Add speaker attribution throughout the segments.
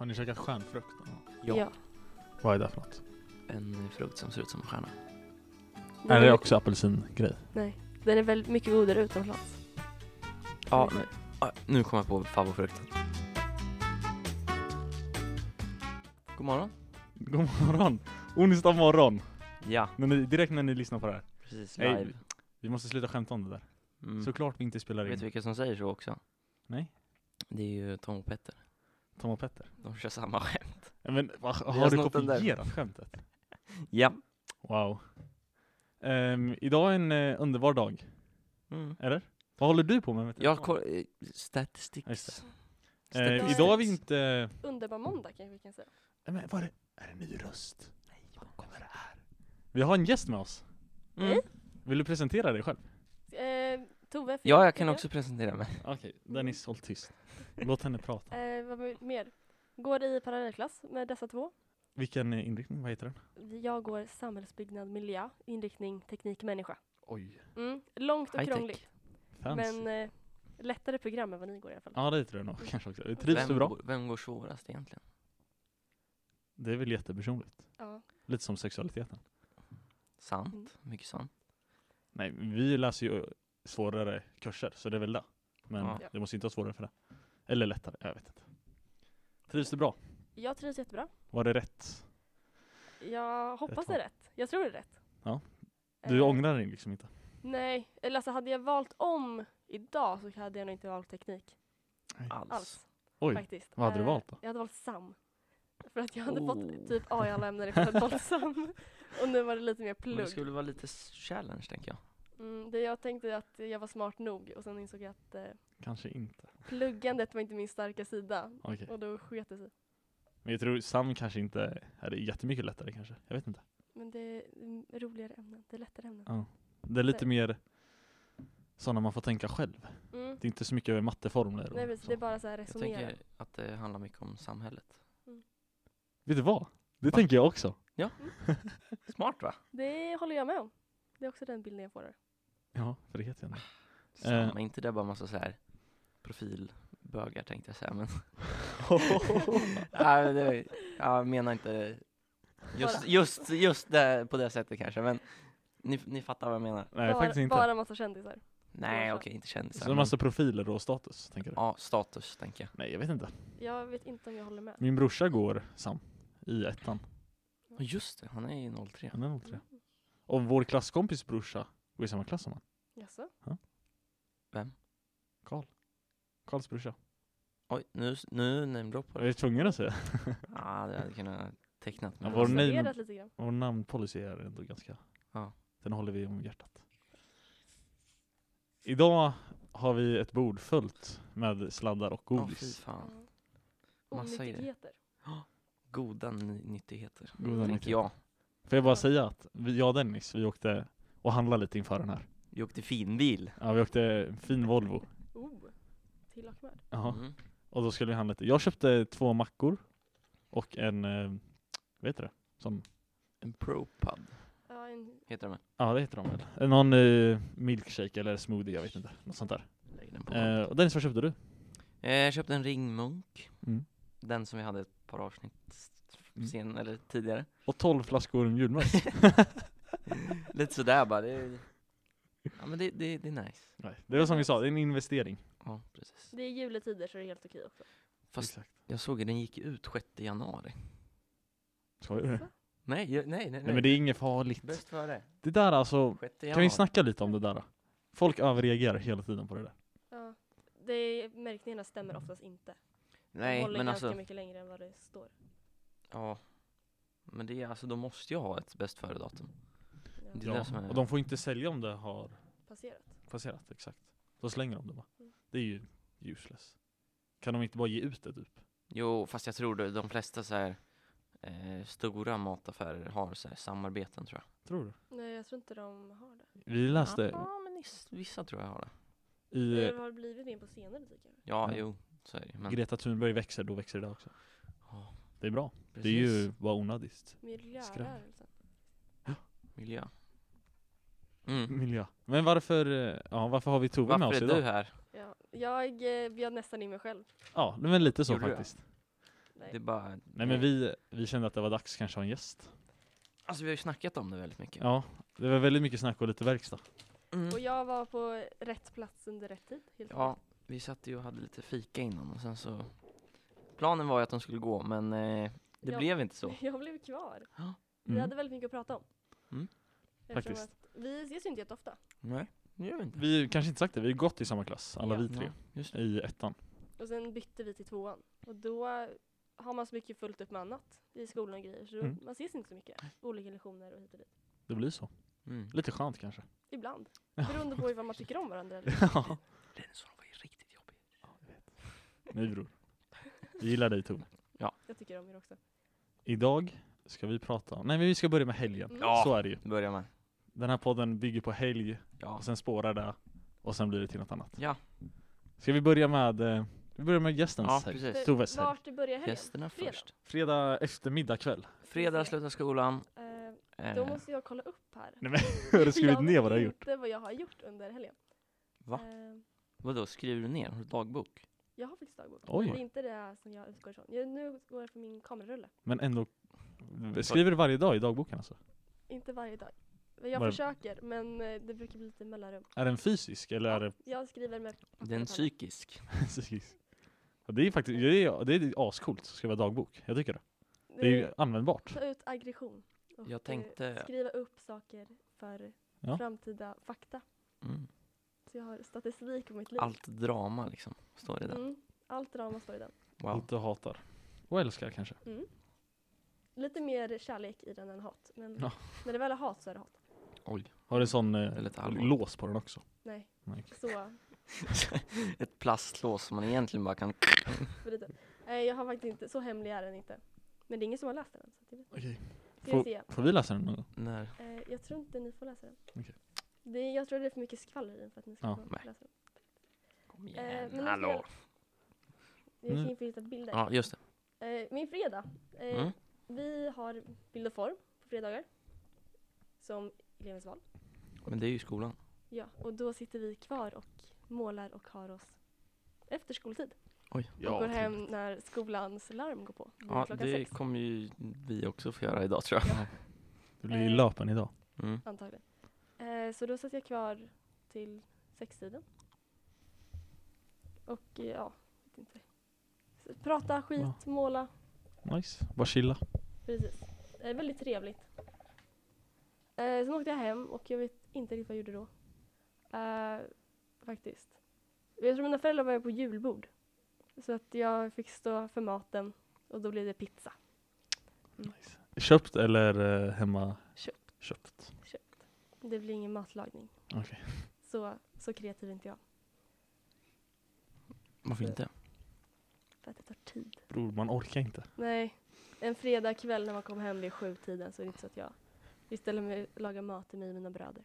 Speaker 1: Har ni käkat stjärnfrukt?
Speaker 2: Ja.
Speaker 1: Vad är det för något?
Speaker 2: En frukt som ser ut som en stjärna.
Speaker 1: Är
Speaker 3: Den
Speaker 1: det också apelsingrej?
Speaker 3: Nej. Den är väldigt mycket godare utomlands.
Speaker 2: Ja, nu, ja, nu kom jag på favoritfrukten. God morgon.
Speaker 1: God morgon! Onsdag morgon!
Speaker 2: Ja,
Speaker 1: När ni, direkt när ni lyssnar på det här.
Speaker 2: precis.
Speaker 1: Nej,
Speaker 2: Live.
Speaker 1: Vi måste sluta skämta om det där.
Speaker 2: Mm.
Speaker 1: Såklart vi inte spelar in
Speaker 2: Vet du vilka som säger så också?
Speaker 1: Nej.
Speaker 2: Det är ju Tom och Petter.
Speaker 1: Tom och Petter.
Speaker 2: De kör samma skämt.
Speaker 1: Ja, Men va,
Speaker 2: har
Speaker 1: har du
Speaker 2: snott den där.
Speaker 1: kopierat skämtet?
Speaker 2: Ja.
Speaker 1: Wow. Ehm, idag är en eh, underbar dag,
Speaker 2: Mm.
Speaker 1: eller? Vad håller du på med? vet du?
Speaker 2: Jag har eh,
Speaker 1: Just
Speaker 2: statistics. Eh,
Speaker 1: Ehm,
Speaker 3: Statistik.
Speaker 1: idag är vi inte...
Speaker 3: Underbar måndag kanske vi kan säga.
Speaker 1: Nej, Men var det, är det en ny röst? Nej, vad kommer det här? Vi har en gäst med oss.
Speaker 2: Mm.
Speaker 1: Vill du presentera dig själv?
Speaker 3: Eh, Tove? får
Speaker 2: Ja, jag kan
Speaker 3: börja?
Speaker 2: också presentera mig.
Speaker 1: Okej, Dennis, håll tyst. Låt henne prata.
Speaker 3: Eh, vad mer? Går i parallellklass med dessa två.
Speaker 1: Vilken eh, inriktning, vad heter den?
Speaker 3: Jag går samhällsbyggnad, miljö, inriktning, teknik, människa.
Speaker 1: Oj,
Speaker 3: Mm. Långt och
Speaker 2: High-tech.
Speaker 3: krångligt.
Speaker 1: fancy.
Speaker 3: Men eh, lättare program än vad ni går i alla fall.
Speaker 1: Ja, det tror jag nog kanske också. Trivs du
Speaker 2: vem,
Speaker 1: bra?
Speaker 2: går- vem går svårast egentligen?
Speaker 1: Det är väl jättepersonligt.
Speaker 3: Ja.
Speaker 1: Lite som sexualiteten.
Speaker 3: Mm.
Speaker 2: Sant. Mycket sant.
Speaker 1: Nej, vi läser ju svårare kurser, så det är väl det. Men
Speaker 2: Ja.
Speaker 1: det måste inte vara svårare för det. Eller lättare, jag vet inte. Trivs du bra?
Speaker 3: Jag trivs jättebra.
Speaker 1: Var det rätt?
Speaker 3: Jag hoppas
Speaker 1: Rätt
Speaker 3: det är rätt. Jag tror det är rätt.
Speaker 1: Ja. Du
Speaker 3: Eh,
Speaker 1: ångrar dig liksom inte?
Speaker 3: Nej, eller alltså hade jag valt om idag så hade jag nog inte valt teknik
Speaker 2: Alls.
Speaker 3: alls.
Speaker 1: Oj,
Speaker 3: faktiskt.
Speaker 1: vad hade du
Speaker 3: Eh,
Speaker 1: valt då?
Speaker 3: Jag hade valt SAM. För att jag hade
Speaker 2: Oh.
Speaker 3: fått typ A i alla ämnen ifall jag valt SAM. Och nu var det lite mer
Speaker 2: Men det
Speaker 3: plugg.
Speaker 2: skulle vara lite s- challenge, tänker jag.
Speaker 3: Mm, det jag tänkte att jag var smart nog och sen insåg jag att eh,
Speaker 1: Kanske inte.
Speaker 3: pluggandet var inte min starka sida.
Speaker 1: Okej.
Speaker 3: Och då sket det sig.
Speaker 1: Men jag tror Sam kanske inte är jättemycket lättare kanske. Jag vet inte.
Speaker 3: Men det är mm, roligare ämnen, det är lättare ämnen.
Speaker 1: Det är lite
Speaker 3: Nej.
Speaker 1: mer sådana man får tänka själv.
Speaker 3: Mm.
Speaker 1: Det är inte så mycket över matteformler. och
Speaker 3: Nej precis,
Speaker 1: så.
Speaker 3: det är bara så här
Speaker 2: Jag
Speaker 3: resonera.
Speaker 2: tänker att det handlar mycket om samhället.
Speaker 1: Vet du vad? Det tänker jag också.
Speaker 2: Smart va?
Speaker 3: Det håller jag med om. Det är också den bilden jag får där.
Speaker 1: Ja, för det heter jag nu. Eh.
Speaker 2: Samma, inte det bara massa så här profilbögar tänkte jag säga men Nej, men det, Jag menar inte just, just, just det, på det sättet kanske men ni, ni fattar vad jag menar
Speaker 1: Nej,
Speaker 3: bara,
Speaker 1: faktiskt inte.
Speaker 3: bara massa kändisar.
Speaker 2: Nej
Speaker 3: Ja.
Speaker 2: okej, inte kändisar
Speaker 1: Så en
Speaker 2: men-
Speaker 1: massa profiler och status, tänker du?
Speaker 2: Ja, status tänker jag
Speaker 1: Nej, jag vet inte.
Speaker 3: Jag vet inte om jag håller med.
Speaker 1: Min brorsa går Sam i ettan.
Speaker 2: Och just det, han är ju 03
Speaker 1: Han är 03.
Speaker 3: Mm.
Speaker 1: Och vår klasskompis brorsa går i samma klass som han.
Speaker 3: Jaså?
Speaker 1: Karl. Karls brorsa.
Speaker 2: Oj, nu, nu namedroppar
Speaker 1: Jag
Speaker 2: du
Speaker 1: är tvungen att säga.
Speaker 2: Ja, det hade kunnat tecknat
Speaker 1: Ja,
Speaker 2: mig. Alltså,
Speaker 1: vår
Speaker 3: Jag har
Speaker 1: name-
Speaker 3: observerat lite grann.
Speaker 1: Vår namnpolicy är ändå ganska...
Speaker 2: Ja.
Speaker 1: Den håller vi om hjärtat. Idag har vi ett bord fullt med sladdar och
Speaker 2: Åh, fy
Speaker 1: godis.
Speaker 2: fan,
Speaker 3: Ja.
Speaker 2: Massa grejer.
Speaker 3: Onyttigheter.
Speaker 2: goda ny- nyttigheter
Speaker 1: Goda
Speaker 2: Tänker jag
Speaker 1: Får jag bara säga att vi, jag och Dennis, vi åkte och handlade lite inför den här.
Speaker 2: Vi åkte finbil
Speaker 1: Ja, vi åkte en fin Volvo.
Speaker 3: Oh. Till och med.
Speaker 1: Jaha.
Speaker 2: Mm.
Speaker 1: Och då skulle vi handla lite. Jag köpte två mackor och en, eh, vad heter det? Som,
Speaker 2: En propub
Speaker 3: Ja, en,
Speaker 2: heter den
Speaker 1: ja det heter de väl? Eh, Någon eh, milkshake eller smoothie, jag vet inte. Något sånt där.
Speaker 2: Lägg den på
Speaker 1: Eh, och Dennis, vad köpte du?
Speaker 2: Eh, Jag köpte en ringmunk.
Speaker 1: Mm.
Speaker 2: Den som vi hade ett par avsnitt s-
Speaker 1: Mm.
Speaker 2: sen, eller tidigare.
Speaker 1: Och 12 flaskor mjulmust.
Speaker 2: Lite sådär bara. Det, är- ja men det, det, det är nice.
Speaker 1: Nej, det var som vi sa, det är en investering.
Speaker 2: Ja, precis.
Speaker 3: det är juletider så det är helt okej också.
Speaker 2: Fast
Speaker 1: Exakt.
Speaker 2: jag såg att den gick ut 6 januari.
Speaker 1: Skojar du? Nej,
Speaker 2: Nej, jag- nej, nej. nej.
Speaker 1: men det är inget farligt.
Speaker 2: Bäst före.
Speaker 1: Det där alltså,
Speaker 2: 6
Speaker 1: kan
Speaker 2: januari.
Speaker 1: vi snacka lite om det där? då? Folk överreagerar hela tiden på det där.
Speaker 3: Ja. Det är, märkningarna stämmer oftast inte. de
Speaker 2: Nej,
Speaker 3: håller
Speaker 2: men
Speaker 3: ganska
Speaker 2: alltså.
Speaker 3: mycket längre än vad det står.
Speaker 2: Ja. Men det är alltså, de måste ju ha ett bäst före datum.
Speaker 3: Ja.
Speaker 2: Det är det som är-
Speaker 1: Och de får inte sälja om det har
Speaker 3: Passerat.
Speaker 1: passerat, exakt. Då slänger de det bara.
Speaker 3: Mm.
Speaker 1: Det är ju useless. Kan de inte bara ge ut det typ?
Speaker 2: Jo, fast jag tror det, de flesta så här eh, stora mataffärer har så här samarbeten tror jag.
Speaker 1: Tror du?
Speaker 3: Nej, jag tror inte de har det.
Speaker 1: Vi läste
Speaker 2: Ja, men is- vissa tror jag har det.
Speaker 1: i
Speaker 3: Det har blivit mer på senare tid kanske.
Speaker 2: Ja,
Speaker 1: Ja.
Speaker 2: jo, så är det ju, men,
Speaker 1: Greta Thunberg växer, då växer det där också.
Speaker 2: Ja,
Speaker 1: Det är bra.
Speaker 2: precis.
Speaker 1: Det är ju bara onödigt.
Speaker 3: Miljörörelsen.
Speaker 2: Miljö. Mm.
Speaker 1: Miljö. Men varför, eh, ja, varför har vi Tove med oss
Speaker 2: Varför är
Speaker 1: idag?
Speaker 2: du här?
Speaker 3: Ja. Jag eh, bjöd nästan in mig själv.
Speaker 1: Ja, men lite så
Speaker 2: Gjorde du det? Eh.
Speaker 1: faktiskt.
Speaker 3: Nej.
Speaker 2: Det är bara...
Speaker 1: Nej men vi, vi kände att det var dags kanske att ha en gäst.
Speaker 2: Alltså vi har ju snackat om det väldigt mycket.
Speaker 1: Ja, det var väldigt mycket snack och lite verkstad.
Speaker 2: Mm.
Speaker 3: Och jag var på rätt plats under rätt tid. Helt
Speaker 2: Ja, vi satt ju och hade lite fika innan och sen så... Planen var ju att de skulle gå men eh, det
Speaker 3: Ja.
Speaker 2: blev inte så.
Speaker 3: enkelt. Jag blev kvar. Vi
Speaker 1: Mm.
Speaker 3: hade väldigt mycket att prata om.
Speaker 2: Mm.
Speaker 3: Eftersom
Speaker 1: Faktiskt.
Speaker 3: Att vi ses ju inte jätteofta.
Speaker 2: Nej, det gör vi inte.
Speaker 1: Vi kanske inte sagt det, vi har gått i samma klass, alla
Speaker 3: Ja.
Speaker 1: vi tre,
Speaker 2: just det.
Speaker 1: i ettan.
Speaker 3: Och sen bytte vi till tvåan. Och då har man så mycket fullt upp med annat i skolan och grejer. Så då-
Speaker 1: Mm.
Speaker 3: man ses inte så mycket. Olika lektioner och hit och dit.
Speaker 1: Det blir så.
Speaker 2: Mm.
Speaker 1: Lite skönt kanske.
Speaker 3: Ibland.
Speaker 1: Ja.
Speaker 3: Beroende på vad man tycker om varandra. Eller?
Speaker 1: Ja.
Speaker 2: Renason var ju riktigt jobbig.
Speaker 1: Nej bror. Vi gillar dig Tove.
Speaker 3: Jag tycker om er också.
Speaker 2: Eh,
Speaker 1: Idag ska vi prata om, nej men vi ska börja med helgen.
Speaker 3: Mm.
Speaker 2: Ja.
Speaker 1: Så är det ju.
Speaker 2: Börja med.
Speaker 1: Den här podden bygger på helg,
Speaker 2: Ja.
Speaker 1: och sen spårar det, och sen blir det till något annat.
Speaker 2: Ja.
Speaker 1: Ska vi börja med, eh, vi börjar med gästens
Speaker 2: Ja,
Speaker 1: helg.
Speaker 2: precis.
Speaker 1: Toves helg.
Speaker 3: Vart det börjar helgen?
Speaker 2: Gästerna
Speaker 3: Fredag.
Speaker 2: först.
Speaker 1: Fredag eftermiddag kväll.
Speaker 2: Fredag slutar skolan.
Speaker 3: Eh,
Speaker 2: Eh,
Speaker 3: då måste jag kolla upp här.
Speaker 1: Nej, Har du skrivit ner vad du har gjort?
Speaker 3: inte vad jag har gjort under helgen.
Speaker 2: Va?
Speaker 3: Eh,
Speaker 2: Vadå, skriver du ner? Har du dagbok?
Speaker 3: jag har faktiskt dagbok.
Speaker 1: Oj.
Speaker 3: Men det är inte det här som jag utgår ifrån. Jag, nu går jag för min kamerarulle.
Speaker 1: Men ändå, skriver du varje dag i dagboken alltså?
Speaker 3: Inte varje dag. Men Jag
Speaker 1: Var-
Speaker 3: försöker, men eh, det brukar bli lite mellanrum.
Speaker 1: Är den fysisk eller är det
Speaker 3: Jag skriver med
Speaker 2: Det är en psykisk.
Speaker 1: psykisk? Ja, Det är faktiskt, det är, det är ascoolt att skriva dagbok. Jag tycker det. Det är ju användbart.
Speaker 3: Ta ut aggression. Och
Speaker 2: Jag
Speaker 3: eh,
Speaker 2: tänkte-
Speaker 3: skriva upp saker för
Speaker 1: Ja.
Speaker 3: framtida fakta.
Speaker 2: Mm.
Speaker 3: Så jag har statistik om mitt liv.
Speaker 2: Allt drama liksom, står det där.
Speaker 3: Mm, allt drama står i den.
Speaker 2: Wow.
Speaker 1: Allt du hatar. Och älskar kanske.
Speaker 3: Mm. Lite mer kärlek i den än hat. Men
Speaker 1: Ja.
Speaker 3: när det väl är hat så är det hat.
Speaker 2: Oj.
Speaker 1: Har du sån
Speaker 2: är lite
Speaker 1: eh,
Speaker 2: allvarligt.
Speaker 1: lås på den också?
Speaker 3: Nej.
Speaker 1: Nej.
Speaker 3: Så,
Speaker 2: Ett plastlås som man egentligen bara kan...
Speaker 3: för lite. Nej, jag har faktiskt inte, så hemlig är den inte. Men det är ingen som har läst den än. Så det
Speaker 1: Okej.
Speaker 3: ska vi se.
Speaker 1: Får vi läsa den någon gång?
Speaker 2: När...
Speaker 3: Eh, jag tror inte ni får läsa den.
Speaker 1: Okej.
Speaker 3: Det, är- jag tror det är för mycket skvaller i den för att ni ska
Speaker 1: Ja.
Speaker 3: få
Speaker 2: Nej.
Speaker 3: läsa den.
Speaker 2: Kom
Speaker 3: Eh,
Speaker 2: igen,
Speaker 3: men
Speaker 2: hallå!
Speaker 3: Jag
Speaker 1: Mm.
Speaker 3: kan ju få hitta bilder.
Speaker 2: Ja, just det.
Speaker 3: Eh, min fredag. Eh,
Speaker 2: Mm.
Speaker 3: Vi har bild och form på fredagar. Som elevens val.
Speaker 2: Men det är ju skolan.
Speaker 3: Ja, och då sitter vi kvar och målar och har oss efter skoltid.
Speaker 2: Oj.
Speaker 3: och går hem när skolans larm går på.
Speaker 2: Ja,
Speaker 3: klockan
Speaker 2: det
Speaker 3: sex,
Speaker 2: kommer ju vi också få göra idag tror jag.
Speaker 1: Du blir ju löpen idag.
Speaker 2: Mm.
Speaker 3: antagligen. Eh, så då satt jag kvar till sextiden. Och eh, ja, vet inte. Så Prata skit,
Speaker 1: Ja.
Speaker 3: måla.
Speaker 1: Nice. Bara chilla.
Speaker 3: Precis. Eh, väldigt trevligt. Eh, sen åkte jag hem och jag vet inte riktigt vad jag gjorde då. Eh, faktiskt. Jag tror mina föräldrar var på julbord. Så att jag fick stå för maten och då blev det pizza.
Speaker 1: Köpt eller eh, hemma?
Speaker 3: Köpt.
Speaker 1: Köpt.
Speaker 3: Det blir ingen matlagning.
Speaker 1: Okej.
Speaker 3: Så, så kreativ är inte jag.
Speaker 2: Varför inte?
Speaker 3: För att det tar tid.
Speaker 1: Bror, man orkar inte.
Speaker 3: Nej, en fredagkväll när man kommer hem vid sjutiden så är det inte så att jag istället för att laga mat till mig och mina bröder.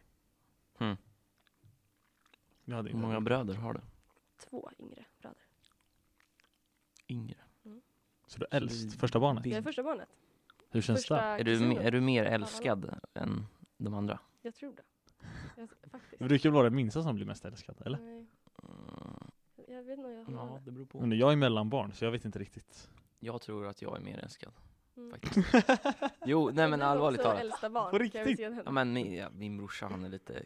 Speaker 1: Jag hade
Speaker 2: Hur många bröder har du?
Speaker 3: Två yngre bröder.
Speaker 2: Yngre.
Speaker 1: Så du är äldst? Första barnet?
Speaker 3: Jag är första barnet.
Speaker 1: Hur känns
Speaker 3: första
Speaker 1: det?
Speaker 2: Är du, me-
Speaker 3: kusinen.
Speaker 2: är du mer älskad än de andra?
Speaker 3: Jag tror det. Jag, faktiskt.
Speaker 1: Det brukar väl vara den minsta som blir mest älskad, eller?
Speaker 3: Nej,
Speaker 2: Mm.
Speaker 3: jag vet inte om jag håller
Speaker 2: Ja,
Speaker 3: med.
Speaker 2: det beror på.
Speaker 1: Men jag är mellanbarn, så jag vet inte riktigt.
Speaker 2: Mm. Jag tror att jag är mer älskad.
Speaker 3: Mm.
Speaker 2: Faktiskt. Jo, nej men
Speaker 3: Du är
Speaker 2: allvarligt
Speaker 3: också
Speaker 2: talat.
Speaker 3: äldsta barn.
Speaker 1: På
Speaker 3: kan jag
Speaker 1: riktigt?
Speaker 3: se henne.
Speaker 2: Ja men min, ja, min brorsa han är lite,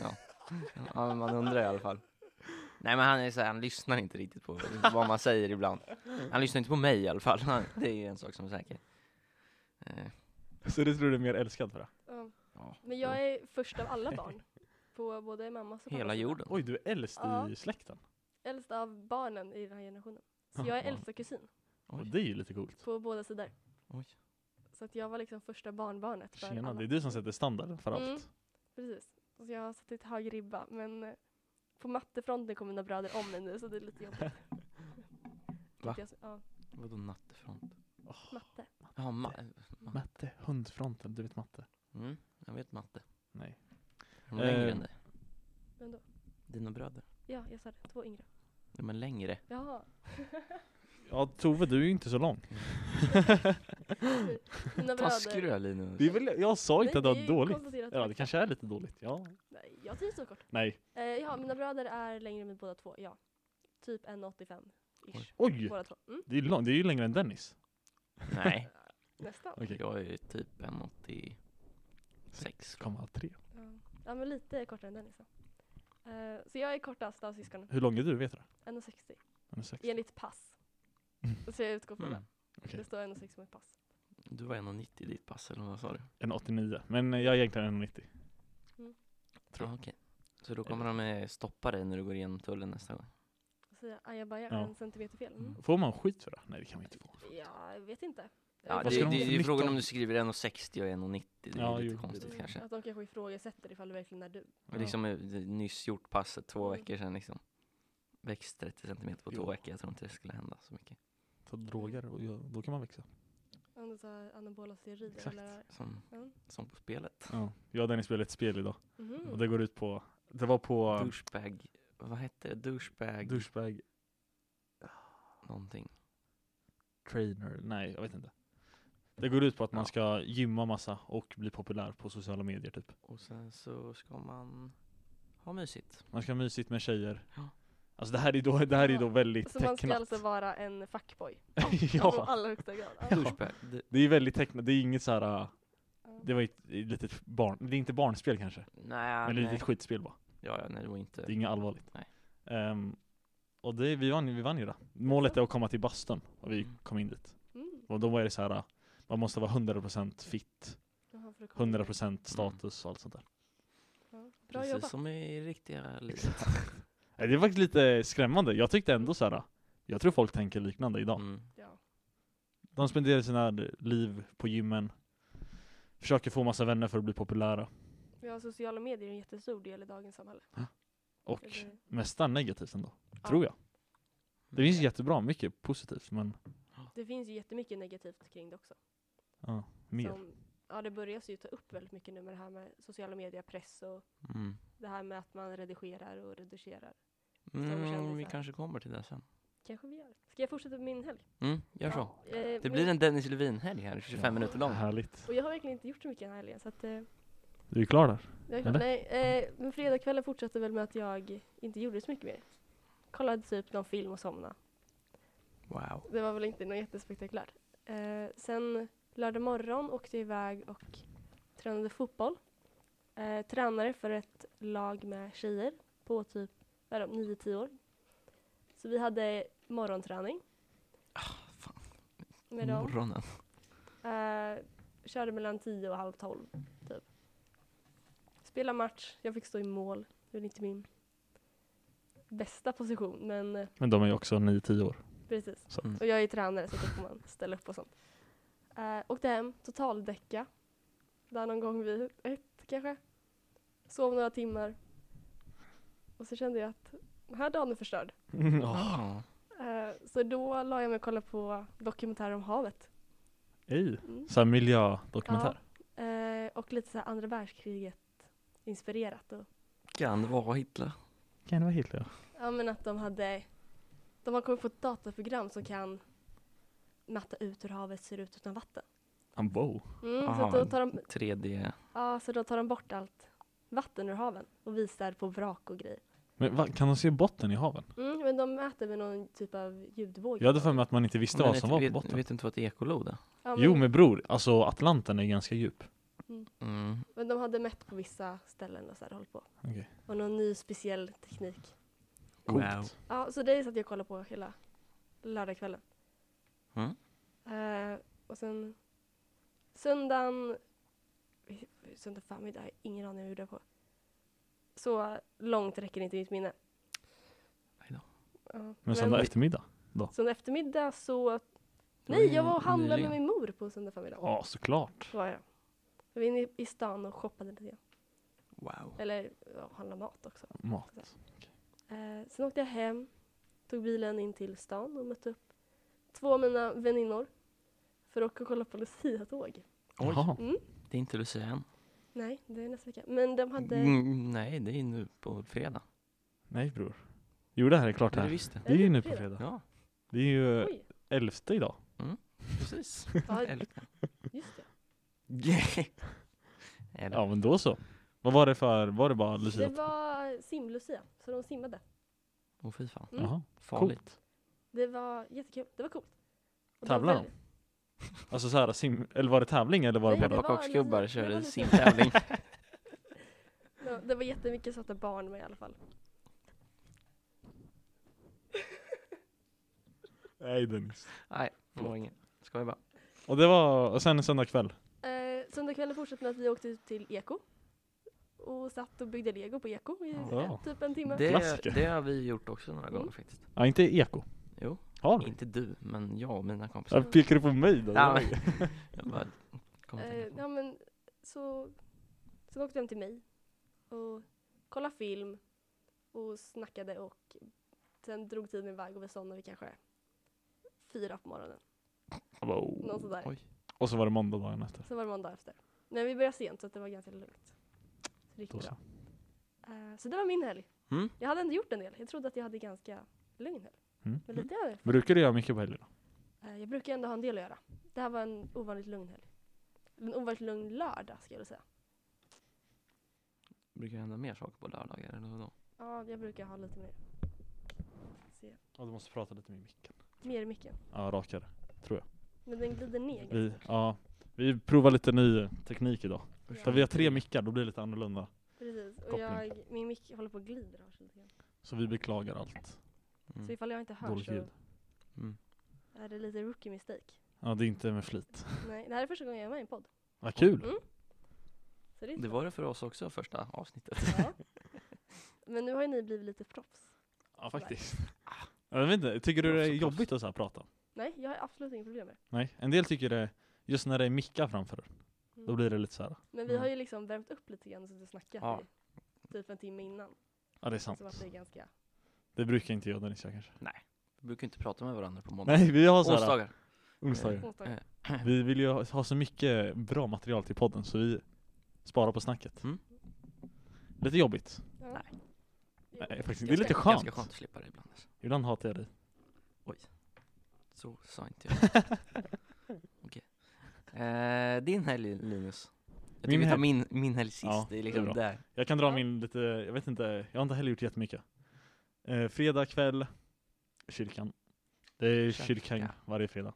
Speaker 2: ja. ja men man undrar i alla fall. Nej men han är så här, han lyssnar inte riktigt på vad man säger ibland. Han lyssnar inte på mig i alla fall, Han- det är ju en sak som är säker. Eh,
Speaker 1: Så du tror du är mer älskad för det?
Speaker 3: Ja.
Speaker 2: ja.
Speaker 3: Men jag är först av alla barn. På både mammas och pappas
Speaker 2: Hela
Speaker 3: sida.
Speaker 2: jorden.
Speaker 1: Oj, du är äldst
Speaker 3: Ja.
Speaker 1: i släkten?
Speaker 3: Äldst av barnen i den här generationen. Så jag
Speaker 2: Ja.
Speaker 3: är äldsta kusin
Speaker 1: Och
Speaker 2: Oj.
Speaker 1: det är ju lite coolt.
Speaker 3: på båda sidor.
Speaker 2: Oj.
Speaker 3: Så att jag var liksom första barnbarnet för
Speaker 1: Tjena,
Speaker 3: alla.
Speaker 1: det är du som sätter standarden för allt.
Speaker 3: Mm. Precis. Så jag har satt ett hög ribba. Men eh, på mattefronten kommer mina bröder om mig nu så det är lite jobbigt.
Speaker 2: Va?
Speaker 3: Jag- Ja,
Speaker 2: Vadå nattefront?
Speaker 3: matte.
Speaker 2: Ja, ma-
Speaker 1: Matte, hundfronten, du vet matte?
Speaker 2: mm, jag vet matte.
Speaker 1: Nej.
Speaker 2: Är de längre
Speaker 1: Eh.
Speaker 2: än dig?
Speaker 3: Men då?
Speaker 2: Dina bröder?
Speaker 3: Ja, jag sa det. Två yngre.
Speaker 2: De är längre.
Speaker 3: Jaha.
Speaker 1: Ja, Tove, du är ju inte så lång.
Speaker 3: Mina
Speaker 2: Taskig du
Speaker 3: bröder.
Speaker 2: är Linus.
Speaker 1: Det är väl, jag sa inte att det
Speaker 3: Nej,
Speaker 1: var
Speaker 3: är
Speaker 1: dåligt.
Speaker 3: konstaterat
Speaker 1: Ja, det
Speaker 3: fakta.
Speaker 1: kanske är lite dåligt. Ja.
Speaker 3: Nej, jag trivs så kort.
Speaker 1: Nej.
Speaker 3: Eh, ja, mina bröder är längre än mig båda två, ja. Typ 1,85 ish.
Speaker 1: Oj!
Speaker 3: Båda två. Mm.
Speaker 1: Det är, lång, det är ju längre än Dennis.
Speaker 2: Nej,
Speaker 3: Nästan.
Speaker 1: Okej.
Speaker 2: jag är ju typ en 86.
Speaker 1: 6,3.
Speaker 3: Ja. ja, men lite kortare än Dennis. då. Eh, så jag är kortast av syskonen.
Speaker 1: Hur lång är du vet du?
Speaker 3: 1,60.
Speaker 1: Han är sex.
Speaker 3: Enligt pass. Så jag utgår från
Speaker 2: Mm.
Speaker 3: det.
Speaker 1: Okej.
Speaker 3: Det står 1,60 på mitt pass.
Speaker 2: Du var 1,90 i ditt pass eller vad sa du?
Speaker 1: En 89. Men eh, jag är egentligen 1,90. Tror
Speaker 2: Ja, Ah, okej. Så då kommer de eh, stoppa dig när du går igenom tullen nästa gång?
Speaker 3: Och så säger jag ajabaja,
Speaker 1: Ja.
Speaker 3: en centimeter fel. Mm.
Speaker 1: Får man skit för det? Nej det kan man inte få.
Speaker 3: Ja, jag vet inte.
Speaker 2: Ja,
Speaker 1: Vad
Speaker 2: det,
Speaker 1: ska
Speaker 2: det,
Speaker 1: de
Speaker 2: det
Speaker 1: få
Speaker 2: är ju frågan
Speaker 1: 19?
Speaker 2: om du skriver 1,60 och 1,90. Det är
Speaker 1: Ja,
Speaker 2: ju lite
Speaker 1: jo,
Speaker 2: konstigt
Speaker 1: precis.
Speaker 2: kanske.
Speaker 3: Mm. Att de kanske ifrågasätter ifall det verkligen är du.
Speaker 2: Och liksom eh, det- nyss gjort passet två
Speaker 3: Mm.
Speaker 2: veckor sedan liksom. Växt 30 centimeter på två
Speaker 1: Jo.
Speaker 2: veckor. Jag tror inte det skulle hända så mycket.
Speaker 1: Ta droger och gör- då kan man växa.
Speaker 3: Om du tar anabola steroider
Speaker 1: Exakt.
Speaker 3: eller...
Speaker 2: Som,
Speaker 3: Mm.
Speaker 2: som på spelet.
Speaker 1: Ja. Jag och Dennis spelade ett spel idag.
Speaker 3: Mhm.
Speaker 1: Och det går ut på, det var på
Speaker 2: Douchebag. Vad hette det? Douchebag
Speaker 1: douchebag
Speaker 2: någonting.
Speaker 1: trainer. Nej jag vet inte. Det går ut på att man
Speaker 2: Ja.
Speaker 1: ska gymma massa och bli populär på sociala medier typ.
Speaker 2: Och sen så ska man ha mysigt.
Speaker 1: Man ska ha mysigt med tjejer.
Speaker 2: Ja.
Speaker 1: Alltså det här är då, det här är då
Speaker 3: Ja.
Speaker 1: väldigt
Speaker 3: Så man ska
Speaker 1: tecknat.
Speaker 3: alltså vara en fuckboy? Alltså,
Speaker 1: ja,
Speaker 3: allra högsta grad. Ja.
Speaker 2: Douchebag. Det,
Speaker 1: det är väldigt tecknat. Det är inget så här. äh,
Speaker 3: Ja.
Speaker 1: det var ju ett ett litet barn, det är inte barnspel kanske.
Speaker 2: nej,
Speaker 1: Men det är ett
Speaker 2: Ah, nej.
Speaker 1: litet skitspel bara.
Speaker 2: Ja, ja, nej, det var inte.
Speaker 1: Det är inget allvarligt.
Speaker 2: Nej.
Speaker 1: Ehm, och det, vi, vann, ju- vi vann ju det. Målet är att komma till bastun och vi
Speaker 2: Mm.
Speaker 1: kom in dit.
Speaker 3: Mm.
Speaker 1: Och då var det så här, man måste vara 100% fit,
Speaker 3: Jaha, för att komma in.
Speaker 2: Mm.
Speaker 1: 100% status och allt sånt där.
Speaker 3: Ja. Bra
Speaker 2: Precis
Speaker 3: jobbat.
Speaker 2: som i riktiga livet.
Speaker 1: Nej, Det är faktiskt lite skrämmande. Jag tyckte ändå så här. jag tror folk tänker liknande idag.
Speaker 2: Mm.
Speaker 3: Ja.
Speaker 1: De spenderar sina liv på gymmen, försöker få massa vänner för att bli populära.
Speaker 3: Vi har sociala medier är en jättestor del i dagens samhälle.
Speaker 1: Och
Speaker 3: Eller-
Speaker 1: nästan negativt ändå,
Speaker 3: Mm. Ja.
Speaker 1: tror jag. Det
Speaker 2: Mm.
Speaker 1: finns jättebra mycket positivt, men
Speaker 3: Det finns ju jättemycket negativt kring det också.
Speaker 1: ja, mer.
Speaker 3: Som, ja, det börjar ju ta upp väldigt mycket nu med det här med sociala medier, press och
Speaker 2: Mm.
Speaker 3: det här med att man redigerar och reducerar.
Speaker 2: Mm, vi
Speaker 3: kändisar.
Speaker 2: kanske kommer till det sen.
Speaker 3: Kanske vi gör. Ska jag fortsätta med min helg?
Speaker 2: Mm, gör så.
Speaker 3: Ja, eh,
Speaker 2: Det
Speaker 3: men-
Speaker 2: blir en Dennis Levin-helg här, 25
Speaker 1: Ja.
Speaker 2: minuter lång.
Speaker 1: Härligt.
Speaker 3: Och jag har verkligen inte gjort så mycket den här helgen så att eh,
Speaker 1: Du är klar där?
Speaker 3: jag är klar.
Speaker 1: Eller?
Speaker 3: Nej, eh, men fredagskvällen fortsatte väl med att jag inte gjorde så mycket mer. Kollade typ någon film och somnade.
Speaker 2: Wow.
Speaker 3: Det var väl inte något jättespektakulärt. Eh, sen lördag morgon åkte jag iväg och tränade fotboll. Eh, tränare för ett lag med tjejer på typ vad är de, 9-10 år. Så vi hade morgonträning
Speaker 2: Fan,
Speaker 3: med dem.
Speaker 2: morgonen.
Speaker 3: Eh, körde mellan 10 och halv 12 typ. Spela match, jag fick stå i mål. Det var inte min bästa position men eh,
Speaker 1: Men de är ju också 9-10 år.
Speaker 3: precis.
Speaker 1: Så.
Speaker 2: Mm.
Speaker 3: Och jag är tränare så då får man ställa upp och sånt. Eh, åkte hem, totaldäcka. Där någon gång vid ett kanske. Sov några timmar. Och så kände jag att den här dagen är förstörd.
Speaker 1: Mm.
Speaker 2: Ja.
Speaker 3: Eh, så då la jag mig och kollade på dokumentärer om havet.
Speaker 1: Ej.
Speaker 3: Mm.
Speaker 1: Så här miljödokumentär.
Speaker 3: Eh, och lite så här andra världskriget inspirerat. Och,
Speaker 2: Kan det vara Hitler?
Speaker 1: Kan det vara Hitler?
Speaker 3: ja men att de hade, de har kommit på ett dataprogram som kan matta ut hur havet ser ut utan vatten.
Speaker 1: Han Ah, wow.
Speaker 3: Mm,
Speaker 2: Aha,
Speaker 3: så, då
Speaker 2: men-
Speaker 3: tar de,
Speaker 2: 3D.
Speaker 3: ja, så då tar de bort allt vatten ur haven och visar på vrak och grejer.
Speaker 1: Men va, kan de se botten i haven?
Speaker 3: Mm, men de mäter med någon typ av ljudvåg.
Speaker 1: Jag hade för mig att man inte visste vad
Speaker 2: vet-
Speaker 1: som var på
Speaker 2: vet,
Speaker 1: botten.
Speaker 2: vet du inte vad ett ekolod är?
Speaker 3: Ja, men,
Speaker 1: Jo men bror, alltså Atlanten är ganska djup.
Speaker 2: Mm.
Speaker 3: men de hade mätt på vissa ställen och så här hållit på.
Speaker 1: Okej.
Speaker 3: Och någon ny speciell teknik.
Speaker 1: Coolt.
Speaker 2: Wow.
Speaker 3: Ja, så det satt jag och kollade på hela lördagskvällen.
Speaker 2: Mm.
Speaker 3: Eh, och sen söndagen, söndag förmiddag, jag har ingen aning om hur det på. Så långt räcker inte mitt minne.
Speaker 2: Aj då.
Speaker 3: Ja,
Speaker 1: Men söndag eftermiddag?
Speaker 3: söndag eftermiddag
Speaker 2: Det
Speaker 3: så,
Speaker 2: var
Speaker 3: nej
Speaker 2: ju
Speaker 3: jag var och handlade med
Speaker 2: nyligen.
Speaker 3: min mor på söndag förmiddag.
Speaker 1: Ja såklart.
Speaker 3: Var jag. Jag var inne i- i stan och shoppade lite grann.
Speaker 2: Wow.
Speaker 3: Eller ja, handlade mat också.
Speaker 1: Mat.
Speaker 3: Eh, sen åkte jag hem, tog bilen in till stan och mötte upp två av mina väninnor för att åka och kolla på Lucia-tåg.
Speaker 2: Oj.
Speaker 1: Jaha.
Speaker 2: Det är inte Lucia än.
Speaker 3: Nej, det är nästa vecka. Men de hade...
Speaker 2: Mm, nej, det är nu på fredag.
Speaker 1: Nej bror. Jo det här är klart
Speaker 2: Det är det
Speaker 1: här.
Speaker 2: visst det.
Speaker 1: Det är ju nu på fredag.
Speaker 2: Ja,
Speaker 1: Det är ju
Speaker 3: Oj,
Speaker 1: elfte idag.
Speaker 2: precis.
Speaker 3: ja,
Speaker 2: Eller-
Speaker 3: just det.
Speaker 2: Eller-
Speaker 1: Ja men då så. Vad var det för, var det bara
Speaker 3: Det
Speaker 1: Lucia?
Speaker 3: var simlucia, så de simmade.
Speaker 2: Åh fy fan.
Speaker 3: Mm.
Speaker 1: Jaha.
Speaker 2: Farligt.
Speaker 3: Det var jättekul, det var coolt. Och det var
Speaker 1: Tävlar de?
Speaker 3: väldigt-
Speaker 1: Alltså så här, sim, eller var det tävling eller var det
Speaker 3: Nej,
Speaker 1: bara
Speaker 3: det var-
Speaker 2: Pepparkaksgubbar
Speaker 3: lite- det var
Speaker 2: körde
Speaker 3: lite-
Speaker 2: simtävling.
Speaker 3: Ja, Det var jättemycket satte barn med i alla fall.
Speaker 1: Nej Dennis.
Speaker 2: Nej, det var inget. Skojar bara.
Speaker 1: Och det var, och sen en söndag kväll.
Speaker 3: Eh, söndagskvällen fortsatte med att vi åkte ut till Eko. Och satt och byggde lego på Eko i
Speaker 1: Ja.
Speaker 3: eh, typ en timme.
Speaker 2: Det,
Speaker 1: Klassiker.
Speaker 2: det har vi gjort också några gånger
Speaker 3: Mm.
Speaker 2: faktiskt.
Speaker 1: Ja inte eko.
Speaker 2: Jo,
Speaker 1: Har vi?
Speaker 2: inte du, men jag och mina kompisar.
Speaker 1: Varför pekar du på mig då?
Speaker 2: Ja, men- Jag bara kom att
Speaker 3: Eh,
Speaker 2: tänka på.
Speaker 3: ja men så, så åkte de till mig och kollade film och snackade och sen drog tiden iväg och vi somnade vid kanske fyra på morgonen.
Speaker 1: Jag bara, oh.
Speaker 3: Något sådär.
Speaker 2: Oj.
Speaker 1: Och så var det måndag dagen efter.
Speaker 3: Sen var det måndag efter. Men vi började sent så att det var ganska lugnt. Så det gick
Speaker 1: Då
Speaker 3: bra.
Speaker 1: så.
Speaker 3: Eh, så det var min helg.
Speaker 2: Mm.
Speaker 3: Jag hade ändå gjort en del. Jag trodde att jag hade ganska lugn helg.
Speaker 1: Mm.
Speaker 3: Men lite över.
Speaker 1: Brukar du göra mycket på helgerna?
Speaker 3: Eh, jag brukar ändå ha en del att göra. Det här var en ovanligt lugn helg. En ovanligt lugn lördag ska jag väl säga.
Speaker 2: Brukar det hända mer saker på lördagar eller då?
Speaker 3: Ja, jag brukar ha lite mer. Se.
Speaker 1: Ja, du måste prata lite med micken.
Speaker 3: Mer i micken.
Speaker 1: Ja, rakare.
Speaker 3: Men den glider ner ganska
Speaker 1: Vi,
Speaker 3: mycket.
Speaker 1: ja, vi provar lite ny teknik idag. För
Speaker 3: Ja,
Speaker 1: vi har tre mickar, då blir det lite annorlunda.
Speaker 3: Precis, och
Speaker 1: koppling.
Speaker 3: jag, min mick håller på att glida av sig lite grann.
Speaker 1: Så vi beklagar allt
Speaker 3: Så
Speaker 2: Mm.
Speaker 3: ifall jag inte hörs
Speaker 1: dåligt
Speaker 3: så
Speaker 1: ljud.
Speaker 2: Mm.
Speaker 3: är det lite rookie mistake.
Speaker 1: Ja, det är inte med flit.
Speaker 3: Nej, det här är första gången jag är med i en podd.
Speaker 1: Vad kul!
Speaker 3: Mm. Så det är
Speaker 2: Det
Speaker 3: inte
Speaker 2: var det för oss också första avsnittet.
Speaker 3: ja. Men nu har ju ni blivit lite proffs.
Speaker 1: Ja, faktiskt. Jag vet inte, tycker du det är jobbigt att så här prata?
Speaker 3: Nej, jag har absolut inga problem med det.
Speaker 1: Nej, en del tycker det, just när det är mickar framför,
Speaker 3: Mm.
Speaker 1: då blir Mm. det lite så här.
Speaker 3: Men vi har ju liksom värmt upp lite grann så att vi snackat
Speaker 2: Ja.
Speaker 3: i typ en timme innan.
Speaker 1: Ja, det är
Speaker 3: Så
Speaker 1: sant.
Speaker 3: att det är ganska...
Speaker 1: Det brukar inte jag och Dennis göra kanske.
Speaker 2: Vi brukar inte prata med varandra på måndag.
Speaker 1: Nej, vi har så här,
Speaker 2: Onsdagar.
Speaker 1: onsdagar.
Speaker 3: Onsdag.
Speaker 1: Vi vill ju ha ha så mycket bra material till podden så vi sparar på snacket.
Speaker 2: Mm.
Speaker 1: Lite jobbigt.
Speaker 3: Ja.
Speaker 1: Nej, faktiskt. Det är lite
Speaker 3: Ganska-
Speaker 1: skönt.
Speaker 2: Ganska skönt att slippa det ibland. alltså.
Speaker 1: Ibland hatar jag dig.
Speaker 2: Så sa inte jag. Okej. Eh, din helg Linus. Jag tycker
Speaker 1: Min
Speaker 2: vi tar
Speaker 1: helg-
Speaker 2: min, min helg sist.
Speaker 1: Ja,
Speaker 2: det är
Speaker 1: det
Speaker 2: liksom
Speaker 1: är bra.
Speaker 2: där.
Speaker 1: Jag kan dra
Speaker 3: Ja.
Speaker 1: min lite, jag vet inte, jag har inte heller gjort jättemycket. Eh, fredag kväll, kyrkan. Det är
Speaker 2: Kyrka.
Speaker 1: kyrkan varje fredag.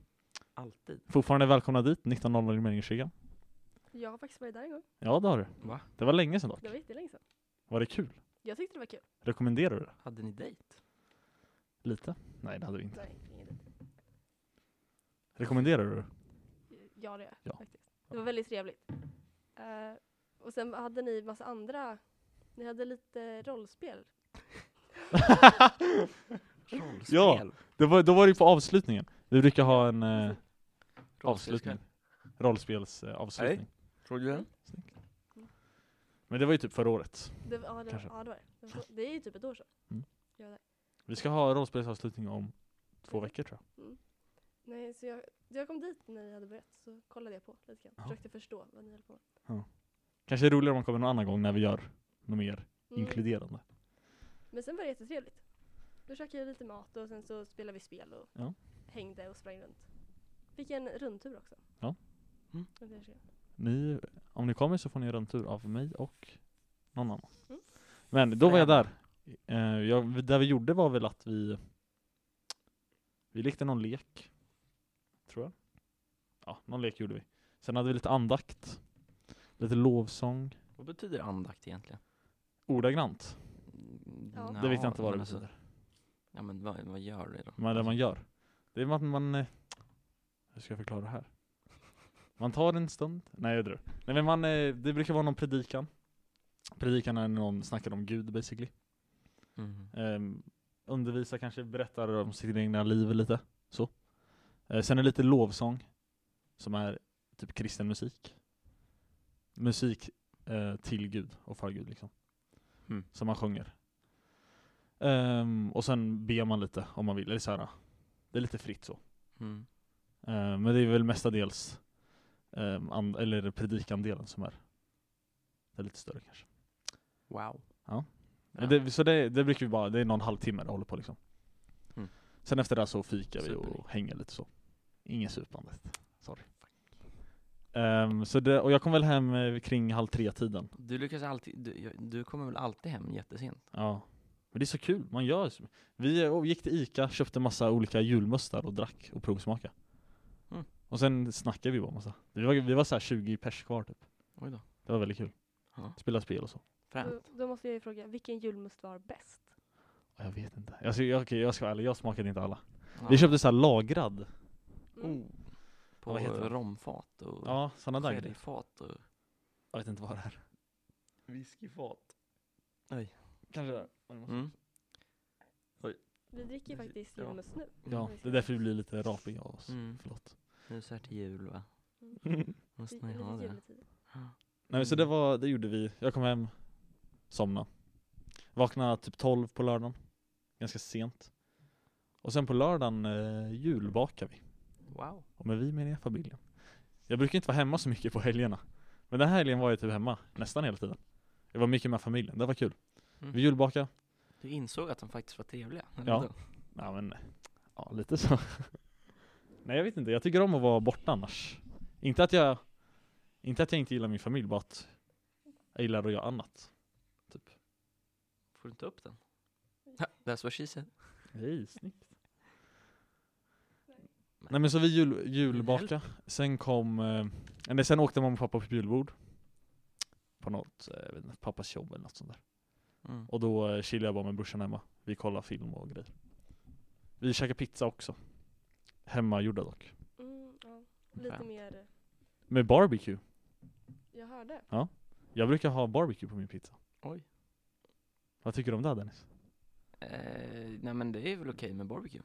Speaker 2: Alltid.
Speaker 1: Fortfarande välkomna dit, 19.00 i Meringkyrkan.
Speaker 3: Jag har faktiskt varit där en gång.
Speaker 1: Ja det har du.
Speaker 2: Va?
Speaker 1: Det var länge sedan
Speaker 3: Det
Speaker 1: dock.
Speaker 3: var jättelänge sedan.
Speaker 1: Var det kul?
Speaker 3: Jag tyckte det var kul.
Speaker 1: Rekommenderar du det?
Speaker 2: Hade ni dejt?
Speaker 1: Lite? Nej det hade vi inte.
Speaker 3: Nej, inget.
Speaker 1: Rekommenderar du det?
Speaker 3: Ja, det gör jag
Speaker 1: Ja.
Speaker 3: faktiskt. Det var väldigt trevligt. Eh, och sen hade ni massa andra, ni hade lite rollspel.
Speaker 2: Rollspel.
Speaker 1: Ja, det var, då var det ju på avslutningen. Vi brukar ha en eh, avslutning. Rollspelsavslutning.
Speaker 2: Såg du den?
Speaker 1: Men det var ju typ förra året.
Speaker 3: Det, var- ja, det, var-
Speaker 1: Kanske.
Speaker 3: ja, det var det. det. var- Det är ju typ ett år sedan.
Speaker 1: Mm.
Speaker 3: Jag var där.
Speaker 1: Vi ska ha rollspelsavslutning om två veckor tror jag.
Speaker 3: Nej, så jag, jag kom dit när ni hade börjat så kollade jag på lite grann.
Speaker 1: Ja.
Speaker 3: Försökte förstå vad ni höll på med.
Speaker 1: Kanske är det roligare om man kommer någon annan gång när vi gör något mer
Speaker 3: Mm.
Speaker 1: inkluderande.
Speaker 3: Men sen var det jättetrevligt. Då käkade jag lite mat och sen så spelade vi spel och
Speaker 1: Ja.
Speaker 3: hängde och sprang runt. Fick en rundtur också.
Speaker 1: Ja.
Speaker 2: Mm.
Speaker 3: Och det är så-
Speaker 1: Ni, om ni kommer så får ni en rundtur av mig och någon annan.
Speaker 3: Mm.
Speaker 1: Men då var jag där. Eh, jag, det vi gjorde var väl att vi vi lekte någon lek. Tror jag. Ja, någon lek gjorde vi. Sen hade vi lite andakt. Lite lovsång.
Speaker 2: Vad betyder andakt egentligen?
Speaker 1: Ordagrant.
Speaker 3: Ja.
Speaker 1: det vet jag inte vad det
Speaker 2: men alltså-
Speaker 1: betyder.
Speaker 2: Ja men vad, vad gör det då? Alltså,
Speaker 1: Men det man gör. Det är att man... eh, Hur ska jag förklara det här? Man tar en stund. Nej jag drar. Nej men man, eh, det brukar vara någon predikan. Predikan är när någon snackar om Gud basically.
Speaker 2: Mm.
Speaker 1: Ehm, undervisar kanske, berättar om sitt egna liv lite. Så. Eh, sen är det lite lovsång. Som är typ kristen musik. Musik eh, till Gud och för Gud liksom.
Speaker 2: Mm.
Speaker 1: Som man sjunger. Ehm, och sen ber man lite om man vill. Eller så här, det är lite fritt så.
Speaker 2: Mm.
Speaker 1: Eh, men det är väl mestadels um, and- eller predikandelen som är, det är lite större kanske.
Speaker 2: Wow.
Speaker 1: Men Det, så det, det brukar vi bara, det är någon halvtimme det håller på liksom.
Speaker 2: Mm.
Speaker 1: Sen efter det här så fikar vi
Speaker 2: Superlikt.
Speaker 1: och hänger lite så. Ingen
Speaker 2: Mm.
Speaker 1: supande. Sorry. Ehm, så det, och jag kom väl hem eh, kring halv tre tiden.
Speaker 2: Du lyckas alltid, du, jag- du kommer väl alltid hem jättesent?
Speaker 1: Ja. Men det är så kul, man gör så- Vi eh, gick till Ica, köpte massa olika julmustar och drack och provsmakade.
Speaker 2: Mm.
Speaker 1: Och Och sen snackade vi bara massa. Vi var, vi var så här 20 pers kvar typ.
Speaker 2: Oj då.
Speaker 1: Det var väldigt kul.
Speaker 2: Ja.
Speaker 1: Spela spel och så.
Speaker 2: Fränt.
Speaker 3: Då, då måste jag ju fråga, vilken julmust var bäst?
Speaker 1: Jag vet inte. Jag, ska- jag, okej, jag ska vara ärlig, jag smakade inte alla.
Speaker 2: Ja.
Speaker 1: Vi köpte så här lagrad.
Speaker 3: Mm.
Speaker 2: Oh. På
Speaker 1: Vad heter det?
Speaker 2: romfat och
Speaker 1: Ja, sådana där grejer.
Speaker 2: sherryfat och...
Speaker 1: Jag vet inte vad det är.
Speaker 2: Whiskyfat. Oj.
Speaker 1: Kanske det.
Speaker 2: Mm.
Speaker 3: Vi dricker ju
Speaker 2: Precis,
Speaker 3: faktiskt
Speaker 2: ja.
Speaker 3: julmust nu. Mm.
Speaker 1: Ja, det är därför vi blir lite rapiga av oss.
Speaker 2: Mm.
Speaker 1: Förlåt.
Speaker 2: Nu så här till jul va?
Speaker 3: Mm.
Speaker 2: Måste
Speaker 3: I-
Speaker 2: ni ha
Speaker 3: i
Speaker 2: det?
Speaker 3: juletid.
Speaker 1: Nej men så det var, det gjorde vi. Jag kom hem, somna. Vaknade typ 12 på lördagen. Ganska sent. Och sen på lördagen eh, julbakade vi.
Speaker 2: Wow.
Speaker 1: Och med vi menar jag familjen. Jag brukar inte vara hemma så mycket på helgerna. Men den här helgen var jag typ hemma nästan hela tiden. Jag var mycket med familjen, det var kul. Vi
Speaker 2: Mm.
Speaker 1: julbakade.
Speaker 2: Du insåg att de faktiskt var trevliga? eller
Speaker 1: Ja.
Speaker 2: vadå?
Speaker 1: Ja men, ja lite så. Nej jag vet inte, jag tycker om att vara borta annars. Inte att jag, inte att jag inte gillar min familj, bara att jag gillar att göra annat. Typ.
Speaker 2: Får du inte upp den? Ha, that's what she said.
Speaker 1: Nej, snyggt. Nej men så vi jul, julbaka, sen kom, eh, nej, sen åkte mamma och pappa på julbord. På något, eh, jag vet inte, pappas jobb eller något sånt där.
Speaker 2: Mm.
Speaker 1: Och då eh, chillade jag bara med brorsan hemma. Vi kollade film och grejer. Vi käkade pizza också. Hemmagjorda dock.
Speaker 3: Mm, ja. Lite
Speaker 2: Fränt.
Speaker 3: mer,
Speaker 1: Med barbecue.
Speaker 3: jag hörde.
Speaker 1: Jag brukar ha barbecue på min pizza.
Speaker 2: Oj.
Speaker 1: Vad tycker du om det Dennis?
Speaker 2: Eh, nej men det är väl okej med barbecue?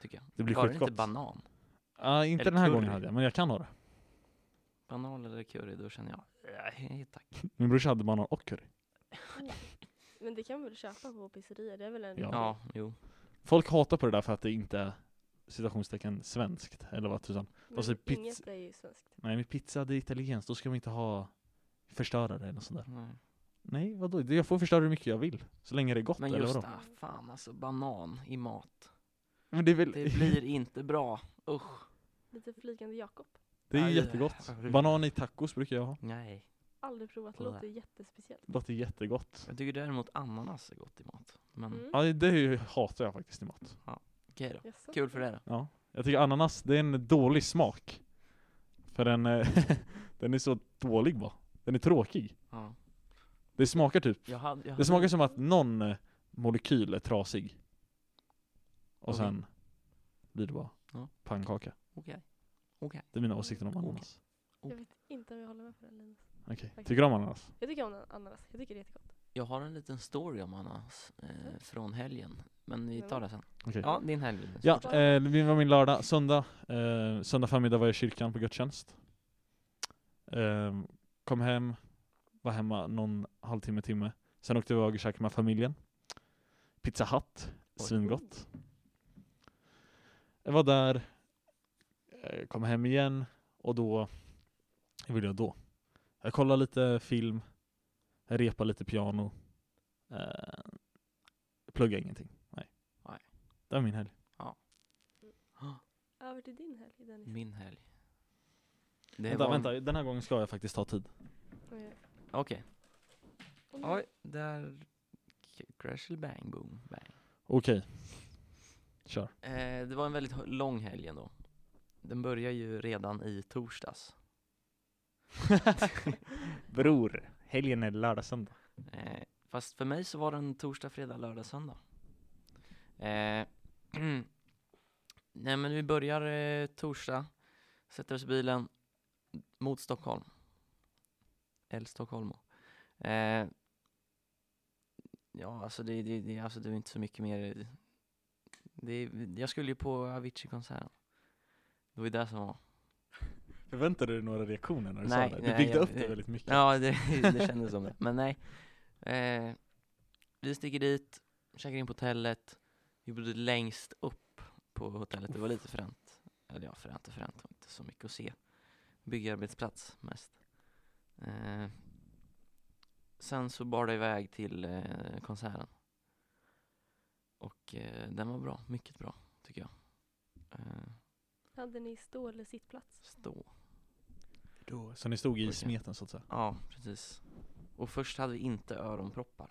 Speaker 2: Tycker jag.
Speaker 1: Det blir
Speaker 2: Bara
Speaker 1: skitgott.
Speaker 2: inte banan.
Speaker 1: Ah, inte
Speaker 2: Eller
Speaker 1: den här
Speaker 2: curry.
Speaker 1: gången hade jag, men jag kan ha det.
Speaker 2: Banan eller curry, då känner jag, nej tack.
Speaker 1: Min brorsa hade banan och curry.
Speaker 3: Men det kan man väl köpa på pizzerier? Det är väl en
Speaker 1: Ja.
Speaker 2: Ja, jo.
Speaker 1: Folk hatar på det där för att det inte är citationstecken svenskt. Eller vad tusan.
Speaker 3: Men
Speaker 1: Och så pizza-
Speaker 3: Inget är ju svenskt.
Speaker 1: Nej men pizza det är italienskt, då ska man inte ha förstörare eller sådär.
Speaker 2: Nej.
Speaker 1: Nej vadå? Det- Jag får förstöra hur mycket jag vill. Så länge det är gott
Speaker 2: Men
Speaker 1: eller
Speaker 2: just
Speaker 1: vadå?
Speaker 2: det, ah, fan alltså banan i mat.
Speaker 1: Men det är väl...
Speaker 2: Det blir inte bra. Usch.
Speaker 3: Lite flygande Jakob.
Speaker 1: Det är ju
Speaker 2: Aj.
Speaker 1: jättegott. Banan i tacos brukar jag ha.
Speaker 2: Nej.
Speaker 3: Aldrig provat, det
Speaker 2: Blä.
Speaker 3: låter jättespeciellt.
Speaker 1: Det är jättegott.
Speaker 2: Jag tycker däremot ananas är gott i mat. Men
Speaker 3: Mm.
Speaker 1: Ja, det- det är ju- hatar jag faktiskt i mat.
Speaker 2: okej då.
Speaker 3: Jaså?
Speaker 2: Kul för det då.
Speaker 1: Ja. Jag tycker ananas, det är en dålig smak. För den, eh, den är så dålig bara. Den är tråkig.
Speaker 2: Ja.
Speaker 1: Det smakar typ,
Speaker 2: Jag hade, jag
Speaker 1: det
Speaker 2: hade,
Speaker 1: smakar som att någon eh, molekyl är trasig. Och
Speaker 2: Okej.
Speaker 1: sen blir det bara
Speaker 2: Ja.
Speaker 1: pannkaka.
Speaker 2: Okej.
Speaker 1: Det är mina åsikter om ananas.
Speaker 3: Jag vet inte om jag håller med på den Linus.
Speaker 1: Okej,
Speaker 3: Okej.
Speaker 1: tycker du om ananas?
Speaker 3: Jag tycker om an- ananas, jag tycker det är jättegott.
Speaker 2: jag har en liten story om ananas eh, från helgen. Men vi tar det sen.
Speaker 1: Okej.
Speaker 2: Ja, din helg Linus.
Speaker 1: Ja,
Speaker 2: Fortsätt.
Speaker 1: eh, det var min lördag. Söndag, eh, söndag förmiddag var jag i kyrkan på gudstjänst. Eh, kom hem, var hemma någon halvtimme, timme. Sen åkte jag iväg och käkade med familjen. Pizza Hut,
Speaker 2: Oj.
Speaker 1: svingott. Jag var där, eh, kom hem igen och då, vad gjorde jag då? Jag kollade lite film, jag repade lite piano. Eh, pluggade ingenting. Nej.
Speaker 2: Nej.
Speaker 1: Det var min helg.
Speaker 3: Över till din helg Dennis.
Speaker 2: Min helg. Det
Speaker 1: vänta,
Speaker 2: var-
Speaker 1: vänta, den här gången ska jag faktiskt ta tid.
Speaker 3: Oj,
Speaker 2: Okej.
Speaker 3: oj.
Speaker 2: Oj, där... K- Crash bang boom bang.
Speaker 1: Okej. Kör.
Speaker 2: Eh, det var en väldigt h- lång helg ändå. Den börjar ju redan i torsdags.
Speaker 1: Bror, helgen är lördag söndag.
Speaker 2: Eh, fast för mig så var den torsdag, fredag, lördag, söndag. Eh, nej men vi börjar eh, torsdag, sätter oss i bilen mot Stockholm. El Stockholmo. Eh, ja alltså det, det, det, alltså det är inte så mycket mer. Det, jag skulle ju på Avicii-konserten. Det var ju det som var.
Speaker 1: Förväntade du dig några reaktioner när du
Speaker 2: Nej,
Speaker 1: sa det? Du
Speaker 2: nej,
Speaker 1: byggde
Speaker 2: jag-
Speaker 1: upp det väldigt mycket.
Speaker 2: Ja, det, det kändes som det. Men nej. Eh, vi sticker dit, käkar in på hotellet. Vi bodde längst upp på hotellet. Det var lite fränt. Eller ja, fränt och fränt. Det var inte så mycket att se. Byggarbetsplats mest. Eh, sen så bar det iväg till eh, konserten. Och eh, den var bra. Mycket bra, tycker jag. Eh,
Speaker 3: Hade ni stå eller sittplats?
Speaker 2: stå.
Speaker 1: Då. Så ni stod i
Speaker 2: Okej.
Speaker 1: smeten så att säga.
Speaker 2: Ja, precis. Och först hade vi inte öronproppar.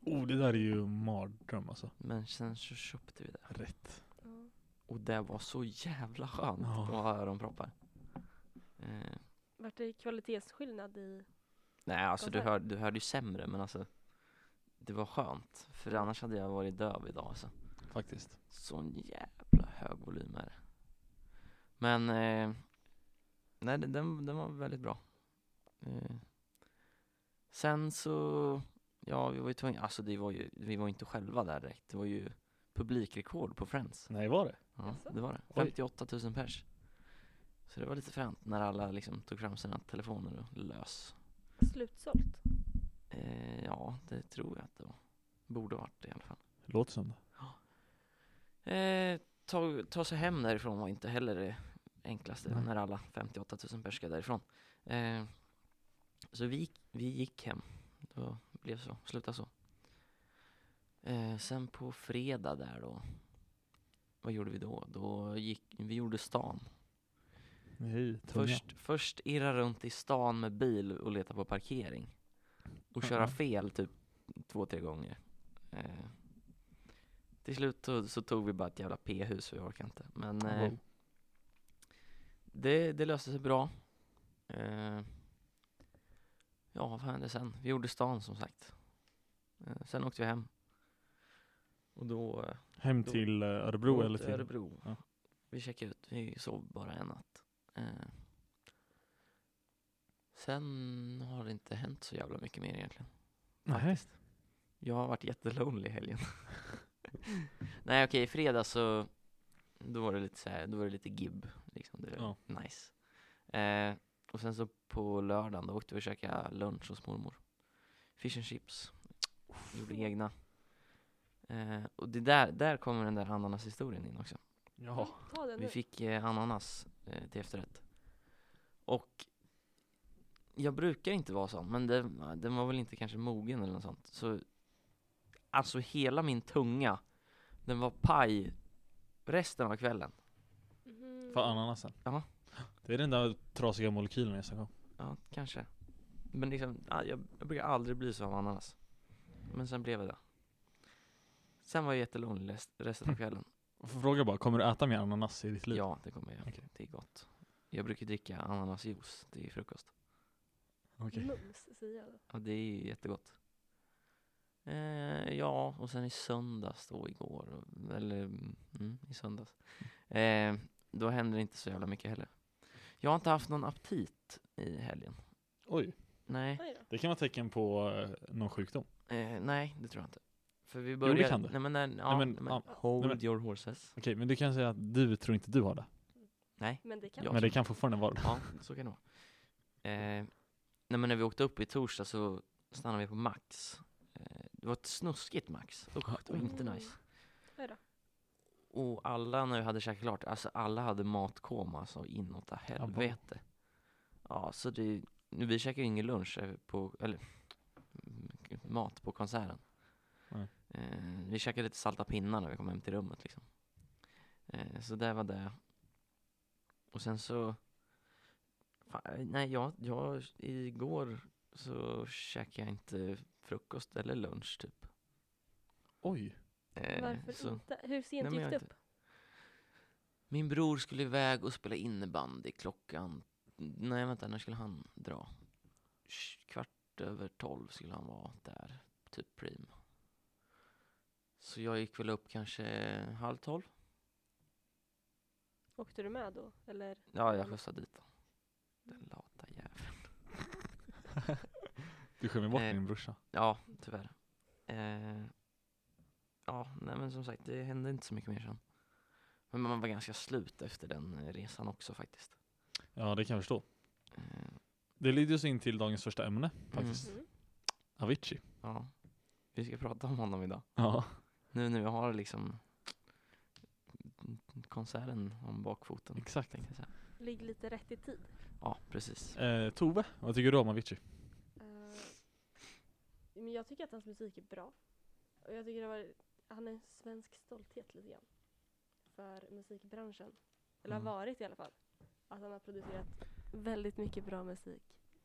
Speaker 1: Oh, det där är ju en mardröm alltså.
Speaker 2: Men sen så köpte vi det.
Speaker 1: Rätt.
Speaker 3: Ja.
Speaker 2: Och det var så jävla skönt
Speaker 1: Ja.
Speaker 2: att ha öronproppar. Eh,
Speaker 3: Vart det kvalitetsskillnad i...
Speaker 2: nej alltså du,
Speaker 3: Konsert.
Speaker 2: hör, du hörde ju sämre men alltså det var skönt. För annars hade jag varit döv idag alltså.
Speaker 1: faktiskt.
Speaker 2: Sån jävla hög volym är det. Men eh, nej den- den, den var väldigt bra. Eh, sen så, ja vi var ju tvungna, alltså det var ju, vi var inte själva där direkt. Det var ju publikrekord på Friends.
Speaker 1: Nej, var det?
Speaker 2: Ja,
Speaker 3: Jaså?
Speaker 2: det var det.
Speaker 1: Oj.
Speaker 2: 58 000 pers. Så det var lite fränt när alla liksom tog fram sina telefoner och lös.
Speaker 3: Slutsålt.
Speaker 2: Eh, ja, det tror jag att det var. Borde ha varit det i alla fall.
Speaker 1: Låter som det.
Speaker 2: Eh, ta, ta sig hem därifrån var inte heller det enklaste
Speaker 1: Nej.
Speaker 2: när alla 58 000 pers ska därifrån. Eh, så vi, gick- vi gick hem. Det blev så, slutade så. Eh, sen på fredag där då. Vad gjorde vi då? Då gick, vi gjorde stan.
Speaker 1: Nej, tunga.
Speaker 2: Först, först irra runt i stan med bil och leta på parkering. Och köra
Speaker 1: Mhm.
Speaker 2: fel typ två, tre gånger. Eh, till slut så, så tog vi bara ett jävla p-hus, vi orkade inte. Men eh,
Speaker 1: Wow.
Speaker 2: det, det löste sig bra. Eh, ja, vad hände sen? Vi gjorde stan som sagt. Eh, sen åkte vi hem. Och då... Eh,
Speaker 1: Hem
Speaker 2: då-
Speaker 1: till eh, Örebro
Speaker 2: Mot
Speaker 1: eller till?
Speaker 2: Örebro.
Speaker 1: Ja.
Speaker 2: Vi checkade ut, vi sov bara en natt. Eh. Sen har det inte hänt så jävla mycket mer egentligen.
Speaker 1: Nej.
Speaker 2: Jag har varit jättelonely i helgen. Nej okej, i fredags så då var det lite så här, då var det lite gibb. Liksom. Det var nice. Eh, och sen så på lördagen då åkte vi och käkade lunch hos mormor. Fish and chips. Gjorde egna. Eh, och det där, där kommer den där ananashistorien in också.
Speaker 1: Ja.
Speaker 3: Mm, Ta den
Speaker 2: Vi
Speaker 3: nu.
Speaker 2: fick eh, ananas eh, till efterrätt. Och jag brukar inte vara sån, men det, den var väl inte kanske mogen eller något sånt. Så, alltså hela min tunga, den var paj resten av kvällen.
Speaker 3: Mhm.
Speaker 1: För ananasen.
Speaker 2: Ja.
Speaker 1: Det är den där trasiga molekylen nästa gång.
Speaker 2: Ja, kanske. Men liksom, ja, jag, jag brukar aldrig bli så av ananas. Men sen blev jag det. Sen var jag jättelång rest, resten av kvällen.
Speaker 1: Fråga bara, kommer du äta mer ananas i ditt liv?
Speaker 2: Ja, det kommer jag.
Speaker 1: Okej.
Speaker 2: Det är gott. Jag brukar dricka ananasjuice till frukost.
Speaker 1: Okej.
Speaker 3: Mums, säger jag då.
Speaker 2: Ja, det är ju jättegott. Eh, ja, och sen i söndags då igår, och- eller mm, mm, i söndags. Eh, då händer det inte så jävla mycket heller. Jag har inte haft någon aptit i helgen.
Speaker 1: Oj.
Speaker 2: Nej,
Speaker 3: Oj då.
Speaker 1: Det kan vara tecken på eh, någon sjukdom.
Speaker 2: eh, nej det tror jag inte. För vi
Speaker 1: det
Speaker 2: började...
Speaker 1: kan det.
Speaker 2: Nej men, nej, ja,
Speaker 1: men,
Speaker 2: nej, men,
Speaker 1: ja,
Speaker 2: hold
Speaker 1: nej, men-
Speaker 2: your horses.
Speaker 1: Okej, men du kan säga att du tror inte du har det.
Speaker 2: Nej,
Speaker 3: Men det kan
Speaker 2: Ja.
Speaker 1: Men det kan fortfarande vara det.
Speaker 2: ja, så kan det vara. Eh, nej men när vi åkte upp i torsdag så stannade vi på Max. Eh, det var ett snuskigt Max. Usch, det var inte
Speaker 3: Mm.
Speaker 2: nice.
Speaker 3: Oj då.
Speaker 2: Och alla när vi hade käkat klart, alltså alla hade matkoma alltså inåt av
Speaker 1: Ja, vad-
Speaker 2: helvete. Ja, så det, nu vi käkade ju ingen lunch eh, på, eller mm, mat på konserten.
Speaker 1: Nej.
Speaker 2: Eh, vi käkade lite salta pinnar när vi kom hem till rummet liksom. Eh, så det var det. Och sen så, fan, nej jag, jag, igår så käkade jag inte frukost eller lunch typ.
Speaker 1: Oj.
Speaker 2: Eh,
Speaker 3: Varför
Speaker 2: så-
Speaker 3: inte? Hur
Speaker 2: Nej,
Speaker 3: sent
Speaker 2: men
Speaker 3: gick
Speaker 2: jag
Speaker 3: det
Speaker 2: vet
Speaker 3: upp?
Speaker 2: Min bror skulle iväg och spela innebandy klockan... Nej vänta, när skulle han dra? Sh- Kvart över tolv skulle han vara där, typ prim. Så jag gick väl upp kanske halv tolv.
Speaker 3: Åkte du med då? Eller?
Speaker 2: Ja, jag skjutsade dit honom. Den lata jäveln.
Speaker 1: Du skämmer bort
Speaker 2: Eh.
Speaker 1: din brorsa.
Speaker 2: Ja, tyvärr. Eh, ja, nej men som sagt, det hände inte så mycket mer sen. Men man var ganska slut efter den eh, resan också faktiskt.
Speaker 1: Ja, det kan jag förstå.
Speaker 2: Eh,
Speaker 1: Det leder oss in till dagens första ämne, faktiskt.
Speaker 3: Mm.
Speaker 1: Avicii.
Speaker 2: ja, vi ska prata om honom idag.
Speaker 1: Ja.
Speaker 2: Nu när vi har liksom konserten om bakfoten.
Speaker 1: Exakt.
Speaker 2: Tänkte jag säga.
Speaker 3: Ligg lite rätt i tid.
Speaker 2: Ja, precis.
Speaker 1: Eh, Tove, vad tycker du om Avicii?
Speaker 3: Eh, men jag tycker att hans musik är bra. Och jag tycker det var, han är en svensk stolthet lite grann. För musikbranschen. Eller har
Speaker 2: Mm.
Speaker 3: varit i alla fall. Att han har producerat väldigt mycket bra musik.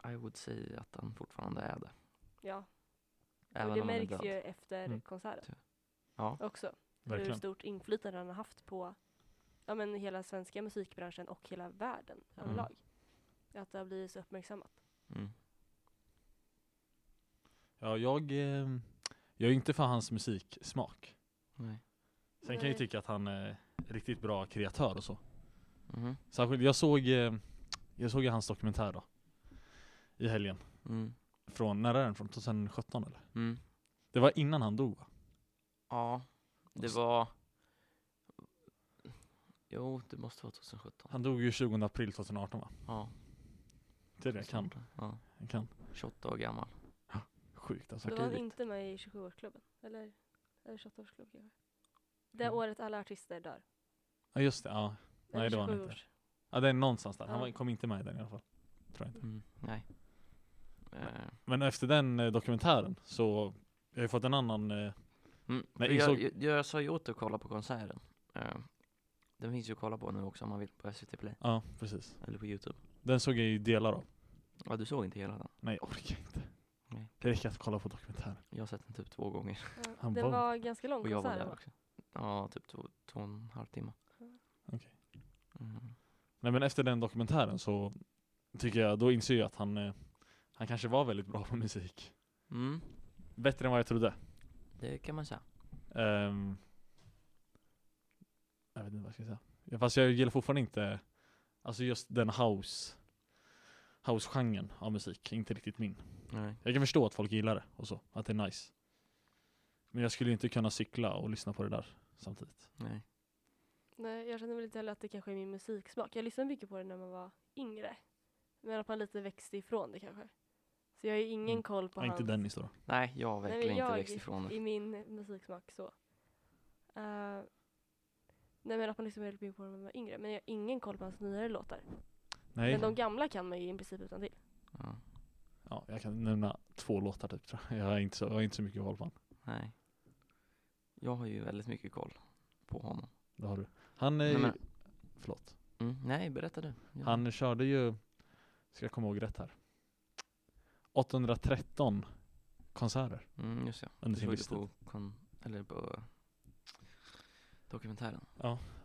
Speaker 2: I would say att han fortfarande är det.
Speaker 3: Ja, och
Speaker 2: Även
Speaker 3: det
Speaker 2: om han är
Speaker 3: märks
Speaker 2: död.
Speaker 3: ju efter
Speaker 1: Mm.
Speaker 3: konserten
Speaker 2: Ja,
Speaker 3: också. Hur
Speaker 1: Verkligen.
Speaker 3: stort inflytande han har haft på ja, men hela svenska musikbranschen och hela världen
Speaker 2: Mm.
Speaker 3: överlag. Att det har blivit så uppmärksammat.
Speaker 2: Mm.
Speaker 1: Ja, jag, eh, jag är inte för hans musiksmak.
Speaker 2: Nej.
Speaker 1: Sen kan jag ju
Speaker 3: Nej.
Speaker 1: tycka att han är riktigt bra kreatör och så.
Speaker 2: Mhm.
Speaker 1: Särskilt, jag såg, eh, jag såg ju hans dokumentär då. I helgen.
Speaker 2: Mm.
Speaker 1: Från, när är den från? 2017 eller?
Speaker 2: Mm.
Speaker 1: Det var innan han dog va?
Speaker 2: Ja, det var... Jo, det måste vara 2017.
Speaker 1: Han dog ju 20 april 2018 va?
Speaker 2: Ja,
Speaker 1: Det är det jag kan.
Speaker 2: ja.
Speaker 1: Jag kan.
Speaker 2: 28 år gammal.
Speaker 1: Sjukt alltså.
Speaker 3: Då var han
Speaker 2: tidigt.
Speaker 3: inte med i 27-årsklubben. Eller, eller 28-årsklubben kanske. Det
Speaker 1: Mm.
Speaker 3: året alla artister dör.
Speaker 1: Ja just det, ja. Nej,
Speaker 3: Eller
Speaker 1: det var han inte.
Speaker 3: 27-års.
Speaker 1: Ja det är någonstans där. Han
Speaker 3: Ja.
Speaker 1: var- kom inte med i den i alla fall. Tror jag inte.
Speaker 2: Mm. Nej. Eh,
Speaker 1: Men efter den eh, dokumentären så, jag har ju fått en annan, eh,
Speaker 2: Mm,
Speaker 1: Nej,
Speaker 2: för
Speaker 1: jag
Speaker 2: jag,
Speaker 1: såg-
Speaker 2: jag, jag sa ju åt att kolla på konserten. Eh, den finns ju att kolla på nu också om man vill på SVT Play
Speaker 1: ja precis.
Speaker 2: eller på Youtube.
Speaker 1: Den såg jag ju delar av.
Speaker 2: Ja, du såg inte hela den.
Speaker 1: Nej jag orkar inte.
Speaker 2: Nej.
Speaker 1: Det räcker att kolla på dokumentären.
Speaker 2: Jag har sett den typ två gånger.
Speaker 3: Ja,
Speaker 1: Han
Speaker 3: Den
Speaker 1: var-
Speaker 3: var ganska lång
Speaker 2: Och jag var
Speaker 3: konsert.
Speaker 2: där
Speaker 3: va?
Speaker 2: också. Ja, typ två, två och en halv timme.
Speaker 1: Okej.
Speaker 2: Mm.
Speaker 1: Nej men efter den dokumentären så tycker jag, då inser jag att han, eh, han kanske var väldigt bra på musik.
Speaker 2: Mm,
Speaker 1: Bättre än vad jag trodde.
Speaker 2: det kan man säga.
Speaker 1: Ehm, jag vet inte vad jag ska säga. Ja, Fast jag gillar fortfarande inte, alltså just den house, house-genren av musik, inte riktigt min.
Speaker 2: Nej.
Speaker 1: Jag kan förstå att folk gillar det och så, att det är nice. Men jag skulle ju inte kunna cykla och lyssna på det där samtidigt.
Speaker 2: Nej.
Speaker 3: Nej, jag känner väl inte heller att det kanske är min musiksmak. Jag lyssnade mycket på det när man var yngre. Men att man lite växte ifrån det kanske. Så jag har ju ingen
Speaker 1: Mm.
Speaker 3: koll på
Speaker 1: Ja, inte
Speaker 3: hans...
Speaker 1: Dennis då.
Speaker 2: Nej, jag har
Speaker 3: Nej, men
Speaker 2: verkligen inte
Speaker 3: jag
Speaker 2: växt ifrån det.
Speaker 3: i min musiksmak så. Eh, nej men att man lyssnade väldigt mycket på det när man var yngre. Men jag har ingen koll på hans nyare låtar.
Speaker 1: Nej.
Speaker 3: Men de gamla kan man ju i princip utan till.
Speaker 2: Ja,
Speaker 1: Ja, jag kan nämna två låtar typ tror jag. Jag har inte så, jag har inte så mycket koll på honom.
Speaker 2: nej. Jag har ju väldigt mycket koll på honom.
Speaker 1: Det har du. Han är
Speaker 2: Nej,
Speaker 1: ju,
Speaker 2: men-
Speaker 1: förlåt.
Speaker 2: Mm, nej, berätta du. Ja.
Speaker 1: Han körde ju, ska jag komma ihåg rätt här, 813 konserter
Speaker 2: Mm, just ja.
Speaker 1: under
Speaker 2: Du
Speaker 1: sin
Speaker 2: såg det
Speaker 1: livstid.
Speaker 2: på, kon- eller på dokumentären.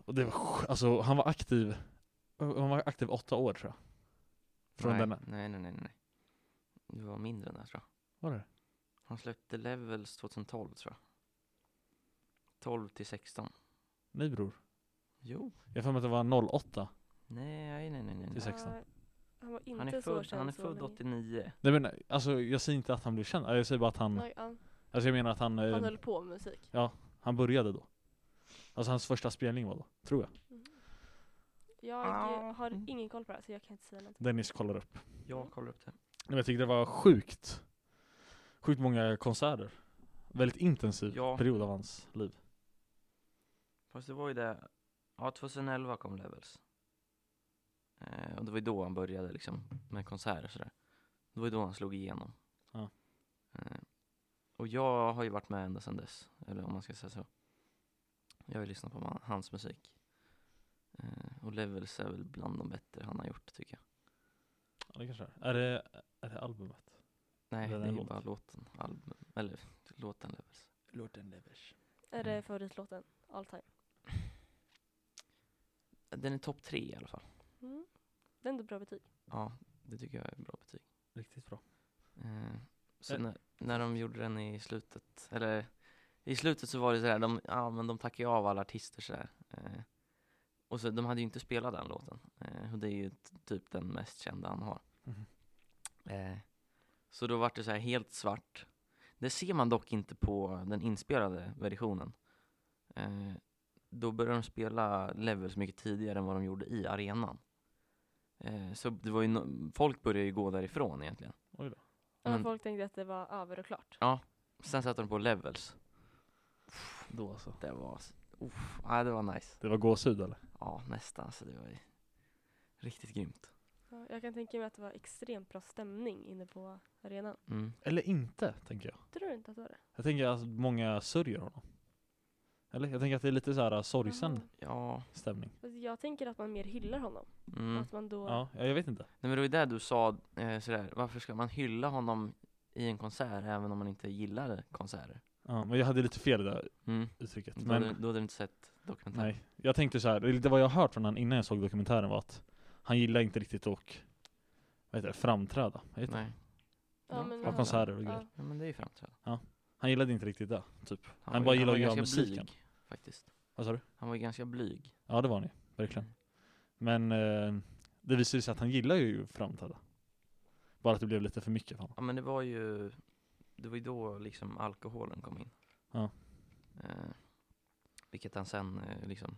Speaker 1: Och det var, sj- alltså han var aktiv, han var aktiv åtta år tror jag. Från
Speaker 2: nej,
Speaker 1: denna.
Speaker 2: Nej, nej, nej, nej. Det var mindre än det här, tror jag.
Speaker 1: Var det?
Speaker 2: Han släppte Levels 2012 tror jag. 12 till 16.
Speaker 1: Nej bror.
Speaker 2: Jo.
Speaker 1: Jag har för mig att det var 08.
Speaker 2: Nej, nej, nej, nej.
Speaker 1: Det är
Speaker 2: nej.
Speaker 1: 16.
Speaker 3: Eh, han var inte
Speaker 2: Han är
Speaker 3: så
Speaker 2: född,
Speaker 3: känd
Speaker 2: han är
Speaker 3: så
Speaker 2: född
Speaker 3: länge.
Speaker 2: 89.
Speaker 1: Nej men alltså jag säger inte att han blev känd, jag säger bara att han,
Speaker 3: Nej, ja.
Speaker 1: alltså jag menar att han, eh,
Speaker 2: Mm.
Speaker 3: Han höll på med musik.
Speaker 1: han började då. Alltså hans första spelning var då, tror jag.
Speaker 3: Mm. Jag
Speaker 2: Ah.
Speaker 3: eh, har
Speaker 2: Mm.
Speaker 3: ingen koll på det här så jag kan inte säga någonting.
Speaker 1: Dennis kollar upp.
Speaker 2: Jag kollar upp det.
Speaker 1: Nej, men jag tyckte det var sjukt, sjukt många konserter. Väldigt intensiv
Speaker 2: Ja.
Speaker 1: period av hans liv.
Speaker 2: Fast det var ju det. Ja, 2011 kom Levels. Eh, och det var ju då han började liksom med konserter och sådär. Det var ju då han slog igenom.
Speaker 1: Ja.
Speaker 2: Eh, och jag har ju varit med ända sedan dess. Eller om man ska säga så. Jag har ju lyssnat på man- hans musik. Eh, och Levels är väl bland de bättre han har gjort tycker jag.
Speaker 1: Ja, det kanske är. Är det, är det albumet?
Speaker 2: Nej,
Speaker 1: Den
Speaker 2: det är
Speaker 1: här
Speaker 2: ju
Speaker 1: låten.
Speaker 2: bara låten. Album, eller låten Levels. Låten Levels.
Speaker 3: Är
Speaker 2: Mm.
Speaker 3: det favoritlåten? All time?
Speaker 2: Den är topp tre i alla fall.
Speaker 3: Mm. Det är ändå bra betyg.
Speaker 2: Ja, det tycker jag är bra betyg.
Speaker 1: Riktigt bra.
Speaker 2: Eh, så
Speaker 1: Eh.
Speaker 2: när, när de gjorde den i slutet, eller i slutet så var det sådär, de, ja men de tackade ju av alla artister sådär. Eh, och så de hade ju inte spelat den låten. Eh, och det är ju t- typ den mest kända han har.
Speaker 1: Mhm.
Speaker 2: Eh, så då vart det så här helt svart. Det ser man dock inte på den inspelade versionen. Eh, då började de spela Levels mycket tidigare än vad de gjorde i arenan. Eh, så det var ju no- folk började ju gå därifrån egentligen.
Speaker 1: Oj då.
Speaker 3: Ja,
Speaker 2: Men-
Speaker 3: Folk tänkte att det var över och klart.
Speaker 2: Sen satte de på levels.
Speaker 1: Då alltså.
Speaker 2: Det var, uff, ja, det var nice.
Speaker 1: Det var gåshud eller?
Speaker 2: Ja, nästan. Så det var ju riktigt grymt.
Speaker 3: Ja, jag kan tänka mig att det var extremt bra stämning inne på arenan.
Speaker 2: Mm.
Speaker 1: Eller inte, tänker jag.
Speaker 3: Tror du inte att det var det?
Speaker 1: Jag tänker att många sörjer honom. Eller? Jag tänker att det är lite så här äh, sorgsen
Speaker 3: Jaha.
Speaker 2: Ja,
Speaker 1: stämning.
Speaker 3: Fast Jag tänker att man mer hyllar honom.
Speaker 2: mm.
Speaker 3: Att man då...
Speaker 1: Ja, ja, jag vet inte.
Speaker 2: Nej, men det var ju det du sa, eh, sådär, varför ska man hylla honom i en konsert även om man inte gillar konserter?
Speaker 1: Ja, men jag hade lite fel i det här
Speaker 2: Mm.
Speaker 1: uttrycket.
Speaker 2: Då, hade,
Speaker 1: Men
Speaker 2: då hade du inte sett dokumentär?
Speaker 1: Nej, jag tänkte så här, eller det vad jag har hört från han innan jag såg dokumentären var att han gillar inte riktigt att vad heter det, framträda. Vad heter det?
Speaker 2: Nej.
Speaker 3: Ja, men,
Speaker 1: Ha
Speaker 2: Ja,
Speaker 1: konserter och grejer.
Speaker 3: ja.
Speaker 2: Ja, men det är ju framträdande.
Speaker 1: Han gillade inte riktigt det, typ.
Speaker 2: Han,
Speaker 1: Han
Speaker 2: var
Speaker 1: bara
Speaker 2: ju-
Speaker 1: gillar
Speaker 2: var
Speaker 1: att göra
Speaker 2: ganska
Speaker 1: musiken.
Speaker 2: Blyg, faktiskt.
Speaker 1: Vad sa du?
Speaker 2: Han var ju ganska blyg.
Speaker 1: Ja det var han ju, verkligen. Men eh, det visade sig att han gillar ju att framträda. Bara att det blev lite för mycket för honom.
Speaker 2: Ja men det var ju, det var ju då liksom alkoholen kom in.
Speaker 1: Ja.
Speaker 2: Eh, vilket han sen eh, liksom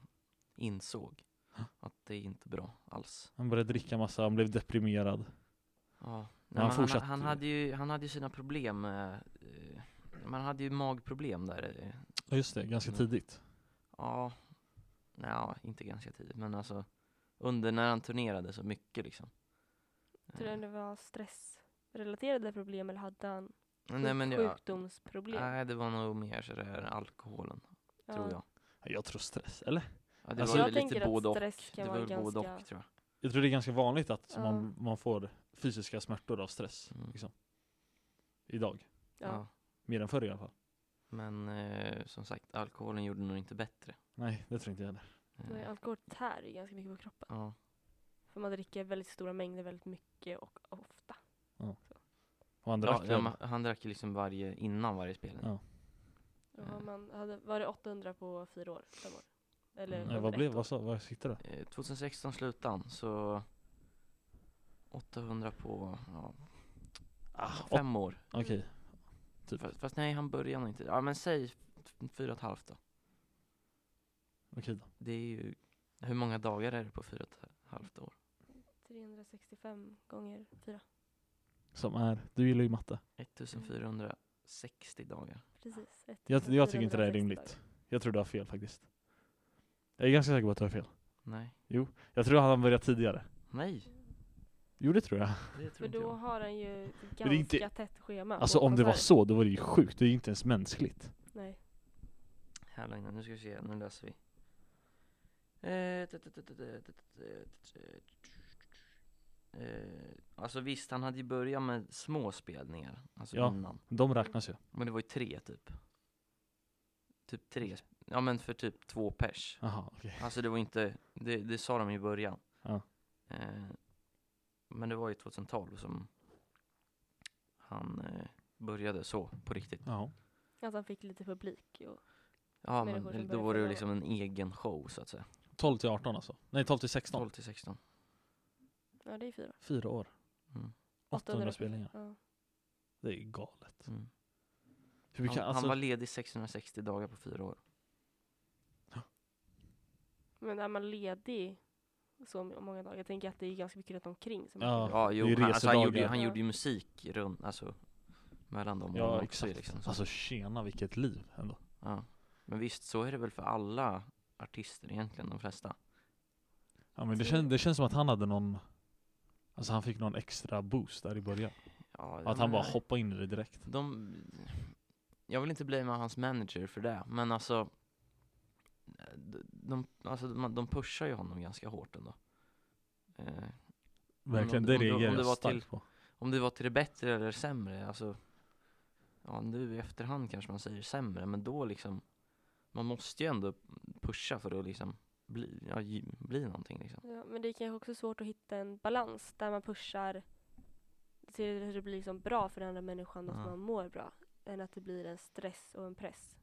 Speaker 2: insåg
Speaker 1: Ja.
Speaker 2: att det är inte bra alls.
Speaker 1: Han började dricka massa, han blev deprimerad.
Speaker 2: Ja.
Speaker 1: han
Speaker 2: Nej, men han,
Speaker 1: fortsatte
Speaker 2: han,
Speaker 1: ju.
Speaker 2: hade ju, han hade ju sina problem, eh, eh, man hade ju magproblem där. eh.
Speaker 1: Ja just det, ganska
Speaker 2: Mm.
Speaker 1: tidigt.
Speaker 2: Ja, nej, ja, inte ganska tidigt men alltså under när han turnerade så mycket liksom. Eh,
Speaker 3: Tror du det var stressrelaterade problem eller hade han
Speaker 2: nej men jag,
Speaker 3: sjukdomsproblem?
Speaker 2: nej det var nog mer sådär alkoholen,
Speaker 3: Ja.
Speaker 2: tror jag.
Speaker 1: Ja, Jag tror stress, eller?
Speaker 2: Ja, det
Speaker 1: Alltså,
Speaker 2: var
Speaker 3: jag
Speaker 2: väl lite
Speaker 3: tänker att
Speaker 2: både och.
Speaker 3: stress kan
Speaker 2: Det var
Speaker 3: vara
Speaker 2: väl både
Speaker 3: ganska-
Speaker 2: och tror
Speaker 1: Jag tror det är ganska vanligt att
Speaker 3: Ja.
Speaker 1: man, man får fysiska smärtor av stress.
Speaker 2: jag. Mm.
Speaker 1: Liksom. Idag.
Speaker 3: Ja.
Speaker 2: Ja.
Speaker 1: Mer än förr i alla fall.
Speaker 2: Men eh, som sagt, alkoholen gjorde nog inte bättre.
Speaker 1: Nej, det tror inte jag heller.
Speaker 2: Eh,
Speaker 3: Nej, alkohol tär ju ganska mycket på kroppen.
Speaker 2: ja.
Speaker 3: För man dricker väldigt stora mängder väldigt mycket och ofta.
Speaker 1: Och han drack
Speaker 2: Ja,
Speaker 1: väl-
Speaker 2: ja, man- han drack ju liksom varje, innan varje spelning.
Speaker 1: Ja.
Speaker 3: Då
Speaker 2: Ja.
Speaker 3: har man hade, var det 800 på fyra år? Fem år? Eller
Speaker 2: Mm.
Speaker 1: Nej,
Speaker 3: under
Speaker 1: vad
Speaker 3: ett
Speaker 1: blev,
Speaker 3: år?
Speaker 1: vad sa, vad sitter det?
Speaker 2: Eh, 2016 slutade han, så 800 på ja,
Speaker 1: Ah,
Speaker 2: fem år.
Speaker 1: Okej, typ.
Speaker 2: Fast, fast nej, han började nog inte. Ja men säg f- fyra och ett halvt då.
Speaker 1: okej då.
Speaker 2: Det är ju, hur många dagar är det på fyra och ett halvt
Speaker 3: Mm.
Speaker 2: år?
Speaker 3: 365 gånger fyra.
Speaker 1: Som är, du gillar ju matte.
Speaker 2: 1460 dagar.
Speaker 3: Precis. ett
Speaker 1: Jag,
Speaker 3: tusen
Speaker 1: jag tycker inte det är
Speaker 3: 460
Speaker 1: rimligt.
Speaker 3: dagar.
Speaker 1: Jag tror du har fel faktiskt. Jag är ganska säker på att du har fel.
Speaker 2: Nej.
Speaker 1: Jag tror han började tidigare.
Speaker 2: Nej,
Speaker 1: Jo det tror jag.
Speaker 2: det
Speaker 3: För
Speaker 2: tror inte
Speaker 3: då
Speaker 2: jag.
Speaker 3: har han ju ett
Speaker 1: är
Speaker 3: ganska
Speaker 1: inte-
Speaker 3: tätt schema. på
Speaker 1: Alltså om det var
Speaker 3: konserter.
Speaker 1: så, då var det ju sjukt. Det är ju inte ens mänskligt.
Speaker 3: Nej.
Speaker 2: Här länge, nu ska vi se, nu läser vi. Eh, t- t- t- t- t- t- t- t- Eh, Alltså visst, han hade ju börjat med små spelningar, alltså
Speaker 1: Ja.
Speaker 2: innan.
Speaker 1: De räknas ju.
Speaker 2: Men det var ju tre typ. Typ tre, sp- ja men för typ två pers.
Speaker 1: Jaha, okej.
Speaker 2: Alltså det var inte, det, det sa de i början.
Speaker 1: Ja.
Speaker 2: Eh, men det var ju 2012 som han eh, började så, på riktigt.
Speaker 1: Ja.
Speaker 3: Att alltså, han fick lite publik. Och,
Speaker 2: Ja
Speaker 3: Människor som
Speaker 2: men då
Speaker 3: började
Speaker 2: var det ju
Speaker 3: följa
Speaker 2: liksom en egen show så att säga.
Speaker 1: 12 till 18 alltså. Nej 12 till 16.
Speaker 2: 12 till 16.
Speaker 3: ja, det är fyra.
Speaker 1: Fyra år.
Speaker 2: Mm.
Speaker 1: 800 spelningar.
Speaker 3: Ja.
Speaker 1: Det är galet.
Speaker 2: Mm.
Speaker 1: Hur mycket,
Speaker 2: han,
Speaker 1: alltså,
Speaker 2: han var ledig 660 dagar på fyra år.
Speaker 3: Men är man ledig så m- många dagar, jag tänker att det är ganska mycket runt omkring som
Speaker 1: Ja.
Speaker 3: är
Speaker 2: Ja, jo,
Speaker 1: det är
Speaker 2: han, alltså, han,
Speaker 1: resedagar.
Speaker 2: gjorde, ju- han
Speaker 3: Ja.
Speaker 2: gjorde ju musik runt, alltså, mellan dem
Speaker 1: ja
Speaker 2: också,
Speaker 1: exakt.
Speaker 2: Liksom, så.
Speaker 1: alltså tjena vilket liv ändå.
Speaker 2: ja. Men visst, så är det väl för alla artister egentligen, de flesta.
Speaker 1: Ja men det,
Speaker 3: Så-
Speaker 1: kän, det känns som att han hade någon, alltså han fick någon extra boost där i början.
Speaker 2: Ja, Mm,
Speaker 1: Att han bara hoppade in i det direkt.
Speaker 2: de, Jag vill inte blamea hans manager för det, men alltså de, de, alltså, de, de pushar ju honom ganska hårt ändå. Eh,
Speaker 1: Verkligen,
Speaker 2: om-
Speaker 1: det
Speaker 2: om det- om
Speaker 1: reagerar
Speaker 2: det var
Speaker 1: jag starkt
Speaker 2: till-
Speaker 1: på.
Speaker 2: Om det var till det bättre eller sämre, alltså Ja nu i efterhand kanske man säger sämre, men då liksom Man måste ju ändå pusha för att liksom bli, ja, gi- bli någonting liksom
Speaker 3: Ja, men det är kanske också svårt att hitta en balans där man pushar till hur det blir liksom bra för den andra människan,
Speaker 2: Ja.
Speaker 3: att man mår bra. Än att det blir en stress och en press.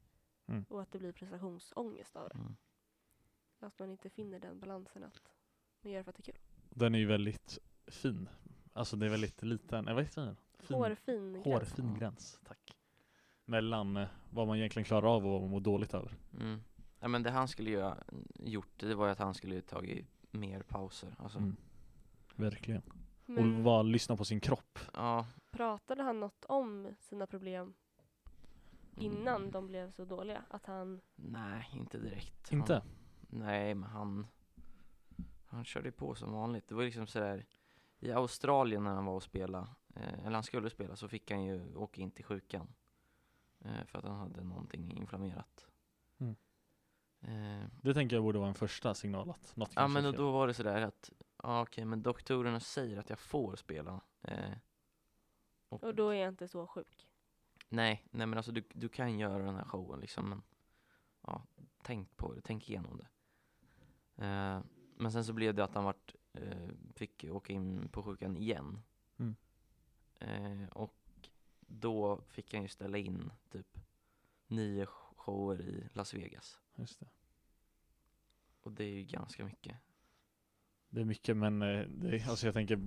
Speaker 1: Mm.
Speaker 3: Och att det blir prestationsångest av det.
Speaker 2: mm.
Speaker 3: Att man inte finner den balansen att man gör för att det är kul.
Speaker 1: Den är ju väldigt fin. Alltså det är väldigt liten, eh, vad heter den? Fin,
Speaker 3: Hårfin gräns.
Speaker 1: hårfin gräns, tack. Mellan eh, vad man egentligen klarar av och vad man mår dåligt över.
Speaker 2: Mm. Ja, men det han skulle ju ha gjort, det var ju att han skulle ju tagit mer pauser alltså,
Speaker 1: Mm. Verkligen. Och
Speaker 3: Men
Speaker 1: bara lyssna på sin kropp.
Speaker 2: ja,
Speaker 3: pratade han något om sina problem
Speaker 2: mm.
Speaker 3: innan de blev så dåliga? Att han,
Speaker 2: Nej, inte direkt
Speaker 1: Inte?
Speaker 2: han, Nej, men han Han körde ju på som vanligt, det var ju liksom sådär I Australien när han var och spela eh, eller han skulle spela, så fick han ju åka in till sjukan. Eh, för att han hade någonting inflammerat.
Speaker 1: Mm.
Speaker 2: Eh,
Speaker 1: Det tänker jag borde vara en första signal att något
Speaker 2: ja
Speaker 1: kanske
Speaker 2: men
Speaker 1: är
Speaker 2: och
Speaker 1: fel.
Speaker 2: då var det sådär att, ja okej men doktorerna säger att jag får spela. Eh, och,
Speaker 3: och då är jag inte så sjuk.
Speaker 2: Nej, nej men alltså du, du kan göra den här showen liksom men ja, tänk på det, tänk igenom det. Eh, men sen så blev det att han vart, eh, fick åka in på sjukan igen.
Speaker 1: Mm.
Speaker 2: Eh, och då fick han ju ställa in typ nio shower i Las Vegas.
Speaker 1: Just det.
Speaker 2: Och det är ju ganska mycket.
Speaker 1: det är mycket men, eh, det, är- alltså jag tänker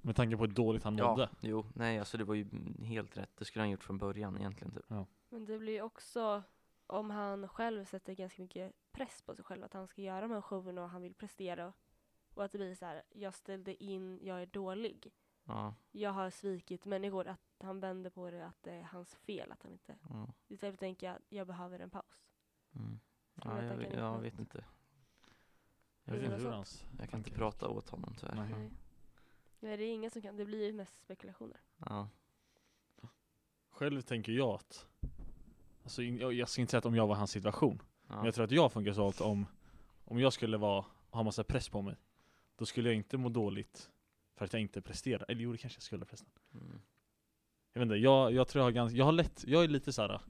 Speaker 1: med tanke på hur dåligt han mådde.
Speaker 2: jo, nej alltså det var ju helt rätt. Det skulle han gjort från början egentligen typ.
Speaker 3: Men det blir ju också om han själv sätter ganska mycket press på sig själv att han ska göra de här showerna och han vill prestera. Och att det blir så här, jag ställde in, jag är dålig.
Speaker 2: Ja,
Speaker 3: Jag har svikit människor. Att han vänder på det, att det är hans fel att han inte...
Speaker 2: ja.
Speaker 3: Istället för att tänka, jag behöver en paus.
Speaker 2: Mm.
Speaker 3: Ska
Speaker 2: ja
Speaker 3: vi
Speaker 2: jag,
Speaker 3: tacka
Speaker 2: vet-
Speaker 3: nej
Speaker 2: jag
Speaker 3: till
Speaker 2: vet inte.
Speaker 1: Jag
Speaker 2: Jag,
Speaker 1: vet
Speaker 3: Det
Speaker 1: inte
Speaker 3: var
Speaker 1: hur
Speaker 3: så.
Speaker 1: hans
Speaker 2: jag kan inte
Speaker 1: tankar-
Speaker 2: prata åt honom tyvärr.
Speaker 1: Nej.
Speaker 3: Nej. Nej, det är ingen som kan. Det blir ju mest spekulationer.
Speaker 2: Ja.
Speaker 1: Själv tänker jag att, alltså, in- jag, jag ska inte säga att om jag var hans situation, men
Speaker 2: Ja.
Speaker 1: jag tror att jag funkar så att om, om jag skulle vara, ha massa press på mig, då skulle jag inte må dåligt för att jag inte presterar. Eller jo, det kanske jag skulle förresten.
Speaker 2: Mm.
Speaker 1: Jag vet inte, jag, jag tror jag har ganska, jag har lätt, jag är lite såhär,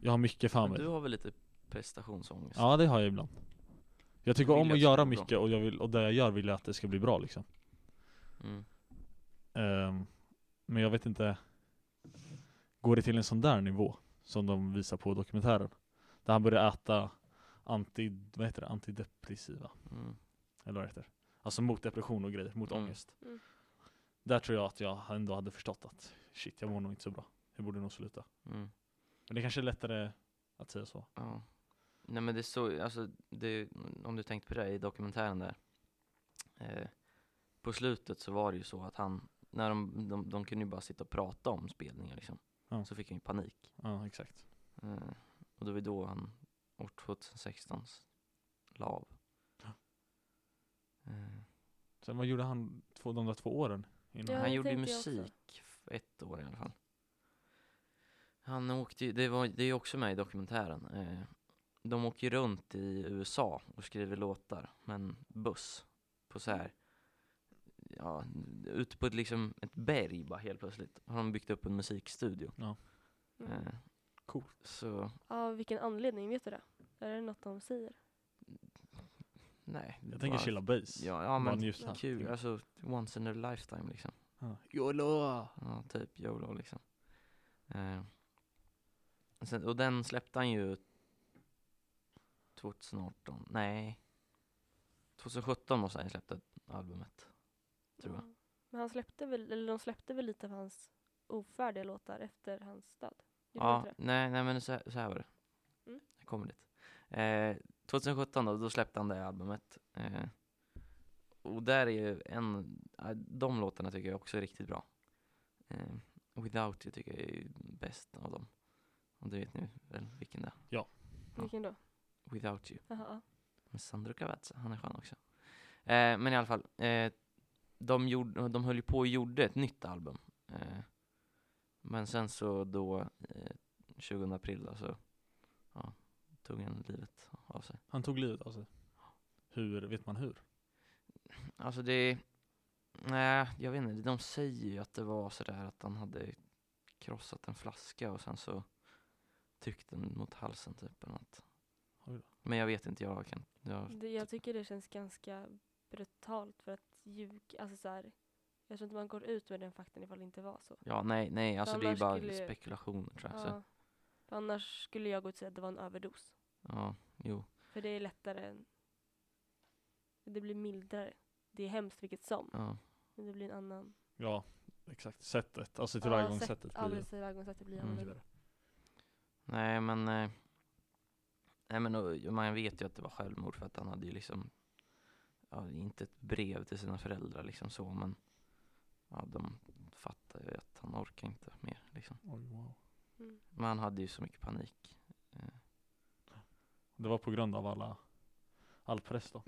Speaker 1: jag har mycket för
Speaker 2: Men du
Speaker 1: mig.
Speaker 2: har väl lite prestationsångest?
Speaker 1: Ja det har jag ibland. Jag tycker
Speaker 2: Vill
Speaker 1: om
Speaker 2: att
Speaker 1: att
Speaker 2: det
Speaker 1: göra
Speaker 2: ska gå bra.
Speaker 1: mycket och, jag vill, och det jag gör vill jag att det ska bli bra liksom.
Speaker 2: Mm.
Speaker 1: Ehm, men jag vet inte, går det till en sån där nivå som de visar på dokumentären? Där han börjar äta anti, vad heter det? antidepressiva,
Speaker 2: Mm.
Speaker 1: eller vad det heter? Alltså mot depression och grejer, mot
Speaker 2: Mm.
Speaker 1: ångest.
Speaker 3: Mm.
Speaker 1: Där tror jag att jag ändå hade förstått att shit, jag mår nog inte så bra. Jag borde nog sluta.
Speaker 2: Mm.
Speaker 1: Men det kanske är lättare att säga så.
Speaker 2: Ja. Nej men det är så, alltså det, om du tänkte på det här i dokumentären där. Eh, på slutet så var det ju så att han, när de, de, de kunde ju bara sitta och prata om spelningar liksom.
Speaker 1: Ja.
Speaker 2: Så fick han ju panik.
Speaker 1: Ja, exakt.
Speaker 2: Eh, och det var ju då han, år 2016, s- la av.
Speaker 1: Ja.
Speaker 2: Eh,
Speaker 1: Sen vad gjorde han två, de där två åren? Innan?
Speaker 3: Ja,
Speaker 2: han
Speaker 3: det
Speaker 2: gjorde ju
Speaker 3: tänkte jag också.
Speaker 2: musik, f- ett år i alla fall. Han åkte ju, det, var, det är ju också med i dokumentären. Eh, de åker ju runt i USA och skriver låtar med en buss. På så här, ja, ute på ett, liksom, ett berg bara helt plötsligt. Har de byggt upp en musikstudio.
Speaker 3: Mm.
Speaker 2: Eh,
Speaker 1: Coolt.
Speaker 2: Så,
Speaker 3: Av vilken anledning, vet du det? Är det något de säger?
Speaker 2: nej. det
Speaker 1: Jag tänker
Speaker 2: bara-
Speaker 1: chilla bass.
Speaker 2: Ja, ja
Speaker 1: Bara
Speaker 2: men
Speaker 1: njuta.
Speaker 2: kul, alltså once in a lifetime liksom.
Speaker 1: Ja. YOLO!
Speaker 2: Ja, typ YOLO liksom. Eh, sen, och den släppte han ju 2018, nej. 2017 måste han ju släppt albumet. Tror jag.
Speaker 3: Ja. Men han släppte väl, eller de släppte väl lite av hans ofärdiga låtar efter hans död? Gjorde de
Speaker 2: ja,
Speaker 3: inte det?
Speaker 2: nej, nej men så här, så här var det.
Speaker 3: Mm.
Speaker 2: Jag kommer dit. Eh, 2017 då, då släppte han det albumet. Eh, och där är ju en, eh, de låtarna tycker jag också är riktigt bra. Eh, Without You tycker jag är ju bäst av dem. Och det vet ni väl vilken det är? Ja.
Speaker 3: Vilken då?
Speaker 2: Without You.
Speaker 3: Jaha, ja.
Speaker 2: Men Sandro Cavazza, han är skön också. Eh, men i alla fall, eh, de, gjorde, de höll ju på och gjorde ett nytt album. Eh, men sen så då, eh, 20 april då, så ja, tog han livet av sig.
Speaker 1: Han tog livet av sig. Hur, vet man hur?
Speaker 2: Alltså det, nej jag vet inte, de säger ju att det var sådär att han hade krossat en flaska och sen så tryckte den mot halsen typ eller något.
Speaker 1: Oj då.
Speaker 2: Men jag vet inte, jag kan, jag,
Speaker 3: Det, jag tycker det känns ganska brutalt för att ljuga, alltså så här, jag tror inte man går ut med den faktan ifall det inte var så.
Speaker 2: ja nej, nej, alltså det är ju
Speaker 3: Annars
Speaker 2: bara
Speaker 3: skulle ju-
Speaker 2: spekulationer tror
Speaker 1: Alltså?
Speaker 2: jag. Så,
Speaker 3: Ja. För annars skulle jag gå ut och säga att det var en överdos.
Speaker 2: ja, jo.
Speaker 3: För det är lättare än, det blir mildare. Det är hemskt vilket som,
Speaker 2: Ja,
Speaker 3: men det blir en annan.
Speaker 1: Ja, exakt. Sättet, alltså
Speaker 3: sätt-
Speaker 1: tillvägagångssättet.
Speaker 3: Ja,
Speaker 1: blir-
Speaker 3: precis, tillvägagångssättet blir
Speaker 2: Mm.
Speaker 3: annorlunda.
Speaker 2: nej men, eh, nej men och, man vet ju att det var självmord för att han hade ju liksom, ja, inte ett brev till sina föräldrar liksom så men, ja de fattar ju att han orkar inte mer liksom.
Speaker 1: Oj, wow.
Speaker 3: Mm.
Speaker 2: Men han hade ju så mycket panik.
Speaker 1: Det var på grund av alla, all press då.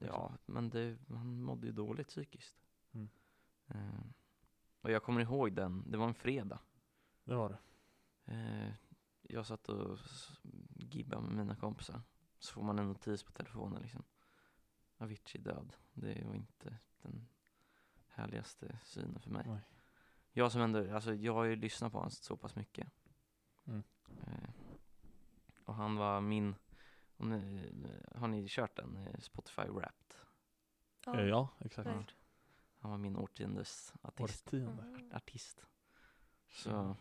Speaker 2: Ja, men det, han mådde ju dåligt psykiskt.
Speaker 1: Mm.
Speaker 2: Eh, och jag kommer ihåg den, det var en fredag.
Speaker 1: Det var det.
Speaker 2: Eh, jag satt och s- gibbade med mina kompisar. Så får man en notis på telefonen liksom. Avicii död. Det var inte den härligaste synen för mig.
Speaker 1: Nej.
Speaker 2: Jag som ändå, alltså jag har ju lyssnat på honom så pass mycket.
Speaker 1: Mm.
Speaker 2: Eh, och han var min, om ni, har ni kört den? eh, Spotify Wrapped.
Speaker 1: Ja, Eh, ja exakt.
Speaker 3: Nej.
Speaker 2: Han var min årtiondes artist.
Speaker 1: Årtionde.
Speaker 2: artist. Så.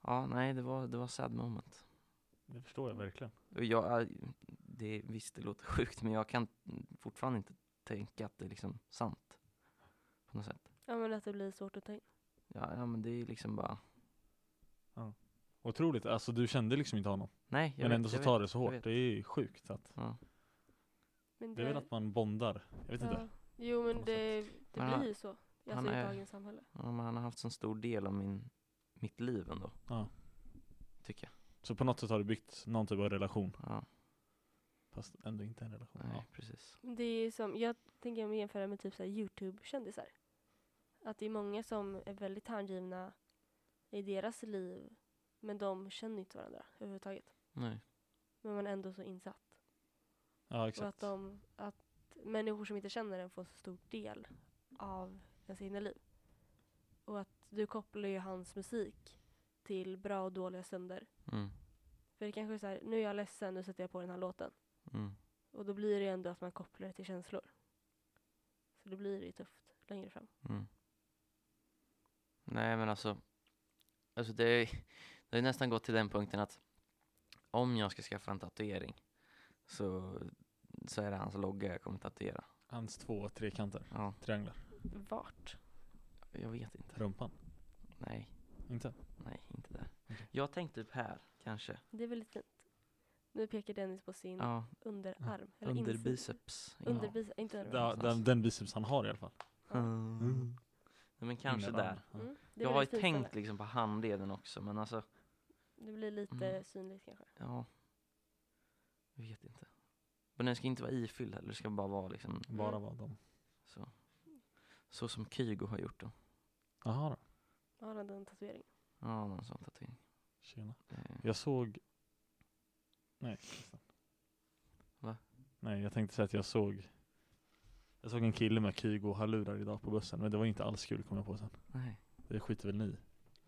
Speaker 2: Ja, nej, det var, det var sad moment.
Speaker 1: Det förstår jag verkligen.
Speaker 2: Och Jag, eh, det, visst, det låter sjukt, men jag kan fortfarande inte tänka att det är liksom sant. På något sätt.
Speaker 3: ja, men att det blir svårt att ta in.
Speaker 2: Ja, ja men det är liksom bara,
Speaker 1: Otroligt, alltså du kände liksom inte honom.
Speaker 2: nej. Jag
Speaker 1: men
Speaker 2: vet,
Speaker 1: ändå så
Speaker 2: jag
Speaker 1: tar
Speaker 2: vet.
Speaker 1: det så
Speaker 2: jag
Speaker 1: hårt.
Speaker 2: vet.
Speaker 1: Det är ju sjukt. Att
Speaker 2: Ja.
Speaker 3: Men
Speaker 1: det är väl att man bondar. Jag vet inte.
Speaker 3: ja. Jo,
Speaker 1: På
Speaker 3: men
Speaker 1: något
Speaker 3: det, det
Speaker 2: Men han-
Speaker 3: blir ju så.
Speaker 2: han
Speaker 3: Alltså, i
Speaker 2: är-
Speaker 3: dagens samhälle.
Speaker 2: Ja, men han har haft så stor del av min, mitt liv ändå.
Speaker 1: Ja.
Speaker 2: Tycker jag.
Speaker 1: Så på något sätt har du byggt någon typ av relation.
Speaker 2: Ja,
Speaker 1: Fast ändå inte en relation.
Speaker 2: nej,
Speaker 1: Ja.
Speaker 2: precis.
Speaker 3: Det är ju som, jag tänker om jag jämför det med typ så här Youtube-kändisar. Att det är många som är väldigt handgivna i deras liv, men de känner inte varandra överhuvudtaget.
Speaker 2: Nej.
Speaker 3: Men man är ändå så insatt.
Speaker 1: ja,
Speaker 3: Och att,
Speaker 1: exakt.
Speaker 3: de, att människor som inte känner en får så stor del av ens egna liv. Och att du kopplar ju hans musik till bra och dåliga stunder.
Speaker 2: Mm.
Speaker 3: För det kanske är så här, nu är jag ledsen, nu sätter jag på den här låten.
Speaker 2: Mm.
Speaker 3: Och då blir det ju ändå att man kopplar det till känslor. Så då blir det ju tufft längre fram.
Speaker 2: Mm. Nej men alltså, alltså det, är- det har ju nästan gått till den punkten att om jag ska skaffa en tatuering så, så är det hans logga jag kommer tatuera.
Speaker 1: Hans två trekanter.
Speaker 2: Ja,
Speaker 1: Trianglar.
Speaker 3: Vart?
Speaker 2: jag vet inte.
Speaker 1: Rumpan.
Speaker 2: Nej,
Speaker 1: Inte?
Speaker 2: nej inte där.
Speaker 1: Okej.
Speaker 2: Jag tänkte typ här kanske.
Speaker 3: Det är väldigt fint. Nu pekar Dennis på sin
Speaker 2: Ja,
Speaker 3: underarm. Eller
Speaker 2: under
Speaker 3: insida.
Speaker 2: biceps. innan.
Speaker 3: Under biceps, inte under
Speaker 1: Ja, den, den biceps han har i alla fall.
Speaker 2: Mm. Nej, men kanske
Speaker 1: Innerarm.
Speaker 2: där.
Speaker 1: Ja.
Speaker 3: Mm. Det är
Speaker 2: Jag har ju
Speaker 3: väldigt fint ställe.
Speaker 2: tänkt liksom på handleden också men alltså,
Speaker 3: Det blir lite
Speaker 2: Mm.
Speaker 3: synligt kanske.
Speaker 2: ja. Jag vet inte. Men den ska inte vara ifylld heller, det ska bara vara liksom
Speaker 3: Mm.
Speaker 1: Bara vad de...
Speaker 2: Så. så som Kygo har gjort då.
Speaker 1: Jaha då.
Speaker 3: Ja, den- den tatueringen.
Speaker 2: Ja, någon sån tatuering.
Speaker 1: Tjena.
Speaker 2: Eh,
Speaker 1: Jag såg... Nej, förresten.
Speaker 2: Va?
Speaker 1: Nej, jag tänkte säga att jag såg... Jag såg en kille med Kygo och hallurar idag på bussen, men det var inte alls kul kom jag på sen.
Speaker 2: Nej.
Speaker 1: Det skiter väl ni i?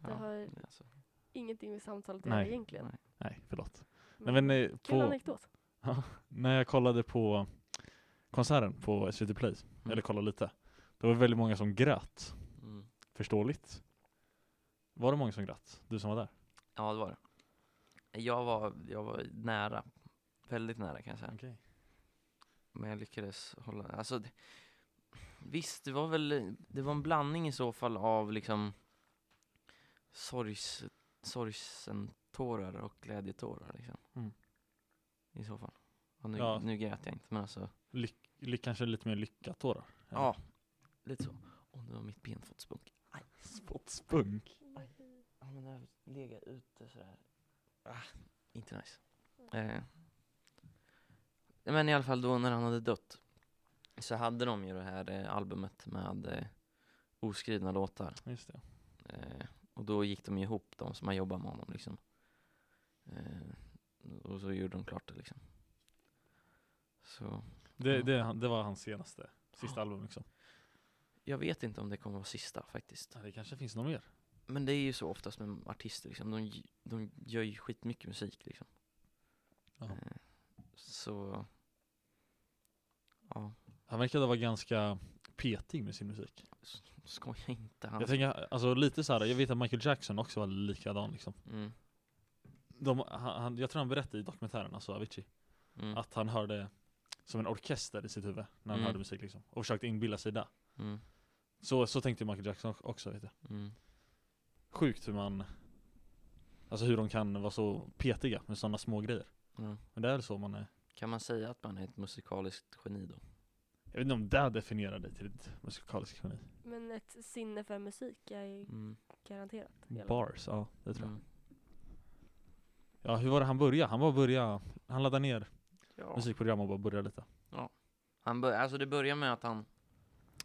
Speaker 2: Ja,
Speaker 3: Det har
Speaker 2: det är alltså,
Speaker 3: ingenting med samtalet att
Speaker 1: Nej.
Speaker 3: göra egentligen.
Speaker 2: nej.
Speaker 1: Nej, förlåt. Nej,
Speaker 3: Men
Speaker 1: men eh,
Speaker 3: Kul
Speaker 1: på,
Speaker 3: anekdot.
Speaker 1: när jag kollade på konserten på SVT Play,
Speaker 2: Mm.
Speaker 1: eller kollade lite, det var väldigt många som grät.
Speaker 2: Mm.
Speaker 1: Förståeligt. Var det många som grät? Du som var där?
Speaker 2: Ja, det var det. Jag var, jag var nära. Väldigt nära kan jag säga.
Speaker 1: Okej.
Speaker 2: Men jag lyckades hålla, alltså det, Visst, det var väl, det var en blandning i så fall av liksom sorgs, sorgsen tårar och glädjetårar liksom.
Speaker 1: Mm.
Speaker 2: I så fall. Och nu,
Speaker 1: Ja.
Speaker 2: nu grät jag inte men alltså,
Speaker 1: Ly- kanske lite mer lyckat då? då?
Speaker 2: ja. lite så. Och nu har mitt ben fått spunk. Aj.
Speaker 1: Spottspunk.
Speaker 2: Ja men det har legat ute sådär. Ah, inte nice. Eh. Men i alla fall då när han hade dött så hade de ju det här eh, albumet med eh, oskrivna låtar.
Speaker 1: Just det.
Speaker 2: Eh, och då gick de ju ihop, de som har jobbat med honom liksom. Eh, och så gjorde de klart det liksom. Så
Speaker 1: Det,
Speaker 2: Ja.
Speaker 1: det, är han- det var hans senaste, sista album liksom.
Speaker 2: jag vet inte om det kommer vara sista faktiskt.
Speaker 1: Ja, det kanske finns någon mer?
Speaker 2: Men det är ju så oftast med artister liksom, de, g- de gör ju skitmycket musik liksom.
Speaker 1: Ja.
Speaker 2: Eh, Så, ja,
Speaker 1: Han verkade vara ganska petig med sin musik.
Speaker 2: s- skoja inte han.
Speaker 1: Jag tänker, alltså lite så här, jag vet att Michael Jackson också var likadan liksom.
Speaker 2: Mm,
Speaker 1: De, han, han- jag tror han berättade i dokumentären, alltså Avicii,
Speaker 2: mm,
Speaker 1: att han hörde som en orkester i sitt huvud när han
Speaker 2: Mm.
Speaker 1: hörde musik liksom. Och försökte inbilla sig det.
Speaker 2: mm,
Speaker 1: Så, så tänkte Michael Jackson också vet jag.
Speaker 2: mm.
Speaker 1: Sjukt hur man, alltså hur de kan vara så petiga med sådana små grejer.
Speaker 2: Ja.
Speaker 1: Men det är så man är,
Speaker 2: Kan man säga att man är ett musikaliskt geni då?
Speaker 1: jag vet inte om det definierar dig till ett musikaliskt geni.
Speaker 3: Men ett sinne för musik är ju
Speaker 2: Mm,
Speaker 3: garanterat. i alla fall.
Speaker 1: Bars, ja det tror jag.
Speaker 2: mm.
Speaker 1: Ja hur var det han började? Han bara började, han laddade ner
Speaker 2: Ja.
Speaker 1: musikprogram och bara började lite.
Speaker 2: Han bör, alltså det börjar med att han,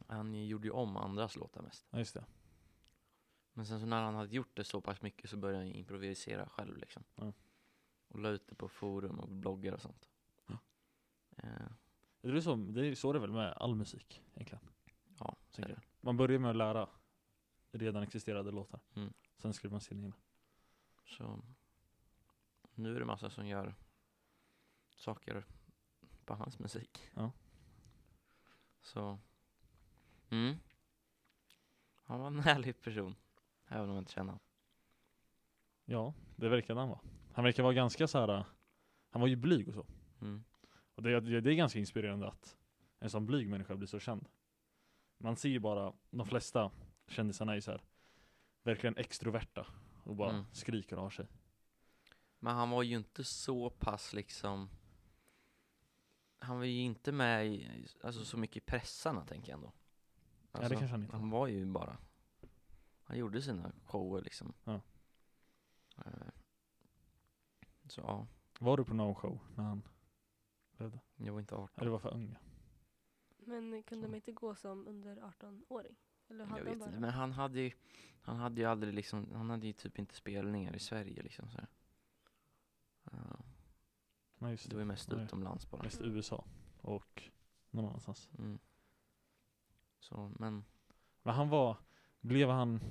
Speaker 2: han ju gjorde ju om andras låtar mest.
Speaker 1: Ja just det.
Speaker 2: Men sen så när han hade gjort det så pass mycket så började han improvisera själv liksom.
Speaker 1: Ja.
Speaker 2: Och la ut det på forum och bloggar och sånt.
Speaker 1: Ja.
Speaker 2: Eh,
Speaker 1: Det är, så, det är så det är väl med all musik egentligen.
Speaker 2: ja, så är
Speaker 1: Tänker
Speaker 2: det.
Speaker 1: jag. Man börjar med att lära redan existerande låtar.
Speaker 2: Mm.
Speaker 1: Sen skriver man sina egna.
Speaker 2: Så, Nu är det massa som gör saker på hans musik.
Speaker 1: Ja.
Speaker 2: Så, mm. Han var en härlig person, även om jag inte känner honom.
Speaker 1: Ja, det verkade han vara. Han verkar vara ganska så här. äh, han var ju blyg och så.
Speaker 2: Mm.
Speaker 1: Och det, det det är ganska inspirerande att en sån blyg människa blir så känd. Man ser ju bara, de flesta kändisarna är ju så här verkligen extroverta och bara
Speaker 2: Mm.
Speaker 1: skriker och har sig.
Speaker 2: Men han var ju inte så pass liksom Han var ju inte med i, alltså så mycket i pressarna tänker jag ändå Alltså-
Speaker 1: ja, Mm. det kanske han inte
Speaker 2: Han var ju bara Han gjorde sina shower liksom
Speaker 1: Ja.
Speaker 2: Eh, Så ja,
Speaker 1: Var du på någon show när han levde?
Speaker 2: jag var inte
Speaker 1: Eller
Speaker 2: 18
Speaker 1: var för ung?
Speaker 3: Men kunde
Speaker 2: Så.
Speaker 3: de inte gå som under 18-åring? Eller
Speaker 2: Jag
Speaker 3: hade de
Speaker 2: vet
Speaker 3: bara?
Speaker 2: inte, men han hade ju Han hade ju aldrig liksom, han hade ju typ inte spelningar i Sverige liksom så här. Ja,
Speaker 1: Nej just
Speaker 2: Det var
Speaker 1: det.
Speaker 2: ju mest
Speaker 1: Nej.
Speaker 2: utomlands bara
Speaker 1: Mest USA och någon annanstans.
Speaker 2: mm. Så men,
Speaker 1: Men han var, blev han,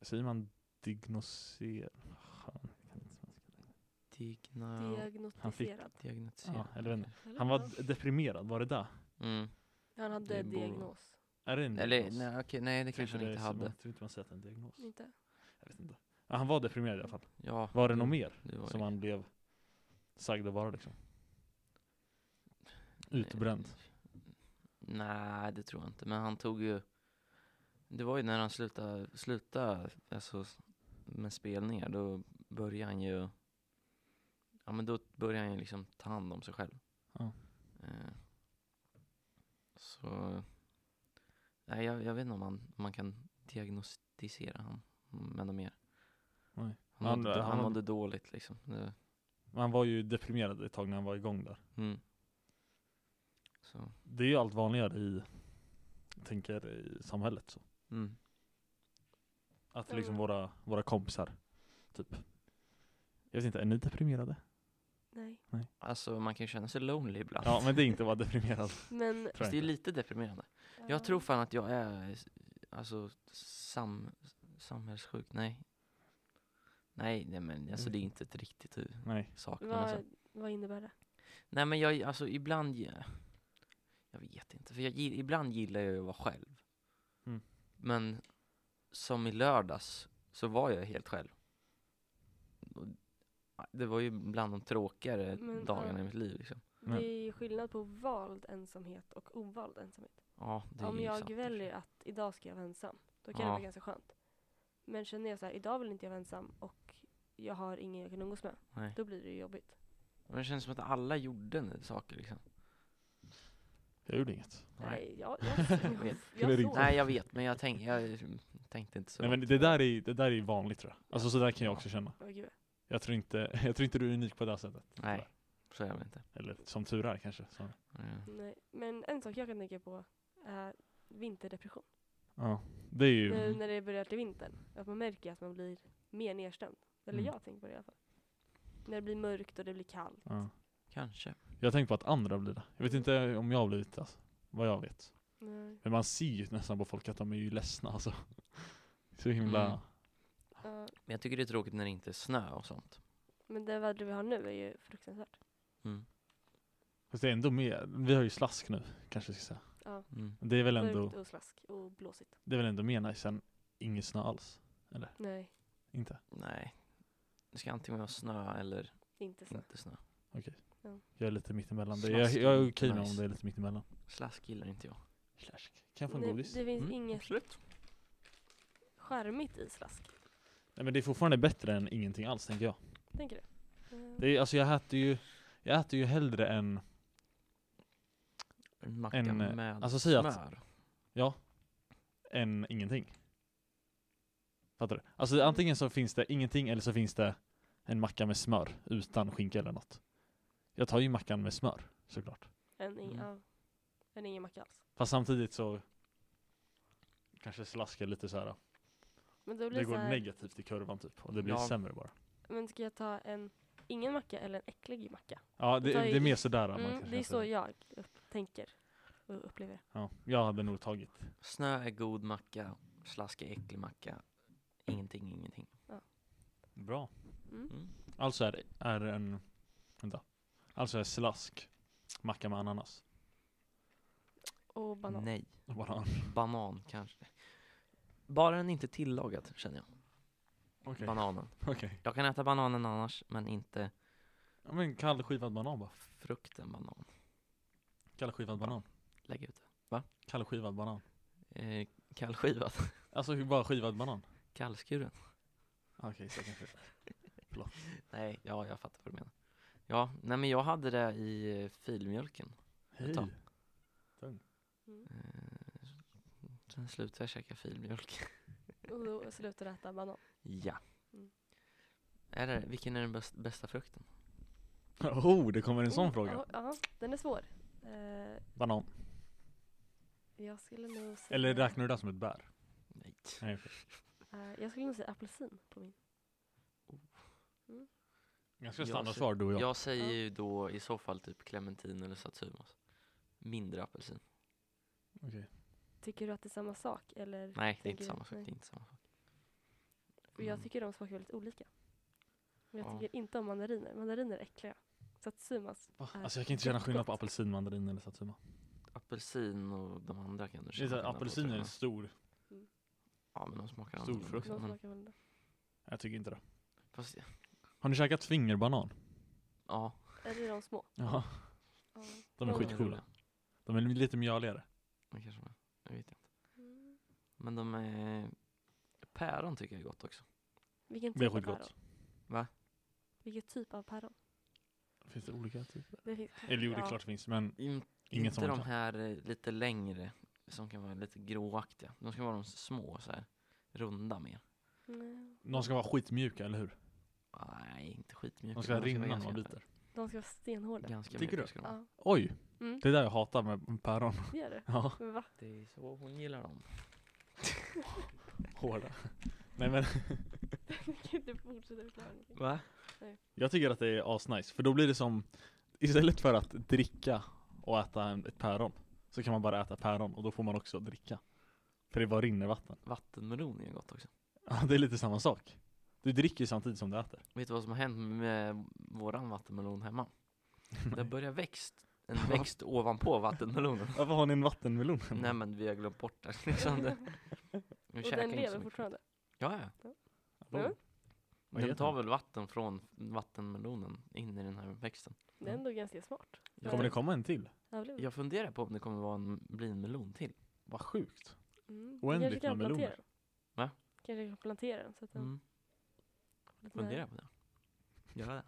Speaker 1: säger man dignoser? Han,
Speaker 2: digna
Speaker 3: Diagnostiserad?
Speaker 2: Diagnostiserad.
Speaker 1: Ja, eller vänner.
Speaker 3: eller?
Speaker 1: han
Speaker 3: Ja.
Speaker 1: var deprimerad, var det där?
Speaker 2: Mm.
Speaker 3: Han
Speaker 2: Det
Speaker 3: hade
Speaker 2: borde vara.
Speaker 3: diagnos.
Speaker 1: Är det en
Speaker 2: Eller
Speaker 1: diagnos?
Speaker 2: nej, okej, nej det kanske han
Speaker 1: det
Speaker 2: inte
Speaker 1: är-
Speaker 2: hade.
Speaker 1: Man, tror inte man säger att det är en diagnos.
Speaker 3: Inte?
Speaker 1: Jag vet inte. Ja, han var deprimerad i alla fall.
Speaker 2: Ja,
Speaker 1: Var det
Speaker 2: jo,
Speaker 1: något mer
Speaker 2: det var
Speaker 1: som
Speaker 2: det.
Speaker 1: han blev sagd att vara liksom? Utbränd.
Speaker 2: Nej, det tror jag inte. Men han tog ju... Det var ju när han slutade, slutade alltså, s- med spelningar, då började han ju... Ja, men då började han ju liksom ta hand om sig själv.
Speaker 1: Ja.
Speaker 2: Eh, så... Nej, jag, jag vet inte om man, om man kan diagnostisera han med något mer.
Speaker 1: Nej.
Speaker 2: Han,
Speaker 1: Han-
Speaker 2: mådde, han,
Speaker 1: han-
Speaker 2: mådde dåligt liksom. Det,
Speaker 1: Han var ju deprimerad ett tag när han var igång där.
Speaker 2: mm. Så,
Speaker 1: Det är ju allt vanligare i, jag tänker, i samhället så.
Speaker 2: mm.
Speaker 1: Att
Speaker 3: Ja,
Speaker 1: liksom
Speaker 3: men-
Speaker 1: våra, våra kompisar, typ. Jag vet inte, är ni deprimerade?
Speaker 3: Nej.
Speaker 2: Alltså man kan ju känna sig lonely ibland.
Speaker 1: Ja, men det är inte att vara deprimerad.
Speaker 3: Men...
Speaker 1: Tror
Speaker 3: eh,
Speaker 2: Fast
Speaker 1: jag
Speaker 2: det är
Speaker 1: inte.
Speaker 2: lite deprimerande.
Speaker 3: ja.
Speaker 2: Jag tror fan att jag är s- alltså sam, samhällssjuk. Nej. Nej, nej men alltså det är inte ett riktigt eh,
Speaker 1: Nej.
Speaker 2: sak. Men alltså,
Speaker 3: Vad, vad innebär det?
Speaker 2: nej men jag, alltså ibland, ge- jag vet inte. För jag, gi- ibland gillar jag ju att vara själv.
Speaker 1: Mm.
Speaker 2: Men som i lördags så var jag helt själv. Och Det var ju bland de tråkigare
Speaker 3: Men, ja.
Speaker 2: dagarna i mitt liv liksom.
Speaker 1: Men-
Speaker 3: Det är ju skillnad på vald ensamhet och ovald ensamhet.
Speaker 2: Ja, det är
Speaker 3: Om
Speaker 2: ju
Speaker 3: jag
Speaker 2: sant i och för sig.
Speaker 3: väljer att idag ska jag vara ensam, då kan
Speaker 2: Ja.
Speaker 3: det vara ganska skönt. Men känner jag så här, idag vill inte jag vara ensam och jag har ingen jag kan umgås med,
Speaker 2: Nej.
Speaker 3: då blir det ju jobbigt.
Speaker 2: Men det känns som att alla gjorde n- saker liksom.
Speaker 1: Jag gjorde inget.
Speaker 2: Nej.
Speaker 3: Nej, jag, jag,
Speaker 2: Jag
Speaker 3: jag,
Speaker 2: vet.
Speaker 1: Skulle
Speaker 3: jag,
Speaker 1: ringt.
Speaker 3: såg.
Speaker 2: Nej jag vet, men jag, tänk, jag tänkte inte så.
Speaker 1: Nej men
Speaker 2: långt.
Speaker 1: det där är, det där är vanligt tror jag. Alltså så där kan jag också känna.
Speaker 3: Åh, gud.
Speaker 1: Jag tror inte, jag tror inte du är unik på det här sättet.
Speaker 2: Nej, så är det väl inte.
Speaker 1: Eller som tur är kanske. Så.
Speaker 2: Mm.
Speaker 3: Nej. Men en sak jag kan tänka på är vinterdepression.
Speaker 1: Ja, det är
Speaker 2: Mm.
Speaker 1: ju,
Speaker 3: Nu när det börjar till vintern, att man märker att man blir mer nedstämd. Eller
Speaker 1: Mm.
Speaker 3: jag tänker på det i alla fall. När det blir mörkt och det blir kallt.
Speaker 1: ja.
Speaker 2: Kanske.
Speaker 1: Jag tänker på att andra blir det. Jag vet inte om jag har blivit det, alltså, vad jag vet.
Speaker 3: Nej.
Speaker 1: Men man ser ju nästan på folk att de är ju ledsna alltså. Så himla,
Speaker 2: Mm.
Speaker 3: Ja,
Speaker 2: Men jag tycker det är tråkigt när det inte är snö och sånt.
Speaker 3: men det vädret vi har nu är ju fruktansvärt.
Speaker 2: Mm.
Speaker 1: fast det är ändå mer, vi har ju slask nu kanske jag ska säga.
Speaker 3: Ja,
Speaker 2: Mm.
Speaker 1: Det är väl ändå,
Speaker 3: mörkt och slask och blåsigt.
Speaker 1: det är väl ändå mer nice än ingen snö alls?
Speaker 3: Nej,
Speaker 1: Inte?
Speaker 2: Nej. Det ska antingen vara snö eller
Speaker 3: inte snö.
Speaker 2: inte snö.
Speaker 1: Jag är lite mittemellan. Det- Jag,
Speaker 2: Slask är
Speaker 1: jag är
Speaker 2: inte
Speaker 1: okej med
Speaker 2: nice.
Speaker 1: om det är lite mittemellan.
Speaker 2: Slask gillar inte jag.
Speaker 1: Slask. Kan jag få en
Speaker 3: Nej,
Speaker 1: godis?
Speaker 3: det finns
Speaker 2: Mm,
Speaker 3: inget
Speaker 2: Absolut.
Speaker 3: charmigt i slask.
Speaker 1: Nej men det är fortfarande bättre än ingenting alls tänker jag.
Speaker 3: Tänker du? Ja.
Speaker 1: Det är, alltså jag äter ju, jag äter ju hellre än,
Speaker 2: En macka
Speaker 1: En, eh,
Speaker 2: med
Speaker 1: alltså säg
Speaker 2: smör.
Speaker 1: att- än ingenting. Fattar du? Alltså antingen så finns det ingenting eller så finns det en macka med smör utan skinka eller något. Jag tar ju mackan med smör såklart.
Speaker 3: En, ing-
Speaker 2: Mm.
Speaker 3: ja. en ingen macka alls.
Speaker 1: Fast samtidigt så kanske slaskar lite så här.
Speaker 3: Men då
Speaker 1: Det,
Speaker 3: blir det
Speaker 1: går
Speaker 3: så här,
Speaker 1: negativt i kurvan typ och det blir
Speaker 2: Ja.
Speaker 1: sämre bara.
Speaker 3: men ska jag ta en ingen macka eller en äcklig macka?
Speaker 1: Ja
Speaker 3: Det
Speaker 1: det,
Speaker 3: tar
Speaker 1: det
Speaker 3: ju-
Speaker 1: är mer sådär man
Speaker 3: Mm,
Speaker 1: kanske
Speaker 3: det är
Speaker 1: kan
Speaker 3: så
Speaker 1: säga.
Speaker 3: jag upp- tänker och upplever det.
Speaker 1: Ja, jag hade nog tagit.
Speaker 2: Snö är god macka, slask är äcklig macka. Ingenting, ingenting.
Speaker 1: Bra.
Speaker 3: Mm.
Speaker 2: Mm.
Speaker 1: Alltså är, är en... Vänta. Alltså är slask macka med ananas.
Speaker 3: Och banan.
Speaker 2: Nej.
Speaker 1: Bara,
Speaker 2: Banan kanske. Bara den inte är tillagad känner jag.
Speaker 1: okej.
Speaker 2: Bananen.
Speaker 1: Okej.
Speaker 2: Jag kan äta bananen annars, men inte
Speaker 1: Ja men kall skivad banan bara.
Speaker 2: frukten banan.
Speaker 1: Kall skivad banan.
Speaker 2: Lägg ut det.
Speaker 1: Kall skivad banan.
Speaker 2: Eh, kallskivad.
Speaker 1: Alltså hur- bara skivad banan.
Speaker 2: Kallskuren.
Speaker 1: Okej, så kanske.
Speaker 2: Nej, ja jag fattar vad du menar. Ja, nej men jag hade det i eh, filmjölken.
Speaker 1: Hej.
Speaker 2: Ta.
Speaker 3: Mm.
Speaker 2: Eh, sen slutade jag käka filmjölk.
Speaker 3: Och då slutar du äta banan.
Speaker 2: ja.
Speaker 3: Mm.
Speaker 2: Är det, vilken är den bäst, bästa frukten?
Speaker 1: Oh, det kommer en sån
Speaker 3: Oh,
Speaker 1: fråga.
Speaker 3: Ja, ja, den är svår. Eh,
Speaker 1: Banan.
Speaker 3: jag skulle nog säga,
Speaker 1: Eller räknar du det som ett bär?
Speaker 2: Nej.
Speaker 1: Nej, för-
Speaker 3: eh, jag skulle nog säga apelsin på min.
Speaker 1: Ganska
Speaker 2: Jag
Speaker 1: standardsvar du och jag.
Speaker 2: Jag säger
Speaker 3: Ja.
Speaker 2: ju då i så fall typ clementin eller satsumas. Mindre apelsin.
Speaker 1: Okej.
Speaker 3: Tycker du att det är samma sak? Eller?
Speaker 2: Nej, det är
Speaker 3: tänker
Speaker 2: inte
Speaker 3: du-
Speaker 2: samma sak.
Speaker 3: nej.
Speaker 2: Det är inte samma sak.
Speaker 3: Och jag
Speaker 2: Mm.
Speaker 3: tycker de smakar väldigt olika. Men jag
Speaker 2: Ja.
Speaker 3: tycker inte om mandariner. Mandariner är äckliga. Satsumas.
Speaker 1: Va?
Speaker 3: är
Speaker 1: Alltså jag kan inte känna skillnad på
Speaker 3: jättegott.
Speaker 1: apelsin, mandarin eller satsuma.
Speaker 2: Apelsin och de andra kan du
Speaker 1: Det är
Speaker 2: känna.
Speaker 1: så här,
Speaker 2: skillnad på,
Speaker 1: Apelsin
Speaker 2: tror
Speaker 1: är
Speaker 2: jag.
Speaker 1: en stor.
Speaker 2: Ja, men de smakar
Speaker 1: stor
Speaker 2: annorlunda.
Speaker 1: frukt.
Speaker 3: De
Speaker 2: Men,
Speaker 3: smakar väl
Speaker 1: Jag tycker inte det.
Speaker 2: fast,
Speaker 1: Har ni käkat fingerbanan?
Speaker 2: ja,
Speaker 3: Eller de små.
Speaker 1: Ja,
Speaker 3: Ja.
Speaker 1: de är
Speaker 3: Ja.
Speaker 1: skitcoola. De är lite mjöligare.
Speaker 2: Det kanske de är. Jag vet inte.
Speaker 3: Mm.
Speaker 2: Men de är... Päron tycker jag är gott också.
Speaker 3: Vilken
Speaker 1: Det är
Speaker 3: typ av
Speaker 1: skitgott.
Speaker 3: päron?
Speaker 2: Va?
Speaker 3: Vilken typ av päron?
Speaker 1: Finns det olika typer?
Speaker 3: Det finns-
Speaker 1: Eller jo, det är
Speaker 3: ja.
Speaker 1: klart det finns, men
Speaker 2: Inte
Speaker 1: inget som man
Speaker 2: de
Speaker 1: kan.
Speaker 2: här eh, lite längre, som kan vara lite gråaktiga. De ska vara de små så här, runda mer.
Speaker 3: Nej.
Speaker 1: De ska vara skitmjuka, eller hur?
Speaker 2: Nej, inte skitmjuka.
Speaker 1: De ska
Speaker 2: men
Speaker 1: rinna
Speaker 2: vara
Speaker 1: när man
Speaker 2: ganska-
Speaker 1: biter.
Speaker 3: De ska vara stenhårda.
Speaker 2: Ganska
Speaker 1: Tycker
Speaker 2: mjuka
Speaker 1: du?
Speaker 2: ska de vara.
Speaker 3: Ja,
Speaker 1: Oj!
Speaker 3: Mm.
Speaker 1: Det är där jag hatar med päron.
Speaker 3: det gör det.
Speaker 1: Ja,
Speaker 3: Men va?
Speaker 2: Det är så hon gillar dem.
Speaker 1: hårda. Nej men,
Speaker 3: Kan du fortsätta förklara? någonting?
Speaker 2: Va?
Speaker 1: jag tycker att det är asnice, för då blir det som Istället för att dricka och äta en- ett päron Så kan man bara äta päron och då får man också dricka För det bara rinner vatten
Speaker 2: Vattenmelon är gott också.
Speaker 1: Ja, det är lite samma sak Du dricker ju samtidigt som du äter
Speaker 2: Vet du vad som har hänt med våran vattenmelon hemma? Det
Speaker 1: Nej.
Speaker 2: börjar växt, en växt ovanpå vattenmelonen.
Speaker 1: Varför har ni en vattenmelon?
Speaker 2: Nej men vi har glömt bort den liksom. Det, vi
Speaker 3: Och
Speaker 2: käkar
Speaker 3: den
Speaker 2: inte så
Speaker 3: lever
Speaker 2: mycket.
Speaker 3: fortfarande.
Speaker 2: Ja, ja.
Speaker 1: Hallå? Vad
Speaker 2: Den
Speaker 1: heter
Speaker 2: tar
Speaker 1: den?
Speaker 2: väl vatten från vattenmelonen in i den här växten.
Speaker 3: Det är ändå ganska smart.
Speaker 2: Ja.
Speaker 1: Kommer det komma en till?
Speaker 3: Ja, det blir bra.
Speaker 2: Jag funderar på om det kommer vara en, bli en melon till.
Speaker 1: Vad sjukt
Speaker 3: Mm. Vi
Speaker 1: Oändligt
Speaker 3: kanske kan
Speaker 1: med meloner.
Speaker 3: plantera den.
Speaker 2: Va?
Speaker 3: Kanske kan plantera den så att den
Speaker 2: Mm.
Speaker 3: får lite
Speaker 2: Funderar på
Speaker 3: näring.
Speaker 2: det. Gör det.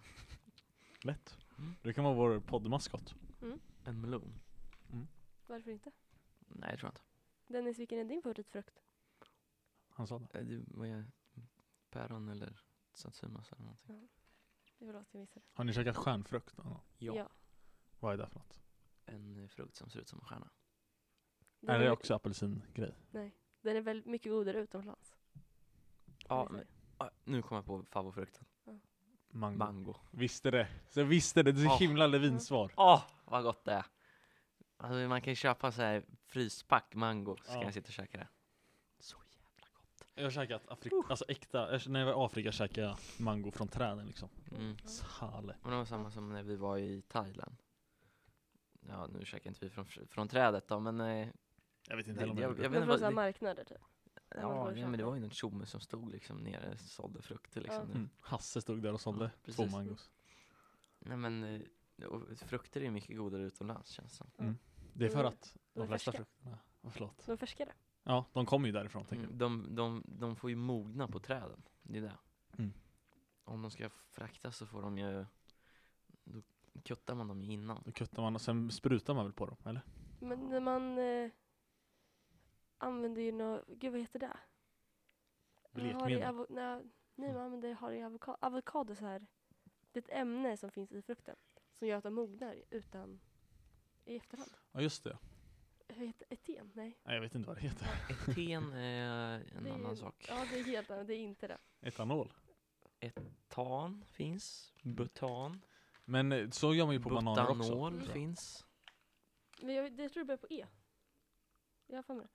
Speaker 1: Lätt
Speaker 2: Mm.
Speaker 1: Det kan vara vår poddmaskot
Speaker 2: En melon?
Speaker 3: Varför inte?
Speaker 2: Nej, jag tror inte.
Speaker 3: Dennis, vilken är din favoritfrukt?
Speaker 1: Han sa det
Speaker 2: Eh, Du, vad är Päron eller satsumas eller någonting.
Speaker 3: Det var låt jag missade.
Speaker 1: Har ni käkat stjärnfrukt? någon gång?
Speaker 3: Ja.
Speaker 1: Vad är det för något?
Speaker 2: En eh, frukt som ser ut som en stjärna.
Speaker 3: Den
Speaker 1: Är
Speaker 3: väl-
Speaker 1: det också apelsingrej?
Speaker 3: Nej. Den är väl mycket godare utomlands. kan
Speaker 2: Ja,
Speaker 3: vi säga.
Speaker 2: Ah, nu kom jag på favoritfrukten.
Speaker 1: Mango.
Speaker 2: Mango.
Speaker 1: Visste det! Så jag visste det! Det är så
Speaker 2: Ah.
Speaker 1: himla levinsvar
Speaker 2: Åh, vad gott det är! Alltså, man kan ju köpa så här fryspack mango, så kan
Speaker 1: Ja.
Speaker 2: jag sitta och käka det. Så jävla gott.
Speaker 1: Jag har käkat Afrika, alltså äkta, jag- när jag var i Afrika käkade jag mango från träden liksom
Speaker 2: Mm.
Speaker 3: Ja.
Speaker 1: Sale
Speaker 2: Men det var samma som när vi var i Thailand. Ja, nu käkar inte vi från, från trädet då, men... Eh,
Speaker 1: Jag vet inte
Speaker 2: det,
Speaker 1: heller om jag,
Speaker 2: jag, jag,
Speaker 1: gjorde.
Speaker 2: jag
Speaker 3: Men
Speaker 2: vet inte
Speaker 3: från
Speaker 2: vad...
Speaker 3: sådana
Speaker 2: Det,
Speaker 3: marknader typ. där man
Speaker 2: ja,
Speaker 3: får
Speaker 2: nej, men det
Speaker 3: köpa.
Speaker 2: var ju någon tjomme som stod liksom nere och sålde frukter liksom.
Speaker 3: Ja.
Speaker 2: Det-
Speaker 1: mm. Hasse stod där och sålde
Speaker 2: Ja,
Speaker 1: två
Speaker 2: precis.
Speaker 1: mangos
Speaker 2: Nej men, eh, och frukter är ju mycket godare utomlands känns det som.
Speaker 1: Det är för
Speaker 3: Mm.
Speaker 1: att
Speaker 3: De är
Speaker 1: de flesta
Speaker 3: färska.
Speaker 1: frukterna, oh, förlåt
Speaker 3: De är färskare.
Speaker 1: Ja, de kommer ju därifrån tänker jag
Speaker 2: Mm, De, de, de får ju mogna på träden, det är det.
Speaker 1: Mm.
Speaker 2: Om de ska fraktas så får de ju, då kuttar man dem ju innan.
Speaker 1: Då kuttar man och sen sprutar man väl på dem, eller?
Speaker 3: Men när man eh, använder ju något, gud vad heter det? Man har i
Speaker 1: Blekmedel.
Speaker 3: avo- nej, nej, man använder har i avokado, avokado så här. Det är ett ämne som finns i frukten som gör att de mognar utan i efterhand.
Speaker 1: Ja just det,
Speaker 3: Hur heter eten? Nej.
Speaker 1: Nej, jag vet inte vad det heter
Speaker 2: Ten är en
Speaker 3: Det är ju-
Speaker 2: annan sak.
Speaker 3: Ja, det är helt annat. Det är inte det.
Speaker 1: Etanol
Speaker 2: Tan finns, butan,
Speaker 1: Men eh, så gör man ju på bananer också Mm.
Speaker 2: butanol
Speaker 1: tror jag.
Speaker 2: finns,
Speaker 3: Men jag, det tror jag börjar på E. Jag har för mig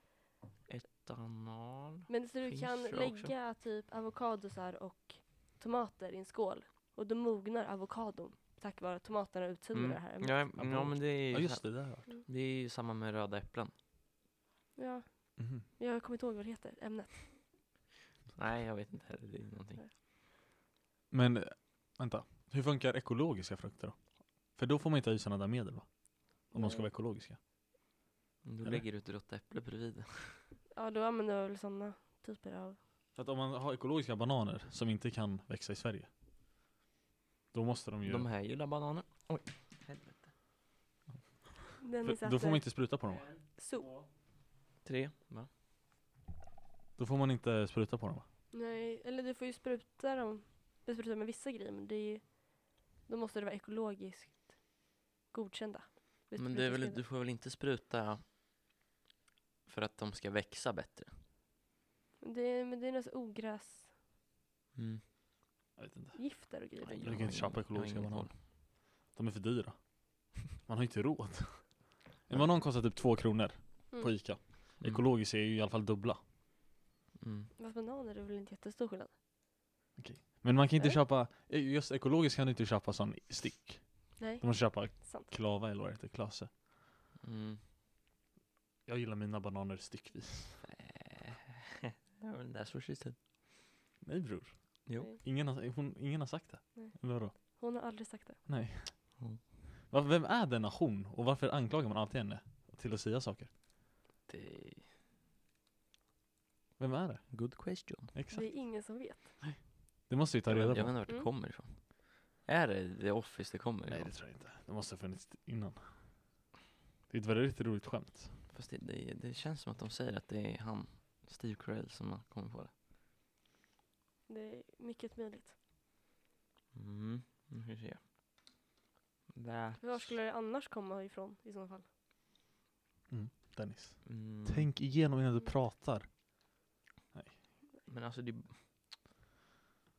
Speaker 3: det.
Speaker 2: etanol.
Speaker 3: Men så du
Speaker 2: Finns
Speaker 3: kan
Speaker 2: tror jag också.
Speaker 3: lägga typ avokadosar och tomater i en skål och då mognar avokadon tack vare att tomaterna utsöndrar det här ämnet.
Speaker 2: Mm. Ja, ja men det är, ju
Speaker 1: Ja just
Speaker 2: sa-
Speaker 1: det, det har jag hört.
Speaker 2: det är ju samma med röda äpplen.
Speaker 3: Ja,
Speaker 1: Mhm.
Speaker 3: jag kommer inte ihåg vad det heter, ämnet.
Speaker 2: Nej, jag vet inte heller. Det är någonting.
Speaker 1: Men eh, vänta, hur funkar ekologiska frukter då? För då får man inte ha i sådana där medel va? Om de ska
Speaker 2: Mm.
Speaker 3: Nej.
Speaker 1: vara ekologiska.
Speaker 2: Då
Speaker 1: Eller?
Speaker 2: lägger du ett rått äpple bredvid.
Speaker 3: Ja, då använder jag väl sådana typer av...
Speaker 1: För att om man har ekologiska bananer som inte kan växa i Sverige Då måste de ju,
Speaker 2: De här gula bananerna. Oj, helvete.
Speaker 3: Den
Speaker 1: för, då får man inte spruta på dem va?
Speaker 3: So.
Speaker 2: Tre, va?
Speaker 1: Då får man inte spruta på dem va?
Speaker 3: Nej, eller du får ju spruta dem. Du sprutar med vissa grejer, men det är ju... Då måste det vara ekologiskt godkända.
Speaker 2: Men du, är väl, du får väl inte spruta för att de ska växa bättre?
Speaker 3: Det är, men det är några så ogräsgifter
Speaker 2: Mm.
Speaker 1: Jag vet inte
Speaker 3: och grejer.
Speaker 2: Nej,
Speaker 1: Du
Speaker 2: jag
Speaker 1: kan
Speaker 2: har
Speaker 1: inte
Speaker 2: ingen-
Speaker 1: köpa
Speaker 2: jag har
Speaker 1: ekologiska
Speaker 2: ingen koll.
Speaker 1: bananer. De är för dyra Man har ju inte råd En banan kostar typ två kronor på
Speaker 3: Mm.
Speaker 1: Ica
Speaker 2: Mm.
Speaker 1: Ekologiskt är ju i alla fall dubbla
Speaker 2: Mm.
Speaker 3: Fast bananer är väl inte jättestor skillnad?
Speaker 1: Men man kan inte
Speaker 3: Nej.
Speaker 1: köpa, eh, just ekologiskt kan du inte köpa sån stick
Speaker 3: Nej,
Speaker 1: Du måste köpa
Speaker 3: sant.
Speaker 1: klava eller vad det heter, klase
Speaker 2: Mm.
Speaker 1: Jag gillar mina bananer styckvis
Speaker 2: Ja, men That's what she said.
Speaker 1: Nej bror
Speaker 2: Jo.
Speaker 3: Nej.
Speaker 1: Ingen har, hon, ingen har sagt det
Speaker 3: Nej.
Speaker 1: Eller vadå?
Speaker 3: Hon har aldrig sagt det.
Speaker 1: Nej.
Speaker 2: Mm.
Speaker 1: Va- Vem är denna hon? Och varför anklagar man alltid henne till att säga saker?
Speaker 2: Det är
Speaker 1: Vem är det?
Speaker 2: good question.
Speaker 1: Exakt.
Speaker 3: Det är ingen som vet.
Speaker 1: Det måste vi ta
Speaker 2: Jag vet
Speaker 1: reda
Speaker 2: jag
Speaker 1: på.
Speaker 2: vet inte vart det
Speaker 3: Mm.
Speaker 2: kommer ifrån. Är det The Office det kommer
Speaker 1: Nej
Speaker 2: ifrån?
Speaker 1: det tror jag inte. Det måste ha funnits innan. Det är ett väldigt roligt skämt.
Speaker 2: Fast det, det, det känns som att de säger att det är han, Steve Carell, som har kommit på det.
Speaker 3: Det är mycket möjligt.
Speaker 2: Mm, nu ska vi se.
Speaker 3: Var
Speaker 2: That...
Speaker 3: skulle det annars komma ifrån i så fall?
Speaker 1: Dennis.
Speaker 2: Mm.
Speaker 1: Tänk igenom innan du pratar.
Speaker 2: Men alltså det, är-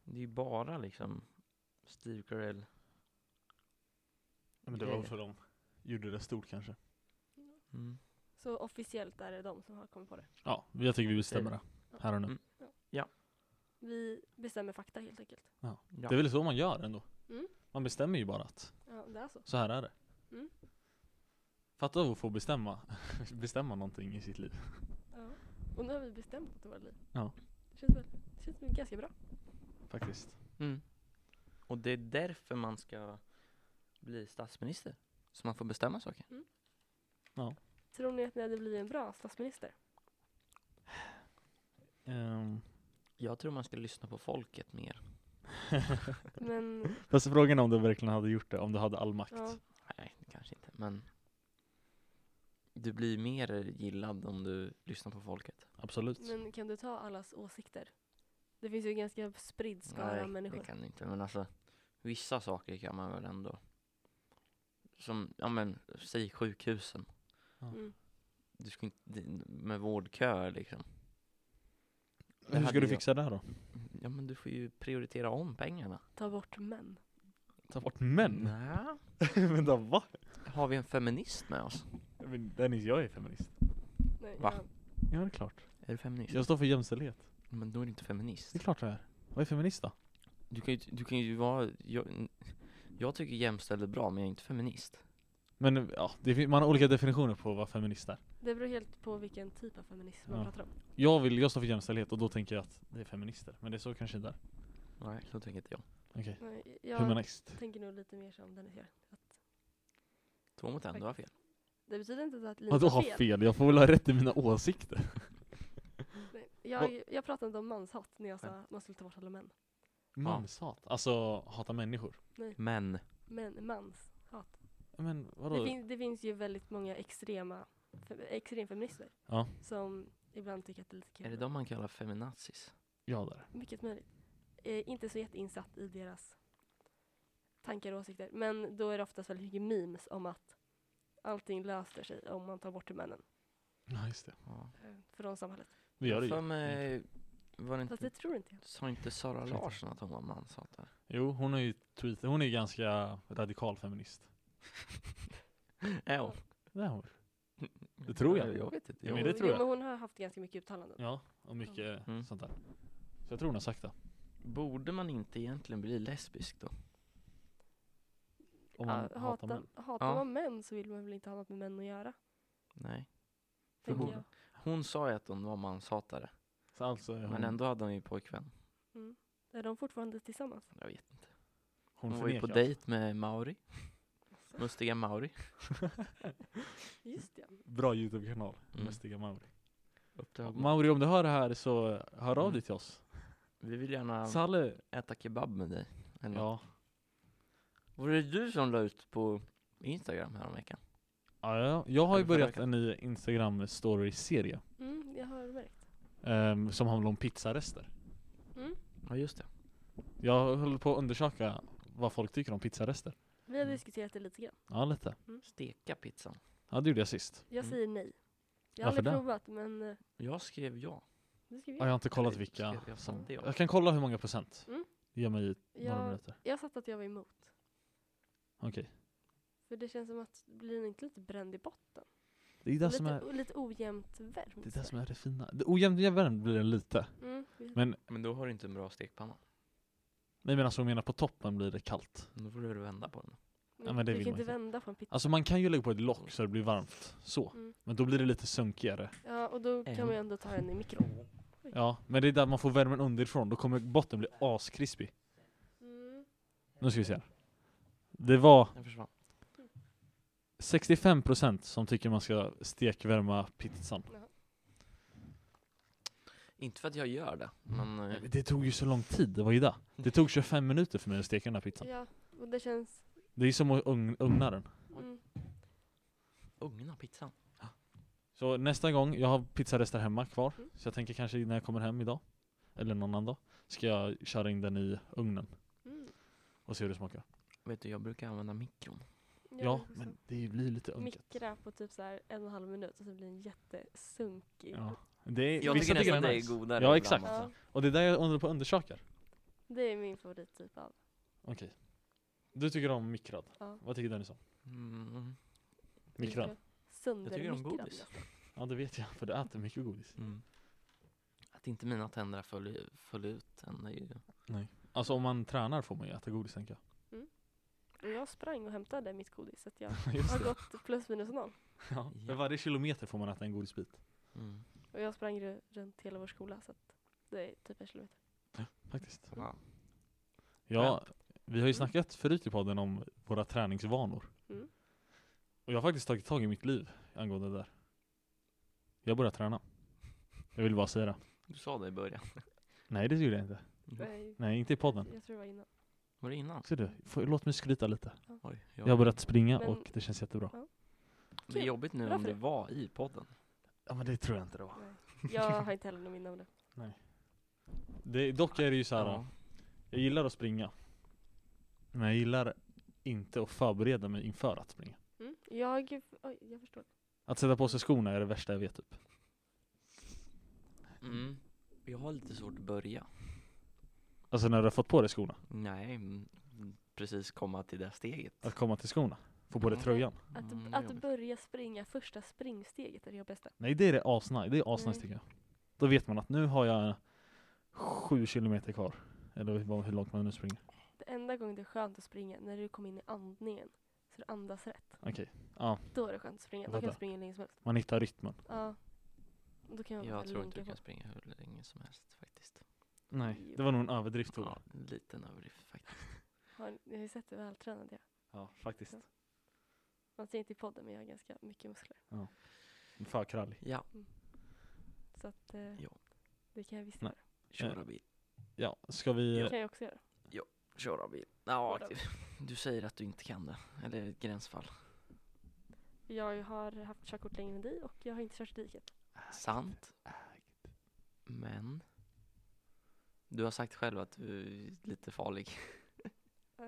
Speaker 2: det är ju bara liksom Steve Carell.
Speaker 1: Men det var
Speaker 2: Grejer.
Speaker 1: för de gjorde det stort kanske.
Speaker 2: Mm.
Speaker 3: Så officiellt är det de som har kommit på det.
Speaker 1: Ja, jag tycker vi bestämmer det. Här och nu.
Speaker 2: Mm.
Speaker 3: Vi bestämmer fakta helt enkelt.
Speaker 2: Ja.
Speaker 1: Det är väl så man gör ändå.
Speaker 3: Mm.
Speaker 1: Man bestämmer ju bara att
Speaker 3: Ja, det är så.
Speaker 1: så här är det.
Speaker 3: Mm.
Speaker 1: Fatta att få bestämma, bestämma någonting i sitt liv.
Speaker 3: Ja. Och nu har vi bestämt att det var liv.
Speaker 1: Ja.
Speaker 3: Det känns väl, det känns väl ganska bra.
Speaker 1: Faktiskt.
Speaker 2: Mm. Och det är därför man ska bli statsminister. Så man får bestämma saker.
Speaker 3: Tror ni att ni hade blivit en bra statsminister?
Speaker 1: Um.
Speaker 2: Jag tror man ska lyssna på folket mer.
Speaker 3: Men
Speaker 1: Fast frågan är om du verkligen hade gjort det, om du hade all makt.
Speaker 3: ja,
Speaker 2: Nej, det kanske inte. Men du blir mer gillad om du lyssnar på folket.
Speaker 1: Absolut.
Speaker 3: men kan du ta allas åsikter? Det finns ju en ganska spridd skara av
Speaker 2: Nej,
Speaker 3: människor.
Speaker 2: det kan du inte. Men alltså, vissa saker kan man väl ändå. Som, ja men, säg sjukhusen.
Speaker 3: Mm.
Speaker 2: Du ska inte, det- med vårdköer liksom. Det
Speaker 1: Hur
Speaker 2: hade
Speaker 1: ska du
Speaker 2: jag.
Speaker 1: fixa det här då?
Speaker 2: Ja men du får ju prioritera om pengarna.
Speaker 3: Ta bort män.
Speaker 1: Ta bort män?
Speaker 2: Nja.
Speaker 1: Vänta, va?
Speaker 2: Har vi en feminist med oss?
Speaker 1: Men Dennis, jag är feminist.
Speaker 3: Nej,
Speaker 2: Va?
Speaker 3: ja.
Speaker 1: Ja, det är klart.
Speaker 2: Är du feminist?
Speaker 1: Jag står för jämställdhet.
Speaker 2: Men då är du inte feminist.
Speaker 1: Det är klart jag är. Vad är feminist då?
Speaker 2: Du kan ju, du kan ju vara, jag, jag tycker jämställd är bra men jag är inte feminist.
Speaker 1: Men ja, det, fin- man har olika definitioner på vad feminist är.
Speaker 3: Det beror helt på vilken typ av feminism man
Speaker 1: Ja.
Speaker 3: pratar om.
Speaker 1: Jag, vill, jag står för jämställdhet och då tänker jag att det är feminister. Men det är så kanske inte är.
Speaker 2: Nej, så tänker inte jag.
Speaker 1: Okej.
Speaker 3: Nej, Jag
Speaker 1: Humanist.
Speaker 3: tänker nog lite mer som Dennis gör. Att
Speaker 2: Två mot en, du har fel.
Speaker 3: det betyder inte att Linus
Speaker 1: Vadå ha
Speaker 3: har fel.
Speaker 1: fel? Jag får väl ha rätt i mina åsikter?
Speaker 3: Nej, Jag, jag pratade inte om manshat när jag sa
Speaker 2: Ja.
Speaker 3: att man skulle ta bort alla män.
Speaker 1: Manshat. Alltså, hata människor.
Speaker 2: Men,
Speaker 3: Men manshat.
Speaker 1: Men vadå?
Speaker 3: Det, fin, det finns ju väldigt många extrema fe, extremfeminister
Speaker 1: Ja.
Speaker 3: som ibland tycker att det är lite kul.
Speaker 2: är det de man kallar feminazis?
Speaker 1: Ja, där.
Speaker 3: Mycket möjligt. Eh, inte så jätteinsatt i deras tankar och åsikter. Men då är det oftast väldigt mycket memes om att allting löser sig om man tar bort männen
Speaker 1: Ja, just det.
Speaker 2: Ja.
Speaker 3: eh, från samhället.
Speaker 1: Vi gör det
Speaker 2: För
Speaker 1: ju.
Speaker 2: mig, eh, var det
Speaker 3: Fast det
Speaker 2: inte,
Speaker 3: tror inte jag.
Speaker 2: sa inte Sara
Speaker 1: Ursäkta.
Speaker 2: Larsson att hon var manshatare?
Speaker 1: Jo, hon är ju tweet, hon är ju ganska radikal feminist.
Speaker 2: Är hon?
Speaker 1: Det är hon. Äh, Det tror jag.
Speaker 2: Jag vet inte.
Speaker 1: Ja, men
Speaker 2: Jag,
Speaker 1: det
Speaker 3: Jo,
Speaker 1: tror
Speaker 3: jo,
Speaker 1: jag.
Speaker 3: Men hon har haft ganska mycket uttalanden.
Speaker 1: Ja, och mycket
Speaker 2: Mm.
Speaker 1: sånt där. Så jag tror hon har sagt det.
Speaker 2: Borde man inte egentligen bli lesbisk då?
Speaker 1: Om man
Speaker 3: Ja,
Speaker 1: hatar män.
Speaker 3: hatar
Speaker 2: Ja.
Speaker 3: man män så vill man väl inte ha något med män att göra?
Speaker 2: Nej.
Speaker 3: Tänker
Speaker 2: hon-
Speaker 3: jag.
Speaker 2: Hon sa ju att hon var manshatare,
Speaker 1: Så alltså är hon,
Speaker 2: men ändå hade hon ju pojkvän.
Speaker 3: Är de fortfarande tillsammans?
Speaker 2: Jag vet inte.
Speaker 1: hon,
Speaker 2: Hon var ju på
Speaker 1: förnekar.
Speaker 2: dejt med Mauri,
Speaker 3: Alltså,
Speaker 2: mustiga Mauri.
Speaker 3: just ja.
Speaker 1: Bra Youtube-kanal,
Speaker 2: Mm.
Speaker 1: Mustiga Mauri.
Speaker 2: Uppdrag.
Speaker 1: Mauri, om du hör det här så hör av
Speaker 2: Mm.
Speaker 1: dig till oss.
Speaker 2: Vi vill gärna
Speaker 1: Salle,
Speaker 2: äta kebab med dig. Eller ja.
Speaker 1: ja.
Speaker 2: Var det du som la ut på Instagram häromveckan?
Speaker 1: Ja, ja. Jag har ju
Speaker 2: Eller förra
Speaker 1: börjat
Speaker 2: veckan.
Speaker 1: en ny Instagram-story-serie
Speaker 3: Mm, jag har märkt.
Speaker 1: ehm, som handlar om pizzarester.
Speaker 3: Mm.
Speaker 2: Ja just det.
Speaker 1: Jag håller på att undersöka vad folk tycker om pizzarester.
Speaker 3: Vi har
Speaker 2: Mm.
Speaker 3: diskuterat det lite grann.
Speaker 1: Ja, lite.
Speaker 2: Steka pizzan.
Speaker 1: Ja, det gjorde jag sist.
Speaker 3: Jag
Speaker 2: Mm.
Speaker 3: säger nej. Jag har
Speaker 1: Varför
Speaker 3: aldrig
Speaker 1: det?
Speaker 3: provat men eh,
Speaker 2: Jag skrev ja.
Speaker 3: det
Speaker 1: Ja,
Speaker 3: ska vi
Speaker 1: jag
Speaker 3: göra.
Speaker 1: har inte kollat
Speaker 2: Eller,
Speaker 1: vilka
Speaker 2: skrev jag
Speaker 1: som...
Speaker 2: det jag?
Speaker 1: Jag kan kolla hur många procent.
Speaker 3: Mm.
Speaker 1: Ge mig några
Speaker 3: Jag,
Speaker 1: minuter.
Speaker 3: jag satt att jag var emot.
Speaker 1: Okej.
Speaker 3: För det känns som att, blir den inte lite bränd i botten?
Speaker 1: Det är det
Speaker 3: Lite,
Speaker 1: som är...
Speaker 3: o- lite ojämnt värmt.
Speaker 1: Det är det som är det fina. Det ojämnt jämnt blir den lite.
Speaker 3: Mm, vi-
Speaker 1: Men,
Speaker 2: Men då har du inte en bra stekpanna.
Speaker 1: nej men alltså om jag menar på toppen blir det kallt.
Speaker 2: Då får du väl vända på den.
Speaker 3: men
Speaker 1: ja, men det
Speaker 3: du
Speaker 1: vill
Speaker 3: kan
Speaker 1: man inte.
Speaker 3: inte vända på en pizza.
Speaker 1: Alltså man kan ju lägga på ett lock så det blir varmt. Så.
Speaker 3: Mm.
Speaker 1: Men då blir det lite sunkigare.
Speaker 3: Ja, och då kan
Speaker 2: En.
Speaker 3: man ju ändå ta den i mikron.
Speaker 1: Ja, men det är där man får värmen underifrån. Då kommer botten bli askrispig.
Speaker 3: Mm.
Speaker 1: Nu ska vi se här. Det var
Speaker 2: Den försvann.
Speaker 1: 65% som tycker man ska stekvärma pizzan.
Speaker 2: Inte för att jag gör det, men eh,
Speaker 1: Det tog ju så lång tid, det var ju det. Det tog 25 minuter för mig att steka den här pizzan.
Speaker 3: Ja, och det känns...
Speaker 1: Det är som att ugn- ugna den.
Speaker 3: Mm.
Speaker 2: ugna pizzan.
Speaker 1: Så nästa gång, jag har pizzarester hemma kvar.
Speaker 3: Mm.
Speaker 1: Så jag tänker kanske när jag kommer hem idag, eller någon annan dag, ska jag köra in den i ugnen
Speaker 3: Mm.
Speaker 1: och se hur det smakar.
Speaker 2: Vet du, jag brukar använda mikron.
Speaker 1: Ja,
Speaker 3: det är så.
Speaker 1: men det blir lite unket.
Speaker 3: Mikra på typ så här en och en halv minut och så blir den jättesunkig.
Speaker 1: Ja. Det är,
Speaker 2: Jag
Speaker 1: vissa
Speaker 2: tycker nästan
Speaker 1: det är
Speaker 2: det är
Speaker 1: nice.
Speaker 2: godare.
Speaker 1: Ja,
Speaker 2: ibland,
Speaker 1: exakt.
Speaker 3: Ja,
Speaker 2: alltså.
Speaker 1: Och det är där jag håller på och undersöker.
Speaker 3: det är min favorittyp av.
Speaker 1: Okej. Du tycker om mikrad?
Speaker 3: Ja.
Speaker 1: Vad tycker Dennis om?
Speaker 2: Mm.
Speaker 1: Mikrad?
Speaker 3: Söndermikrad.
Speaker 2: godis.
Speaker 3: nästan.
Speaker 1: Ja, det vet jag, för du äter mycket godis.
Speaker 2: Mm. Att inte mina tänder föll, föll ut än är ju...
Speaker 1: Alltså om man tränar får man ju äta godis, tänker
Speaker 3: Och jag sprang och hämtade mitt godis så att jag
Speaker 1: jag. Just
Speaker 3: har
Speaker 1: det.
Speaker 3: gått plus minus noll.
Speaker 1: Ja. För
Speaker 2: Ja.
Speaker 1: varje kilometer får man äta en godisbit,
Speaker 2: Mm.
Speaker 3: Och jag sprang ru- runt hela vår skola så att det är typ en kilometer.
Speaker 1: faktiskt.
Speaker 2: Ja.
Speaker 1: Ja, vi har ju snackat förut i podden om våra träningsvanor.
Speaker 3: Mm.
Speaker 1: Och jag har faktiskt tagit tag i mitt liv angående det där. Jag börjar träna. Jag vill bara säga det.
Speaker 2: Du sa det i början.
Speaker 1: Nej, det gjorde jag inte.
Speaker 2: Mm.
Speaker 3: Nej,
Speaker 1: Nej, inte i podden.
Speaker 3: Jag tror det var innan.
Speaker 2: Var det innan?
Speaker 1: Ser du? Får, låt mig skryta lite.
Speaker 2: Oj,
Speaker 1: Jag har börjat springa
Speaker 3: Men-
Speaker 1: och det känns jättebra.
Speaker 2: Det är jobbigt nu
Speaker 3: Bra
Speaker 2: om
Speaker 3: för
Speaker 2: det
Speaker 3: dig.
Speaker 2: var i podden.
Speaker 1: Ja, men det tror jag inte det var.
Speaker 3: Nej. Jag har inte heller någon minne av det.
Speaker 1: Det, dock är det ju så här.
Speaker 2: Ja.
Speaker 1: Jag gillar att springa. Men jag gillar inte att förbereda mig inför att springa.
Speaker 3: Mm. Jag, oj, jag förstår.
Speaker 1: Att sätta på sig skorna är det värsta jag vet typ.
Speaker 2: Mm. Jag har lite svårt att börja.
Speaker 1: Alltså när du har fått på dig skorna.
Speaker 2: Nej, mm, precis komma till det steget.
Speaker 1: Att komma till skorna. Få på dig
Speaker 2: Ja.
Speaker 1: tröjan.
Speaker 3: Att,
Speaker 2: Mm, det är
Speaker 3: att
Speaker 2: jobbigt.
Speaker 3: börja springa första springsteget är det jag bästa.
Speaker 1: Nej det är det asnice, det är asnice
Speaker 3: Mm.
Speaker 1: tycker jag. Då vet man att nu har jag sju kilometer kvar. Eller vad- hur långt man nu springer.
Speaker 3: Det enda gången det är skönt att springa när du kommer in i andningen. Så du andas rätt.
Speaker 1: Okej,
Speaker 3: Då är det skönt att springa. Då kan
Speaker 1: Vadå?
Speaker 3: du springa hur länge som helst.
Speaker 1: man hittar rytmen.
Speaker 3: Ja. Då kan man bara
Speaker 2: Jag tror inte
Speaker 3: linka
Speaker 2: du
Speaker 3: på.
Speaker 2: kan springa hur länge som helst faktiskt.
Speaker 1: Nej, det var nog en överdrift Tove.
Speaker 2: Ja, en liten överdrift faktiskt.
Speaker 3: Har ni- ni har ju sett hur vältränad jag är.
Speaker 1: Ja, faktiskt.
Speaker 3: Man ser inte i podden men jag har ganska mycket muskler.
Speaker 1: För krallig.
Speaker 2: Ja,
Speaker 3: Så att eh,
Speaker 2: Ja.
Speaker 3: det kan jag visst
Speaker 1: Nej.
Speaker 3: göra.
Speaker 1: Eh,
Speaker 2: köra bil.
Speaker 1: Ja, ska
Speaker 3: Det
Speaker 1: vi...
Speaker 3: kan jag också göra.
Speaker 2: Köra bil. Ja, typ.
Speaker 3: Båda.
Speaker 2: du säger att du inte kan det. Eller ett gränsfall.
Speaker 3: Jag har haft körkort längre än dig och jag har inte kört i diket.
Speaker 2: Sant. Men. Du har sagt själv att du är lite farlig.
Speaker 3: Eh,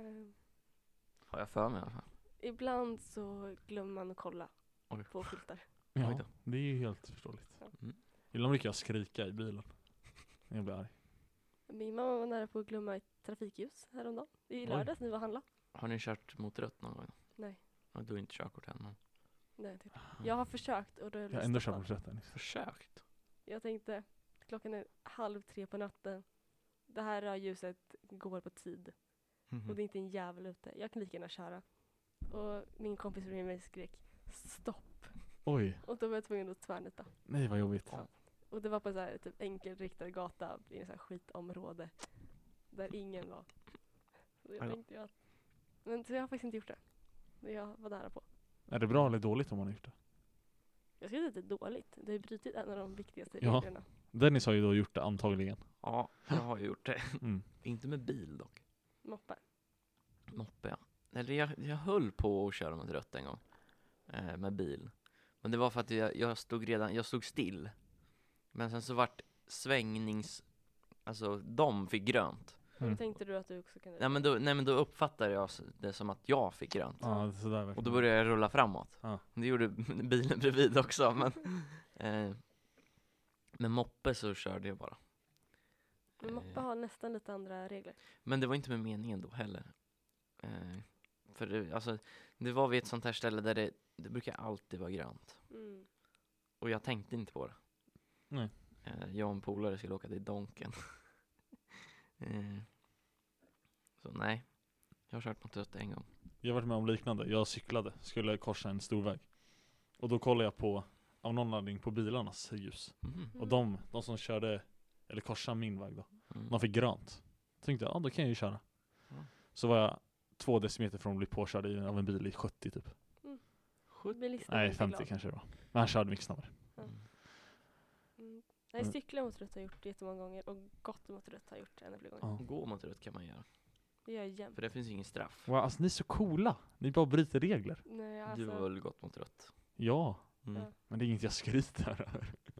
Speaker 2: Har jag för mig i alla fall.
Speaker 3: ibland så glömmer man att kolla
Speaker 2: Oj.
Speaker 3: på skyltar.
Speaker 1: Ja,
Speaker 2: Oj då.
Speaker 1: det är ju helt förståeligt.
Speaker 2: Mm.
Speaker 1: Ibland brukar jag skrika i bilen. När jag blir arg.
Speaker 3: Min mamma var nära på att glömma ett trafikljus häromdagen. I
Speaker 1: Oj.
Speaker 3: lördags när vi var och handla.
Speaker 2: Har ni kört mot rött någon gång?
Speaker 3: Nej.
Speaker 2: Ja, Du har inte körkort än men.
Speaker 3: Nej, typ.
Speaker 2: Ah.
Speaker 3: Jag har försökt och då är
Speaker 1: Jag har ändå
Speaker 3: stoppad.
Speaker 1: körkortsrätt Dennis.
Speaker 2: Försökt.
Speaker 3: Jag tänkte, klockan är halv tre på natten. det här rödljuset går på tid
Speaker 1: Mm.
Speaker 3: och det är inte en jävel ute. Jag kan lika gärna köra. Och min kompis bredvid mig skrek stopp
Speaker 1: Oj,
Speaker 3: och då var jag tvungen att tvärnita.
Speaker 1: nej vad jobbigt.
Speaker 2: Ja.
Speaker 3: Och det var på en så här, typ enkelriktad gata i ett skitområde där ingen var. Så
Speaker 1: Aj
Speaker 3: jag
Speaker 1: då.
Speaker 3: tänkte jag att, men så jag har faktiskt inte gjort det. Men Jag var nära på.
Speaker 1: Är det bra eller dåligt om man har gjort det?
Speaker 3: Jag skulle säga att det är dåligt. Det har ju brutit en av de viktigaste
Speaker 1: Ja.
Speaker 3: reglerna.
Speaker 1: Dennis har ju då gjort det antagligen.
Speaker 2: Ja, jag har ju gjort det.
Speaker 1: Mm.
Speaker 2: Inte med bil dock.
Speaker 3: Moppar.
Speaker 2: Moppe, ja. Eller jag, jag höll på att köra mot rött en gång. Eh, med bil. Men det var för att jag, jag stod redan, jag stod still. Men sen så vart svängnings... Alltså, de fick grönt.
Speaker 3: Och
Speaker 1: Mm.
Speaker 3: då tänkte du att du också kunde...
Speaker 2: Nej men, då, nej men då uppfattade jag s- det som att jag fick grönt.
Speaker 1: Ja, sådär verkligen.
Speaker 2: Och då började jag rulla framåt.
Speaker 1: Mm. Ja.
Speaker 2: Det gjorde bilen bredvid också. Men, eh, med moppe så körde jag bara.
Speaker 3: Men moppe
Speaker 2: Eh.
Speaker 3: har nästan lite andra regler.
Speaker 2: Men det var inte med meningen då heller. Eh, för det, alltså, det var vid ett sånt här ställe där det, det brukar alltid vara grönt.
Speaker 3: Mm.
Speaker 2: Och jag tänkte inte på det.
Speaker 1: Nej.
Speaker 2: Eh, jag och en polare skulle åka till Donken. eh, så nej, jag har kört mot rött en gång.
Speaker 1: Jag har varit med om liknande. Jag cyklade, skulle korsa en stor väg. Och då kollade jag på, av någon anledning, på bilarnas ljus.
Speaker 3: Mm.
Speaker 2: Mhm.
Speaker 1: Och de, de som körde, eller korsade min väg då,
Speaker 2: Mm.
Speaker 1: de fick grönt. Tänkte jag, ja då kan jag ju köra.
Speaker 2: Ja.
Speaker 1: Så var jag två decimeter från att bli påkörd i- av en bil i 70 typ.
Speaker 3: Bilisten
Speaker 1: Nej,
Speaker 3: blir
Speaker 1: 50
Speaker 3: glad.
Speaker 1: kanske det var. Men han körde mycket snabbare.
Speaker 2: Mm.
Speaker 3: Mm. Nej,
Speaker 1: Mm.
Speaker 3: cykla mot rött har jag gjort jättemånga gånger och gått mot rött har jag gjort en eller flera gånger.
Speaker 1: Ja.
Speaker 2: Gå mot rött kan man göra.
Speaker 3: Det gör jag jämt.
Speaker 2: För det finns ju ingen straff.
Speaker 1: Wow, alltså ni är så coola. Ni bara bryter regler.
Speaker 3: Nej,
Speaker 2: Du
Speaker 3: alltså,
Speaker 2: har väl gått mot rött?
Speaker 1: Ja,
Speaker 2: Mm.
Speaker 3: Ja.
Speaker 1: men det är inget jag skryter över.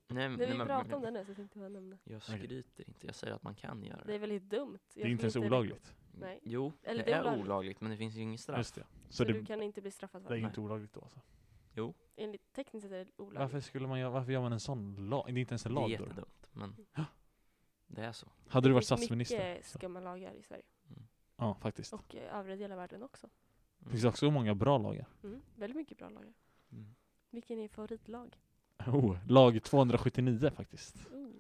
Speaker 2: Nej,
Speaker 3: när vi
Speaker 2: men-
Speaker 3: pratar om det nu så tänkte jag nämna.
Speaker 2: Jag
Speaker 1: Okej.
Speaker 2: skryter inte, jag säger att man kan göra
Speaker 3: Det är
Speaker 2: det.
Speaker 3: väldigt dumt.
Speaker 1: Det är inte ens olagligt.
Speaker 3: Nej.
Speaker 2: Jo,
Speaker 3: Eller
Speaker 2: det
Speaker 3: det är
Speaker 2: är
Speaker 3: olagligt.
Speaker 2: olagligt. men det finns ju ingen straff.
Speaker 1: Just det.
Speaker 3: Så
Speaker 1: Så
Speaker 3: du
Speaker 1: det,
Speaker 3: kan inte bli straffad för
Speaker 1: det är
Speaker 3: det.
Speaker 1: inte olagligt då alltså.
Speaker 3: Enligt tekniskt sett är det olagligt.
Speaker 1: Varför, skulle man göra, varför gör man en sån lag? Det är inte ens en
Speaker 2: Det är
Speaker 1: lag då.
Speaker 2: jättedumt, men det är så. Mm.
Speaker 1: Hade du varit
Speaker 3: finns
Speaker 1: statsminister?
Speaker 3: mycket skumma lagar i Sverige.
Speaker 1: Ja, faktiskt.
Speaker 3: Och eh, övriga delar av världen också.
Speaker 1: Det finns också många bra lagar.
Speaker 3: Mm. Väldigt mycket bra lagar.
Speaker 2: Mm.
Speaker 3: Vilken är er favoritlag?
Speaker 1: Oh, lag 279 faktiskt.
Speaker 3: Oh.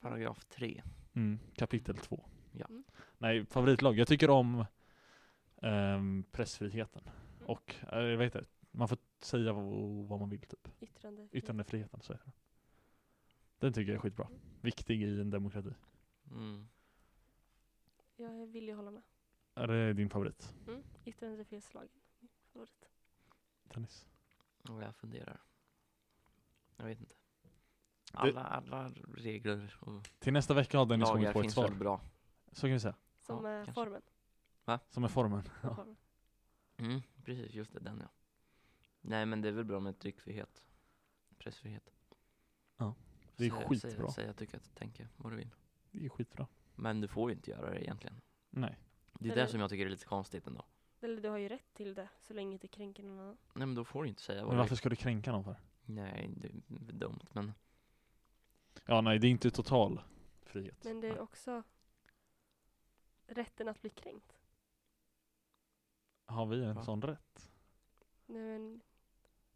Speaker 2: Paragraf 3.
Speaker 1: Mm, kapitel 2.
Speaker 2: Ja.
Speaker 3: Mm.
Speaker 1: Nej, favoritlag. Jag tycker om ehm, pressfriheten. Och, eh, vad heter det? Man får säga vad, vad man vill typ.
Speaker 3: Yttrande.
Speaker 1: Yttrandefriheten, så heter den. Den tycker jag är skitbra. Viktig i en demokrati.
Speaker 2: Mm.
Speaker 3: Jag vill ju hålla med.
Speaker 1: Är det din favorit?
Speaker 3: Mm. Yttrandefrihetslagen. Min favorit.
Speaker 1: Dennis?
Speaker 2: Och jag funderar. Jag vet inte. Alla, alla regler och
Speaker 1: Till nästa vecka har Dennis
Speaker 2: lagar
Speaker 1: kommit på ett
Speaker 2: finns
Speaker 1: svar.
Speaker 2: väl bra.
Speaker 1: Så kan vi säga.
Speaker 3: Som
Speaker 2: Ja,
Speaker 3: eh,
Speaker 2: kanske.
Speaker 3: formen.
Speaker 1: Som är formen.
Speaker 3: Som
Speaker 1: Ja.
Speaker 3: formen.
Speaker 2: Mm, precis, just det, den ja. Nej men det är väl bra med tryckfrihet. Pressfrihet.
Speaker 1: Ja, det är
Speaker 2: Säg-
Speaker 1: skitbra.
Speaker 2: Säg, säg att du kan tänka vad du vill.
Speaker 1: Det är skitbra.
Speaker 2: Men du får ju inte göra det egentligen.
Speaker 1: Nej.
Speaker 2: Det är
Speaker 3: Eller-
Speaker 2: det som jag tycker är lite konstigt ändå.
Speaker 3: Eller du har ju rätt till det så länge det kränker någon annan.
Speaker 2: Nej men då får du inte säga vad
Speaker 1: Men
Speaker 2: du vill.
Speaker 1: varför ska du kränka någon för?
Speaker 2: Nej, det är dumt men
Speaker 1: Ja, nej, det är inte total frihet.
Speaker 3: Men det är också rätten att bli kränkt.
Speaker 1: Har vi en
Speaker 2: Va?
Speaker 1: sån rätt?
Speaker 3: Nej, men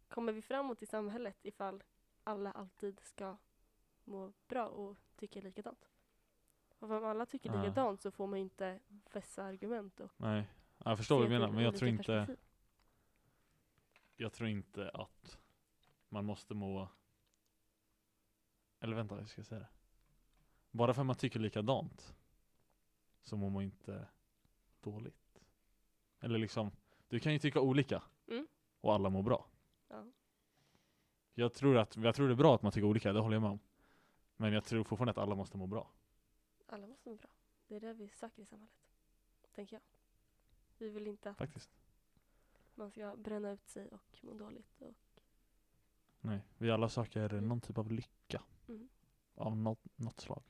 Speaker 3: kommer vi framåt i samhället ifall alla alltid ska må bra och tycka likadant? Och om alla tycker
Speaker 1: Ja.
Speaker 3: likadant så får man ju inte vässa argument. Och
Speaker 1: Nej. Ja, Jag förstår vad
Speaker 3: se
Speaker 1: du menar,
Speaker 3: till
Speaker 1: men jag
Speaker 3: olika
Speaker 1: tror inte,
Speaker 3: perspektiv.
Speaker 1: jag tror inte att man måste må... Eller vänta, hur ska jag säga det? Bara för att man tycker likadant så mår man inte dåligt. Eller liksom, du kan ju tycka olika
Speaker 3: Mm.
Speaker 1: och alla mår bra.
Speaker 3: Ja.
Speaker 1: Jag tror, att, jag tror det är bra att man tycker olika, det håller jag med om. Men jag tror fortfarande att alla måste må bra.
Speaker 3: Alla måste må bra. Det är det vi söker i samhället. Tänker jag. Vi vill inte att
Speaker 1: Faktiskt.
Speaker 3: man ska bränna ut sig och må dåligt. Och
Speaker 1: Nej, vi alla söker
Speaker 3: Mm.
Speaker 1: någon typ av lycka.
Speaker 3: Mm.
Speaker 1: Av något, något slag.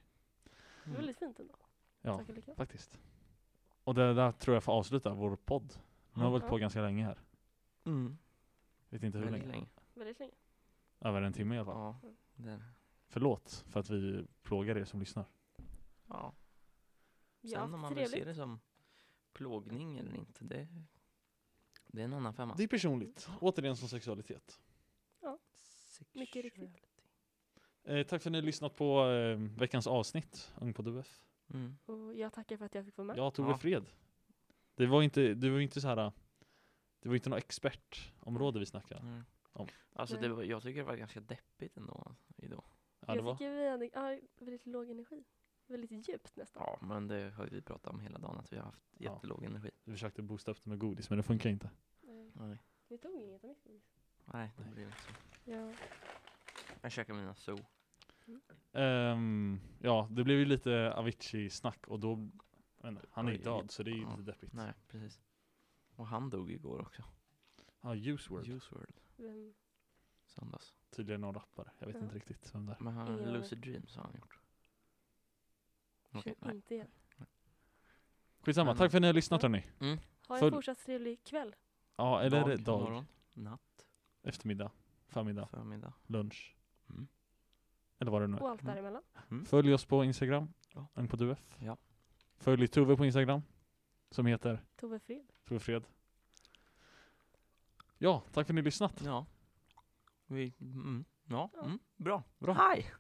Speaker 3: Det är väldigt fint ändå.
Speaker 1: Mm. Ja,
Speaker 3: Söker likadant.
Speaker 1: faktiskt. Och det där tror jag får avsluta vår podd. Nu har vi hållit på
Speaker 3: Ja.
Speaker 1: ganska länge här.
Speaker 2: Mm.
Speaker 1: Vet inte hur
Speaker 2: Väldigt
Speaker 1: länge.
Speaker 2: länge.
Speaker 3: Väldigt länge.
Speaker 1: Över en timme i alla fall.
Speaker 2: Ja, det,
Speaker 1: Förlåt för att vi plågar er som lyssnar.
Speaker 2: ja. Sen
Speaker 3: Ja,
Speaker 2: om man vill se
Speaker 3: trevligt.
Speaker 2: det som plågning eller inte, det, det är en annan femma.
Speaker 1: Det är personligt. Återigen som sexualitet.
Speaker 3: Mycket riktigt.
Speaker 1: Eh, tack för att ni har lyssnat på eh, veckans avsnitt, Ung på DUF.
Speaker 2: Mm.
Speaker 3: Och jag tackar för att jag fick vara med.
Speaker 1: Jag tog
Speaker 2: Ja.
Speaker 1: ja. fred. Det var inte, det var inte så här. Det var inte något expertområde vi snackade.
Speaker 2: Mm.
Speaker 1: Om.
Speaker 2: Alltså
Speaker 3: Nej.
Speaker 2: det var, jag tycker det var ganska deppigt ändå. Idag.
Speaker 1: Ja, det
Speaker 3: jag
Speaker 1: var.
Speaker 3: tycker vi hade ja, väldigt låg energi. Väldigt djupt nästan.
Speaker 2: Ja, men det har ju vi pratat om hela dagen, att vi har haft
Speaker 1: Ja.
Speaker 2: jättelåg energi.
Speaker 1: Vi försökte boosta upp det med godis, men det funkar inte.
Speaker 3: Eh,
Speaker 2: Nej,
Speaker 3: Vi tog inget av mitt godis.
Speaker 2: Nej det
Speaker 1: Nej.
Speaker 2: blir inte så.
Speaker 3: Ja.
Speaker 2: Jag käkar mina so.
Speaker 1: Ehm, ja, det blev ju lite Avicii-snack och då, jag vet inte, han är ju
Speaker 2: Oj.
Speaker 1: död så det är ju
Speaker 2: Ja.
Speaker 1: lite deppigt.
Speaker 2: Nej, precis. Och han dog igår också.
Speaker 1: Ja, Juice WRLD,
Speaker 2: Juice WRLD,
Speaker 3: Vem,
Speaker 2: söndags.
Speaker 1: tydligen någon rappare. Jag vet
Speaker 3: Ja.
Speaker 1: inte riktigt vem det är.
Speaker 2: Men han,
Speaker 3: Ingen aning.
Speaker 2: Lucid Dreams har han gjort. Okej,
Speaker 3: känner
Speaker 2: nej.
Speaker 3: inte igen.
Speaker 1: Skitsamma,
Speaker 2: Men-
Speaker 1: tack för att ni har lyssnat hörni.
Speaker 3: Ha en
Speaker 1: Full-
Speaker 3: fortsatt trevlig kväll.
Speaker 1: Ja, eller dag,
Speaker 2: morgon, natt,
Speaker 1: eftermiddag, förmiddag,
Speaker 2: förmiddag.
Speaker 1: lunch.
Speaker 2: Mm.
Speaker 1: Eller vad det nu är.
Speaker 3: Och allt
Speaker 2: Mm.
Speaker 3: däremellan.
Speaker 1: Följ oss på Instagram,
Speaker 2: Ja.
Speaker 1: en på duef.
Speaker 2: Ja.
Speaker 1: Följ Tove på Instagram, som heter
Speaker 3: Tove Fred.
Speaker 1: Tove Fred. Ja, tack för att ni har lyssnat.
Speaker 2: Ja. Vi, mm, ja,
Speaker 3: Ja.
Speaker 2: mm, bra.
Speaker 1: Bra.
Speaker 2: Hej!